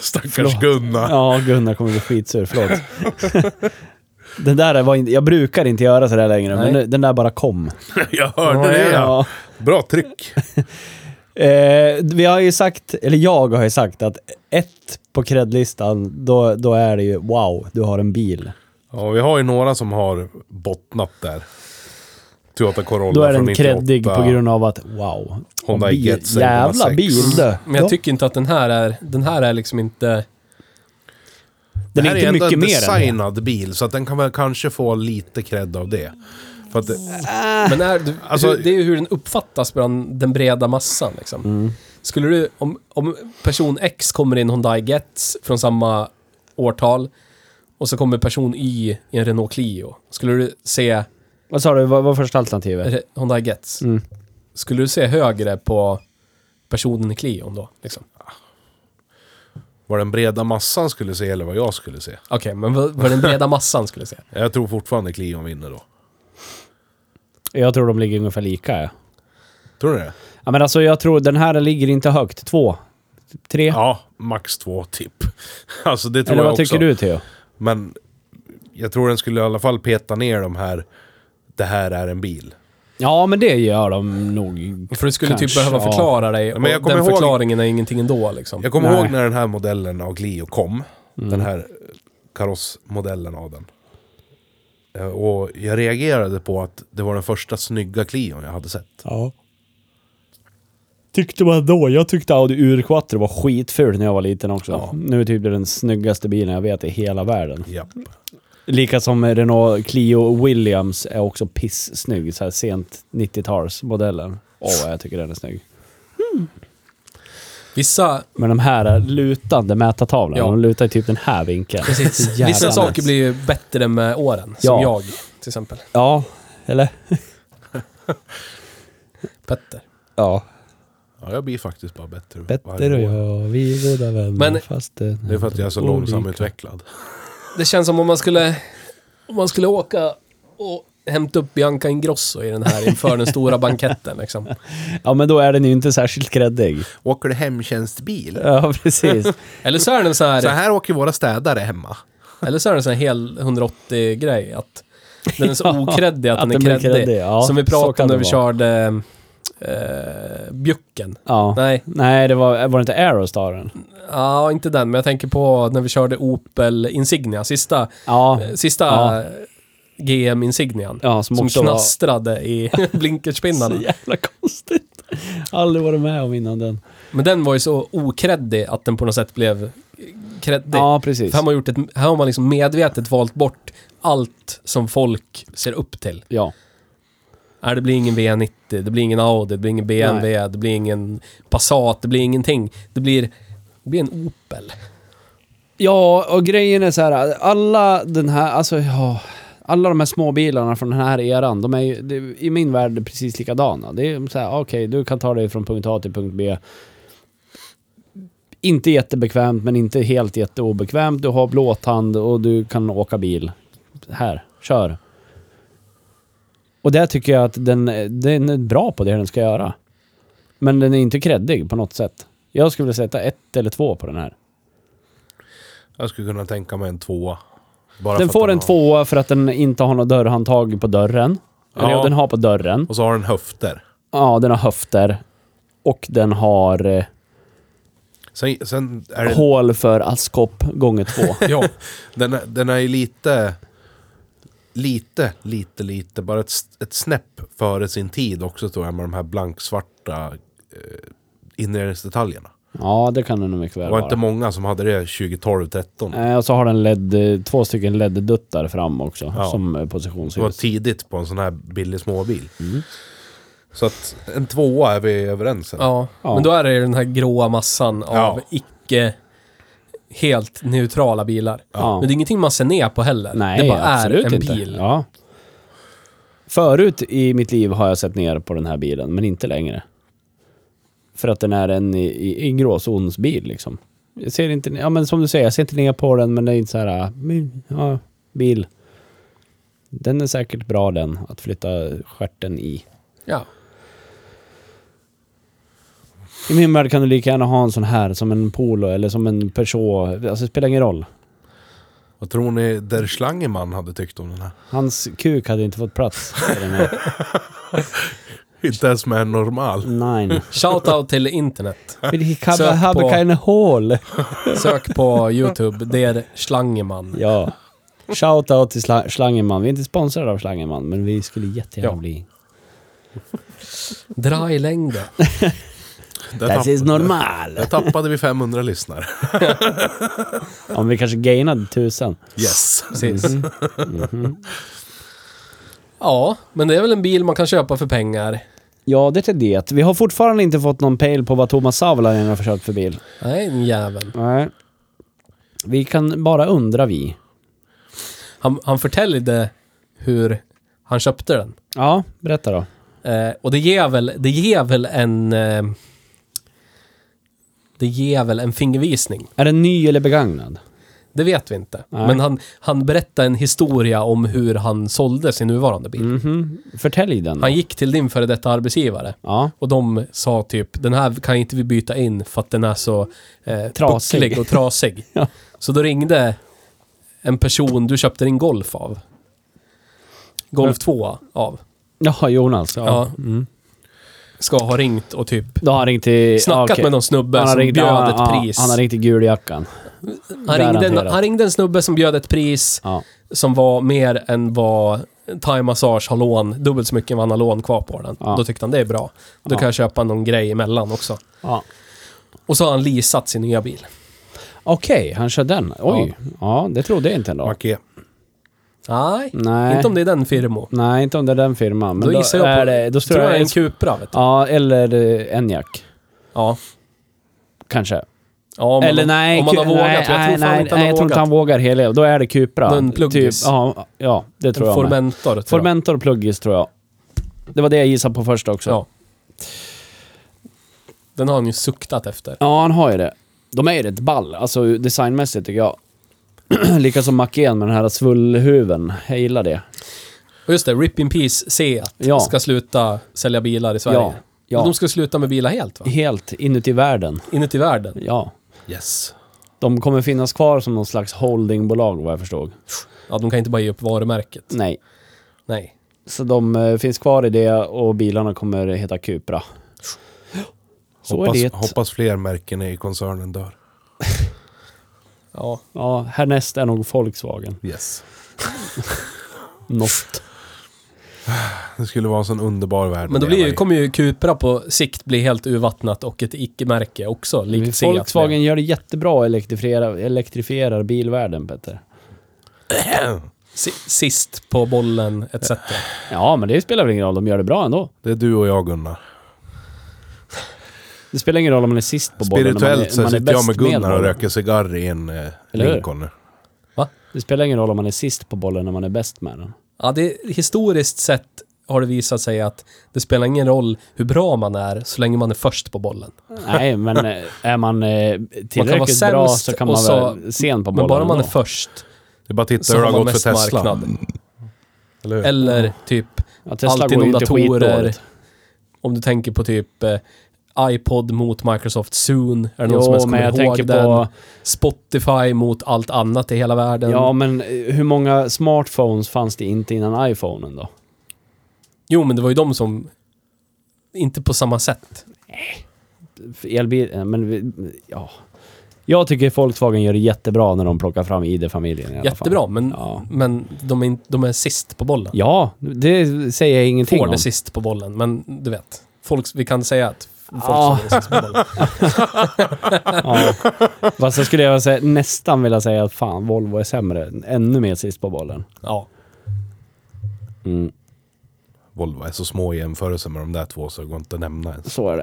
Speaker 2: Stackars Gunnar.
Speaker 3: Ja, Gunnar kommer bli skitsur. Förlåt. den där var inte... Jag brukar inte göra sådär längre,
Speaker 1: Nej.
Speaker 3: men nu- den där bara kom.
Speaker 2: Jag hörde det ja.
Speaker 3: Ja.
Speaker 2: Bra tryck.
Speaker 3: Eh, vi har ju sagt, eller jag har ju sagt att ett på kredlistan, då, då är det ju wow, du har en bil.
Speaker 2: Ja, vi har ju några som har bottnat där. Toyota Corolla
Speaker 3: Då är
Speaker 2: från
Speaker 3: den
Speaker 2: 98.
Speaker 3: kreddig på grund av att wow. Mm.
Speaker 2: Honda
Speaker 3: bil,
Speaker 2: Get 6,6.
Speaker 3: jävla bil du.
Speaker 1: Men jag tycker inte att den här är... Den här är liksom inte...
Speaker 3: Den
Speaker 2: Det
Speaker 3: är
Speaker 2: här
Speaker 3: inte
Speaker 2: ändå
Speaker 3: mycket
Speaker 2: en
Speaker 3: mer än det.
Speaker 2: designad bil, så att den kan väl kanske få lite cred av det. För att det
Speaker 1: Men är, du,
Speaker 2: Alltså-
Speaker 1: hur, det är ju hur den uppfattas bland den breda massan. Liksom. Skulle du, om, om person X kommer in Hyundai Getz från samma årtal och så kommer person Y i en Renault Clio. Skulle du se
Speaker 3: Vad sa du, vad var första alternativet?
Speaker 1: Re- Hyundai Getz?
Speaker 3: Mm.
Speaker 1: Skulle du se högre på personen i Clion då? Liksom?
Speaker 2: vad den breda massan skulle se eller vad jag skulle se.
Speaker 1: Okej, men vad, vad den breda massan skulle se?
Speaker 2: Jag tror fortfarande Clion vinner då.
Speaker 3: Jag tror de ligger ungefär lika. Ja.
Speaker 2: Tror du det?
Speaker 3: Ja, men alltså jag tror den här ligger inte högt. Två? Tre?
Speaker 2: Ja, max två typ. Alltså det tror
Speaker 3: eller
Speaker 2: jag
Speaker 3: vad
Speaker 2: också.
Speaker 3: tycker du Theo?
Speaker 2: Men jag tror den skulle i alla fall peta ner de här, det här är en bil.
Speaker 3: Ja, men det gör de nog.
Speaker 1: För du skulle typ
Speaker 3: Kanske,
Speaker 1: behöva
Speaker 3: ja.
Speaker 1: förklara dig
Speaker 2: Men jag
Speaker 1: och
Speaker 2: kommer
Speaker 1: den
Speaker 2: ihåg-
Speaker 1: förklaringen är ingenting ändå. Liksom.
Speaker 2: Jag kommer
Speaker 3: Nej. Mm.
Speaker 2: ihåg när den här modellen av Clio kom. Den här karossmodellen av den. Eh, Och jag reagerade på att det var den första snygga Clion jag hade sett.
Speaker 3: Ja. Tyckte man då. Jag tyckte Audi Urquattro var skitful när jag var liten också.
Speaker 2: Ja.
Speaker 3: Nu är typ det den snyggaste bilen jag vet i hela världen.
Speaker 2: Japp.
Speaker 3: Lika som Renault Clio Williams är också pissnygg. Så här sent 90-talsmodellen. Åh, vad jag tycker den är snygg.
Speaker 1: Vissa
Speaker 3: Men de här är lutande mätartavlan,
Speaker 1: Ja.
Speaker 3: de lutar i typ den här vinkeln.
Speaker 1: Precis.
Speaker 3: Jävla
Speaker 1: Vissa saker
Speaker 3: nice.
Speaker 1: blir ju bättre med åren. Som
Speaker 3: Ja.
Speaker 1: jag, till exempel.
Speaker 3: Ja, eller?
Speaker 1: Petter.
Speaker 3: Ja.
Speaker 2: Ja, jag blir faktiskt bara bättre.
Speaker 3: Petter
Speaker 2: varje
Speaker 3: och
Speaker 2: år.
Speaker 3: jag, vi är goda vänner.
Speaker 1: Men-
Speaker 3: fast
Speaker 2: Det är för att jag är
Speaker 3: Mm.
Speaker 2: så långsamutvecklad.
Speaker 1: Det känns som om man skulle... Om man skulle åka och hämta upp Bianca Ingrosso i den här inför den stora banketten liksom.
Speaker 3: Ja, men då är den ju inte särskilt gräddig.
Speaker 2: Åker du hemtjänstbil?
Speaker 3: Ja, precis.
Speaker 1: Eller så är den så
Speaker 2: Så
Speaker 1: här,
Speaker 2: här åker våra städare hemma.
Speaker 1: eller så är den så här hel 180-grej. Att den är så okreddig att, den är kreddig.
Speaker 3: ja.
Speaker 1: som vi
Speaker 3: Så
Speaker 1: pratade
Speaker 3: kan
Speaker 1: om när
Speaker 3: det
Speaker 1: vi
Speaker 3: vara.
Speaker 1: körde eh, Bjucken.
Speaker 3: Ja. Nej.
Speaker 1: Nej,
Speaker 3: det var, var det inte Aerostaren?
Speaker 1: ja, inte den, men jag tänker på när vi körde Opel Insignia, sista,
Speaker 3: Ja,
Speaker 1: sista
Speaker 3: Ja.
Speaker 1: GM Insignian.
Speaker 3: ja som,
Speaker 1: Som
Speaker 3: också
Speaker 1: knastrade i
Speaker 3: var...
Speaker 1: blinkerspinnarna.
Speaker 3: Så jävla konstigt. Aldrig varit med om innan den.
Speaker 1: Men den var ju så okreddig att den på något sätt blev kreddig.
Speaker 3: ja, precis.
Speaker 1: För här, har man gjort ett, här har man liksom medvetet valt bort allt som folk ser upp till.
Speaker 3: Ja.
Speaker 1: Nej, det blir ingen V90, det blir ingen Audi, det blir ingen BMW, det blir ingen Passat, det blir ingenting. Det blir, det blir en Opel.
Speaker 3: ja, och grejen är så här, alla den här, alltså ja. Alla de här småbilarna från den här eran, de är ju det, är i min värld precis likadana. Det är så här, okej, du kan ta dig från punkt A till punkt B. Inte jättebekvämt, men inte helt jätteobekvämt. Du har blåtand och du kan åka bil. Här, kör. Och där tycker jag att den, den är bra på det den ska göra. Men den är inte kreddig på något sätt. Jag skulle vilja sätta ett eller två på den här.
Speaker 2: Jag skulle kunna tänka mig en tvåa. Bara för
Speaker 3: Den
Speaker 2: att
Speaker 3: får en
Speaker 2: har-
Speaker 3: tvåa för att den inte har något dörrhandtag på dörren. Eller
Speaker 2: Ja.
Speaker 3: ja, den har på dörren.
Speaker 2: Och så har den höfter.
Speaker 3: Ja, den har höfter. Och den har eh,
Speaker 2: Sen, sen är det,
Speaker 3: hål för askkopp gånger två.
Speaker 2: ja, den, är- den är ju lite, lite, lite, lite, bara ett, s- ett snäpp före sin tid också tror jag med de här blanksvarta eh, inredningsdetaljerna.
Speaker 3: Ja, det kan den nog mycket
Speaker 2: Det
Speaker 3: väl
Speaker 2: var inte
Speaker 3: vara.
Speaker 2: många som hade det 2012-13.
Speaker 3: Eh, Och så har den LED, eh, två stycken LED-duttar fram också
Speaker 2: Ja.
Speaker 3: som eh,
Speaker 2: Det var
Speaker 3: positionsljus.
Speaker 2: tidigt på en sån här billig småbil.
Speaker 3: Mm.
Speaker 2: Så att en tvåa är vi överens om.
Speaker 1: Ja.
Speaker 3: Ja.
Speaker 1: men då är det ju den här gråa massan av
Speaker 2: Ja.
Speaker 1: icke helt neutrala bilar.
Speaker 3: Ja.
Speaker 1: Men det är ingenting man ser ner på heller.
Speaker 3: Nej,
Speaker 1: det bara är
Speaker 3: absolut
Speaker 1: en
Speaker 3: inte.
Speaker 1: bil.
Speaker 3: Ja. Förut i mitt liv har jag sett ner på den här bilen, men inte längre. För att den är en i, i, i gråzonsbil liksom. Jag ser inte, ja men som du säger, jag ser inte ner på den, men det är inte så här, äh, men, ja, bil. Den är säkert bra den, att flytta stjärten i.
Speaker 1: Ja.
Speaker 3: I min värld kan du lika gärna ha en sån här som en Polo eller som en Peugeot. Alltså det spelar ingen roll.
Speaker 2: Vad tror ni Der Schlangeman hade tyckt om den här?
Speaker 3: Hans kuk hade inte fått plats. i den här.
Speaker 2: Inte ens med en normal.
Speaker 3: Nej.
Speaker 1: Shoutout till internet.
Speaker 3: Vill he
Speaker 1: Sök
Speaker 3: cover have
Speaker 1: på-
Speaker 3: a kind of hole?
Speaker 1: Sök på YouTube. Det är Schlangeman.
Speaker 3: Ja. Shoutout till Schla- Schlangenman. Vi är inte sponsrade av Schlangenman, men vi skulle jättegärna
Speaker 1: Ja.
Speaker 3: bli.
Speaker 1: Dra i längden.
Speaker 2: Där tapp-
Speaker 3: normal.
Speaker 2: Där tappade vi 500 lyssnare.
Speaker 3: Om vi kanske gainade tusen.
Speaker 2: Yes.
Speaker 1: Precis.
Speaker 3: Mm.
Speaker 1: Ja, men det är väl en bil man kan köpa för pengar.
Speaker 3: Ja, det är det. Vi har fortfarande inte fått någon pejl på vad Thomas Savolainen har försökt för bil.
Speaker 1: Nej, den jäveln.
Speaker 3: Nej. Vi kan bara undra vi.
Speaker 1: Han, han förtäljde hur han köpte den.
Speaker 3: Ja, berätta då.
Speaker 1: Eh, och det ger väl, det ger väl en... Eh, det ger väl en fingervisning.
Speaker 3: Är den ny eller begagnad?
Speaker 1: Det vet vi inte.
Speaker 3: Nej.
Speaker 1: Men han, han berättar en historia om hur han sålde sin nuvarande bil.
Speaker 3: Mhm. Förtälj den.
Speaker 1: Han gick till din före detta arbetsgivare.
Speaker 3: Ja.
Speaker 1: Och de sa typ, den här kan inte vi byta in för att den är så eh,
Speaker 3: Trasig.
Speaker 1: bucklig och trasig.
Speaker 3: Ja.
Speaker 1: Så då ringde en person du köpte din Golf av. Golf 2 av.
Speaker 3: Jaha, Jonas. Ja.
Speaker 1: Ja. Ska ha ringt och typ
Speaker 3: Då har han ringt till...
Speaker 1: snackat
Speaker 3: ja, okej.
Speaker 1: med någon snubbe som bjöd
Speaker 3: ja,
Speaker 1: ett
Speaker 3: ja,
Speaker 1: pris.
Speaker 3: Han har ringt till guljackan.
Speaker 1: Han ringde, en,
Speaker 3: garanterat.
Speaker 1: han ringde en snubbe som bjöd ett pris
Speaker 3: Ja.
Speaker 1: som var mer än vad Thai Massage har lån, dubbelt så mycket än vad han har lån kvar på den.
Speaker 3: Ja.
Speaker 1: Då tyckte han det är bra. Då
Speaker 3: Ja.
Speaker 1: kan jag köpa någon grej emellan också.
Speaker 3: ja.
Speaker 1: Och så har han leasat sin nya bil.
Speaker 3: Okej, han kör den. Oj. Ja. det trodde jag inte ändå.
Speaker 2: Macke.
Speaker 1: Nej,
Speaker 3: Nej.
Speaker 1: inte om det är den firmo.
Speaker 3: Nej, inte om det är den firman. Men
Speaker 1: Då,
Speaker 3: då,
Speaker 1: gissar jag på...
Speaker 3: är det, då
Speaker 1: tror jag det är en Cupra, vet du.
Speaker 3: Ja, eller eh, Enyaq.
Speaker 1: Ja.
Speaker 3: Kanske.
Speaker 1: ja om
Speaker 3: eller
Speaker 1: man, har-
Speaker 3: nej,
Speaker 1: om man har
Speaker 3: Cu-
Speaker 1: vågat.
Speaker 3: nej,
Speaker 1: jag tror
Speaker 3: nej,
Speaker 1: fan
Speaker 3: nej,
Speaker 1: inte
Speaker 3: nej,
Speaker 1: han
Speaker 3: jag
Speaker 1: har vågat.
Speaker 3: tror inte han vågar hela. Då är det Cupra. Typ,
Speaker 1: Någon pluggis.
Speaker 3: ja, ja, det tror
Speaker 1: En
Speaker 3: jag med.
Speaker 1: Formentor, tror jag.
Speaker 3: Formentor och pluggis tror jag. Det var det jag gissade på först också.
Speaker 1: Ja. Den har han ju suktat efter.
Speaker 3: Ja, han har ju det. De är ju rätt ball, alltså designmässigt tycker jag. Lika som Macken med den här svullhuven. Jag gillar det.
Speaker 1: Och just det, Rip In Peace C att
Speaker 3: Ja.
Speaker 1: ska sluta sälja bilar i Sverige.
Speaker 3: Ja, ja.
Speaker 1: De ska sluta med bilar helt, va?
Speaker 3: Helt inuti världen.
Speaker 1: Inuti världen.
Speaker 3: Ja.
Speaker 2: Yes.
Speaker 3: De kommer finnas kvar som någon slags holdingbolag vad jag förstod.
Speaker 1: Ja, de kan inte bara ge upp varumärket.
Speaker 3: Nej.
Speaker 1: Nej.
Speaker 3: Så de eh, finns kvar i det och bilarna kommer heta Cupra. Så
Speaker 2: hoppas,
Speaker 3: är det.
Speaker 2: hoppas fler märken i koncernen dör.
Speaker 1: Ja.
Speaker 3: Ja, härnäst är nog Volkswagen.
Speaker 2: Yes.
Speaker 3: Något.
Speaker 2: Det skulle vara en sån underbar värld.
Speaker 1: Men då
Speaker 2: att
Speaker 1: blir,
Speaker 2: leva
Speaker 1: ju-
Speaker 2: i.
Speaker 1: kommer ju Cupra på sikt bli helt urvattnat och ett icke-märke också, likt Seat.
Speaker 3: Volkswagen gör det jättebra och elektrifierar, elektrifierar bilvärlden, Petter.
Speaker 1: Si- Sist på bollen, etc.
Speaker 3: Ja, men det spelar väl ingen roll. De gör det bra ändå.
Speaker 2: Det är du och jag Gunnar.
Speaker 3: Det spelar ingen roll om man är sist på bollen. om
Speaker 2: Spirituellt så
Speaker 3: man är, om man är
Speaker 2: sitter jag
Speaker 3: bäst
Speaker 2: med Gunnar och
Speaker 3: bollen.
Speaker 2: röker cigarr i en eh,
Speaker 3: Eller hur?
Speaker 2: Lincoln nu.
Speaker 3: Det spelar ingen roll om man är sist på bollen när man är bäst med den.
Speaker 1: Ja, det, historiskt sett har det visat sig att det spelar ingen roll hur bra man är så länge man är först på bollen.
Speaker 3: Nej, men eh, är man eh,
Speaker 1: Man kan vara
Speaker 3: tillräckligt
Speaker 1: sämst
Speaker 3: bra så kan man
Speaker 1: och så-
Speaker 3: vara sen på bollen.
Speaker 1: Men bara man är
Speaker 3: ändå.
Speaker 1: först
Speaker 2: Det är bara att titta
Speaker 1: så
Speaker 2: hur det
Speaker 1: har
Speaker 2: har
Speaker 1: man
Speaker 2: gått för
Speaker 1: mest
Speaker 2: Tesla.
Speaker 1: marknad.
Speaker 2: Eller hur?
Speaker 1: Eller typ
Speaker 3: Ja, Tesla
Speaker 1: Alltid
Speaker 3: går ju inte
Speaker 1: datorer.
Speaker 3: skitdåligt.
Speaker 1: Om du tänker på typ eh, iPod mot Microsoft Soon. Är det någon som ens
Speaker 3: Jo,
Speaker 1: kommer
Speaker 3: men jag
Speaker 1: ihåg
Speaker 3: tänker
Speaker 1: den?
Speaker 3: på...
Speaker 1: Spotify mot allt annat i hela världen.
Speaker 3: Ja, men eh, hur många smartphones fanns det inte innan iPhonen då?
Speaker 1: Jo, men det var ju de som... Inte på samma sätt.
Speaker 3: Elbil... eh, Men vi- ja... Jag tycker Volkswagen gör det jättebra när de plockar fram ID-familjen i alla
Speaker 1: Jättebra,
Speaker 3: fall.
Speaker 1: men,
Speaker 3: Ja.
Speaker 1: men de, är, in- de är sist på bollen.
Speaker 3: Ja, det säger jag ingenting
Speaker 1: Ford är
Speaker 3: om.
Speaker 1: sist på bollen, men du vet. Folk, vi kan säga att folk
Speaker 3: Ja.
Speaker 1: är sist på bollen.
Speaker 3: Ja. Fast jag skulle jag säga, nästan vilja säga att fan, Volvo är sämre. Ännu mer sist på bollen.
Speaker 1: Ja.
Speaker 3: Mm,
Speaker 2: Volvo är så små i jämförelse med de där två så det går inte att nämna ens.
Speaker 3: så är det.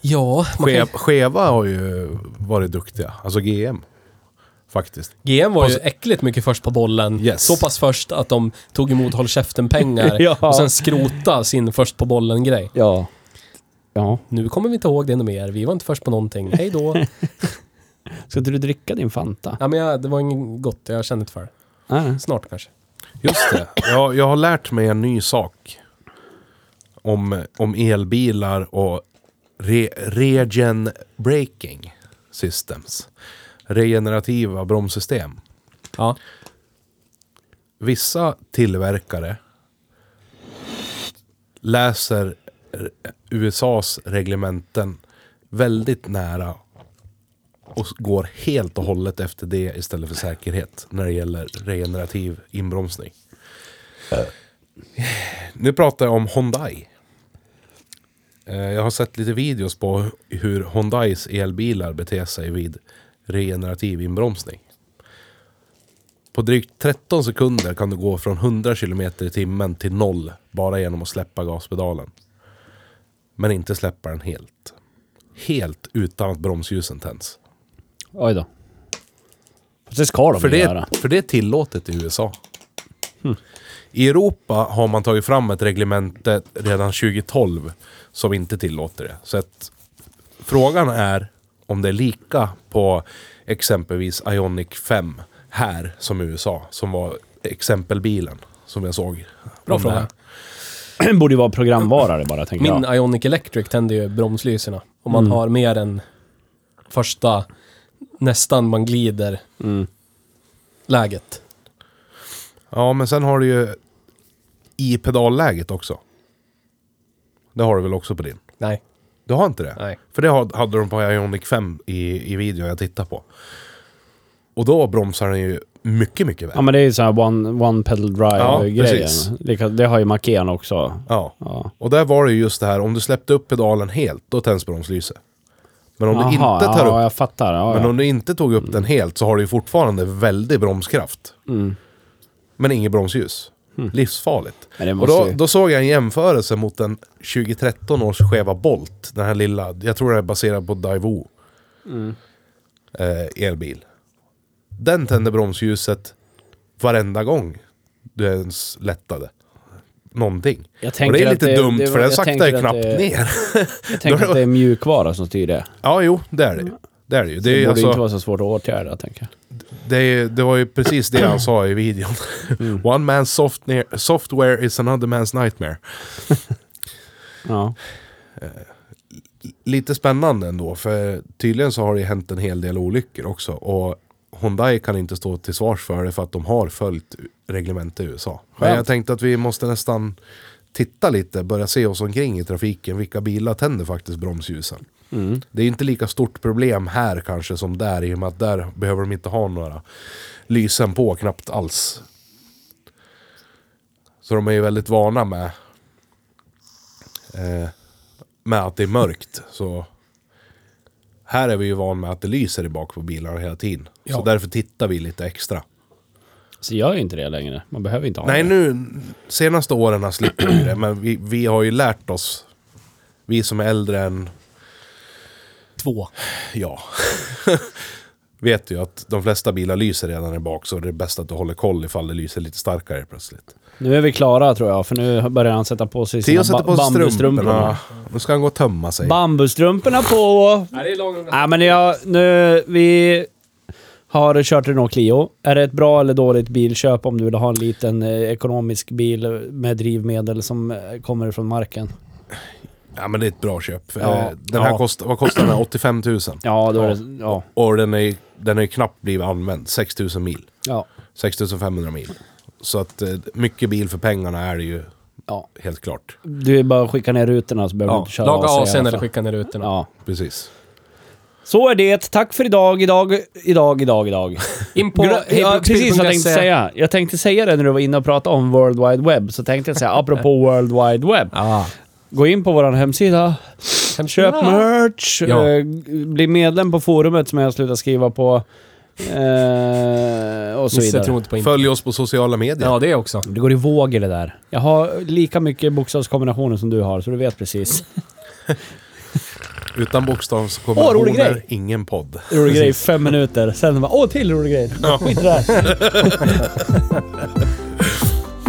Speaker 1: Ja, man kan,
Speaker 2: Skev, Skeva har ju varit duktiga. Alltså GM. Faktiskt.
Speaker 1: GM var ju äckligt mycket först på bollen.
Speaker 2: Yes.
Speaker 1: Så pass först att de tog emot håll käften-pengar
Speaker 3: Ja.
Speaker 1: och sen skrota sin först på bollen-grej.
Speaker 3: Ja. Ja.
Speaker 1: Nu kommer vi inte ihåg det ännu mer. Vi var inte först på någonting. Hej då.
Speaker 3: Ska inte du dricka din Fanta?
Speaker 1: ja, men jag, det var inget gott. Jag kände inte för det.
Speaker 3: Nej.
Speaker 1: Snart kanske.
Speaker 2: Just det. Jag, jag har lärt mig en ny sak. Om, om elbilar och re, regen braking systems. Regenerativa bromssystem.
Speaker 1: Ja.
Speaker 2: Vissa tillverkare läser r- USAs reglementen väldigt nära och s- går helt och hållet efter det istället för säkerhet när det gäller regenerativ inbromsning. Nu pratar jag om Hyundai. Eh, Jag har sett lite videos på hur Hyundais elbilar beter sig vid regenerativ inbromsning. På drygt 13 sekunder kan du gå från 100 km i timmen till noll bara genom att släppa gaspedalen. Men inte släppa den helt. Helt utan att bromsljusen tänds.
Speaker 3: Oj då. Fast det ska de
Speaker 2: För
Speaker 3: ju
Speaker 2: det,
Speaker 3: göra.
Speaker 2: för det är tillåtet i USA. I Europa har man tagit fram ett reglemente redan 2012 som inte tillåter det. Så att frågan är om det är lika på exempelvis Ionic 5 här som i USA. Som var exempelbilen som jag såg.
Speaker 1: Bra
Speaker 2: Om det här.
Speaker 3: eh,
Speaker 1: fråga.
Speaker 3: borde ju vara programvarare bara, tänker
Speaker 1: Min
Speaker 3: jag.
Speaker 1: Ionic Electric tänder ju bromslyserna. Om
Speaker 3: Mm.
Speaker 1: man har mer än första, nästan man glider,
Speaker 3: Mm.
Speaker 1: läget.
Speaker 2: Ja, men sen har du ju i pedalläget också. Det har du väl också på din?
Speaker 1: Nej.
Speaker 2: Du har inte det?
Speaker 1: Nej.
Speaker 2: För det had- hade de på Ionic 5 i, i videon jag tittade på. Och då bromsar den ju mycket, mycket väl.
Speaker 3: Ja, men det är ju sån här one, one pedal
Speaker 2: Ja,
Speaker 3: drive-grejen.
Speaker 2: precis.
Speaker 3: Lika- det har ju Macan också.
Speaker 2: Ja.
Speaker 3: Ja.
Speaker 2: Och där var det ju just det här, om du släppte upp pedalen helt, då tänds bromslyset. Men om du
Speaker 3: Jaha,
Speaker 2: inte tar
Speaker 3: ja,
Speaker 2: upp,
Speaker 3: jag fattar. Ja,
Speaker 2: men
Speaker 3: ja.
Speaker 2: om du inte tog upp den helt så har du ju fortfarande väldig bromskraft.
Speaker 3: Mm.
Speaker 2: Men inget bromsljus. Livsfarligt.
Speaker 3: Men det
Speaker 2: Och
Speaker 3: måste
Speaker 2: då,
Speaker 3: ju...
Speaker 2: då såg jag en jämförelse mot en 2013 års Cheva Bolt. Den här lilla, jag tror den är baserad på Daewoo.
Speaker 3: Mm.
Speaker 2: Eh, elbil. Den tände bromsljuset varenda gång du ens lättade. Någonting.
Speaker 3: Jag
Speaker 2: Och
Speaker 3: tänker
Speaker 2: det är
Speaker 3: att
Speaker 2: lite dumt
Speaker 3: det var-
Speaker 2: för den
Speaker 3: jag
Speaker 2: saktar
Speaker 3: tänker
Speaker 2: ju
Speaker 3: att
Speaker 2: knappt
Speaker 3: det-
Speaker 2: ner.
Speaker 3: Jag tänker att det är mjukvara som styr det.
Speaker 2: ja, jo, det är det ju. Det är det ju. Det, är
Speaker 3: Det,
Speaker 2: ju
Speaker 3: borde ju inte
Speaker 2: alltså,
Speaker 3: vara så svårt att åtgärda, tänker jag.
Speaker 2: det, är, det var ju precis det han sa i videon. One man's softne- software is another man's nightmare.
Speaker 3: Ja.
Speaker 2: lite spännande ändå, för tydligen så har det hänt en hel del olyckor också. Och Hyundai kan inte stå till svars för det för att de har följt reglementet i USA. Men
Speaker 3: Skönt.
Speaker 2: jag tänkte att vi måste nästan titta lite, börja se oss omkring i trafiken. Vilka bilar tänder faktiskt bromsljusen? Det är inte lika stort problem här kanske som där i och med att där behöver de inte ha några lysen på knappt alls. Så de är ju väldigt vana med eh, med att det är mörkt. Så här är vi ju van med att det lyser i bak på bilarna hela tiden.
Speaker 1: Ja.
Speaker 2: Så därför tittar vi lite extra.
Speaker 3: Så gör ju inte det längre. Man behöver inte ha
Speaker 2: Nej,
Speaker 3: det.
Speaker 2: nu senaste åren har slipper vi det, men vi, vi har ju lärt oss. Vi som är äldre än,
Speaker 1: Två.
Speaker 2: ja, vet ju att de flesta bilar lyser redan i bak så det är bäst att du håller koll ifall det lyser lite starkare plötsligt.
Speaker 3: Nu är vi klara tror jag, för nu börjar han sätta på sig
Speaker 2: Theo
Speaker 3: sina
Speaker 2: sätter
Speaker 3: ba-
Speaker 2: på sig
Speaker 3: bambustrumporna.
Speaker 2: strumporna. Nu ska han gå och tömma sig.
Speaker 3: Bambustrumporna på!
Speaker 1: Nej, det är lång...
Speaker 3: Nej men jag, nu, vi Har kört Renault Clio. Är det ett bra eller dåligt bilköp om du vill ha en liten eh, ekonomisk bil med drivmedel som eh, kommer från marken?
Speaker 2: Ja men det är ett bra köp. Eh,
Speaker 3: Ja.
Speaker 2: Den här
Speaker 3: Ja.
Speaker 2: kostar, vad kostar den här? 85 000.
Speaker 3: Ja, då är det... Ja.
Speaker 2: Och den är, den är knappt blivit använd. 6 000 mil.
Speaker 3: Ja.
Speaker 2: 6 500 mil. Så att eh, mycket bil för pengarna är det ju
Speaker 3: ja.
Speaker 2: helt klart.
Speaker 3: Du är bara att skicka ner rutorna så behöver du
Speaker 1: Ja,
Speaker 3: inte köra
Speaker 1: laga
Speaker 3: AC i
Speaker 1: AC'n
Speaker 3: alla
Speaker 1: eller
Speaker 3: fall.
Speaker 1: skicka ner rutorna.
Speaker 3: Ja.
Speaker 2: Precis.
Speaker 3: Så är det. Tack för idag, idag, idag, idag, idag.
Speaker 1: In på
Speaker 3: Gla- ja, precis vad jag tänkte
Speaker 1: hejbruksbil.se.
Speaker 3: säga. Jag tänkte säga det när du var inne och pratade om World Wide Web. Så tänkte jag säga, apropå World Wide Web. Gå in på vår hemsida. Köp merch.
Speaker 1: Ja.
Speaker 3: Eh, bli medlem på forumet som jag har slutat skriva på. Eh, och så
Speaker 1: Nisse tror
Speaker 3: vidare.
Speaker 1: inte på internet.
Speaker 2: Följ oss på sociala medier.
Speaker 1: Ja, det också.
Speaker 3: Det går i vågor det där. Jag har lika mycket bokstavskombinationer som du har, så du vet precis.
Speaker 2: Utan
Speaker 3: Åh, rolig
Speaker 2: bokstavskombinationer,
Speaker 3: grej.
Speaker 2: ingen podd.
Speaker 3: Rolig grej i fem minuter. Sen bara, åh till rolig grej. Skit i det här.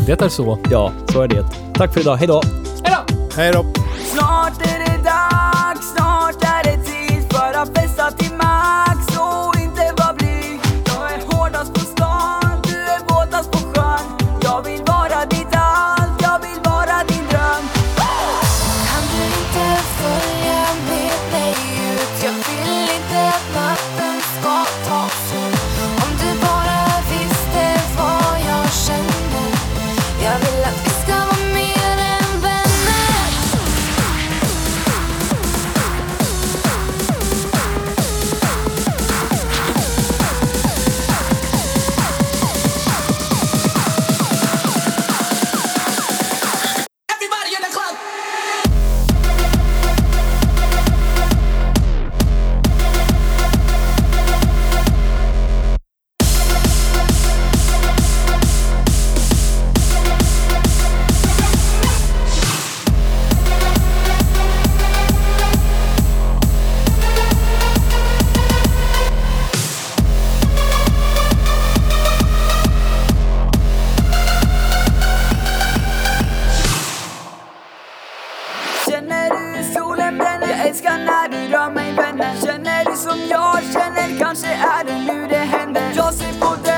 Speaker 1: Det är så.
Speaker 3: Ja, så är det. Tack för idag. Hejdå!
Speaker 2: Hej då!
Speaker 5: Snart är det dags, snart är det tid för att festa till max och inte vara blyg. Jag är hårdast på stan, du är våtast på sjön. Jag vill vara ditt allt, jag vill vara din dröm.
Speaker 6: Kan du inte följa med mig ut? Jag vill inte att natten ska ta slut. Om du bara visste vad jag känner. Jag vill att vi ska vara mer än vänner.
Speaker 5: Everybody in the club! Känner du hur solen bränner? Jag älskar när du rör mig vännen Känner du som jag känner? Kanske är det nu det händer Jag ser på dig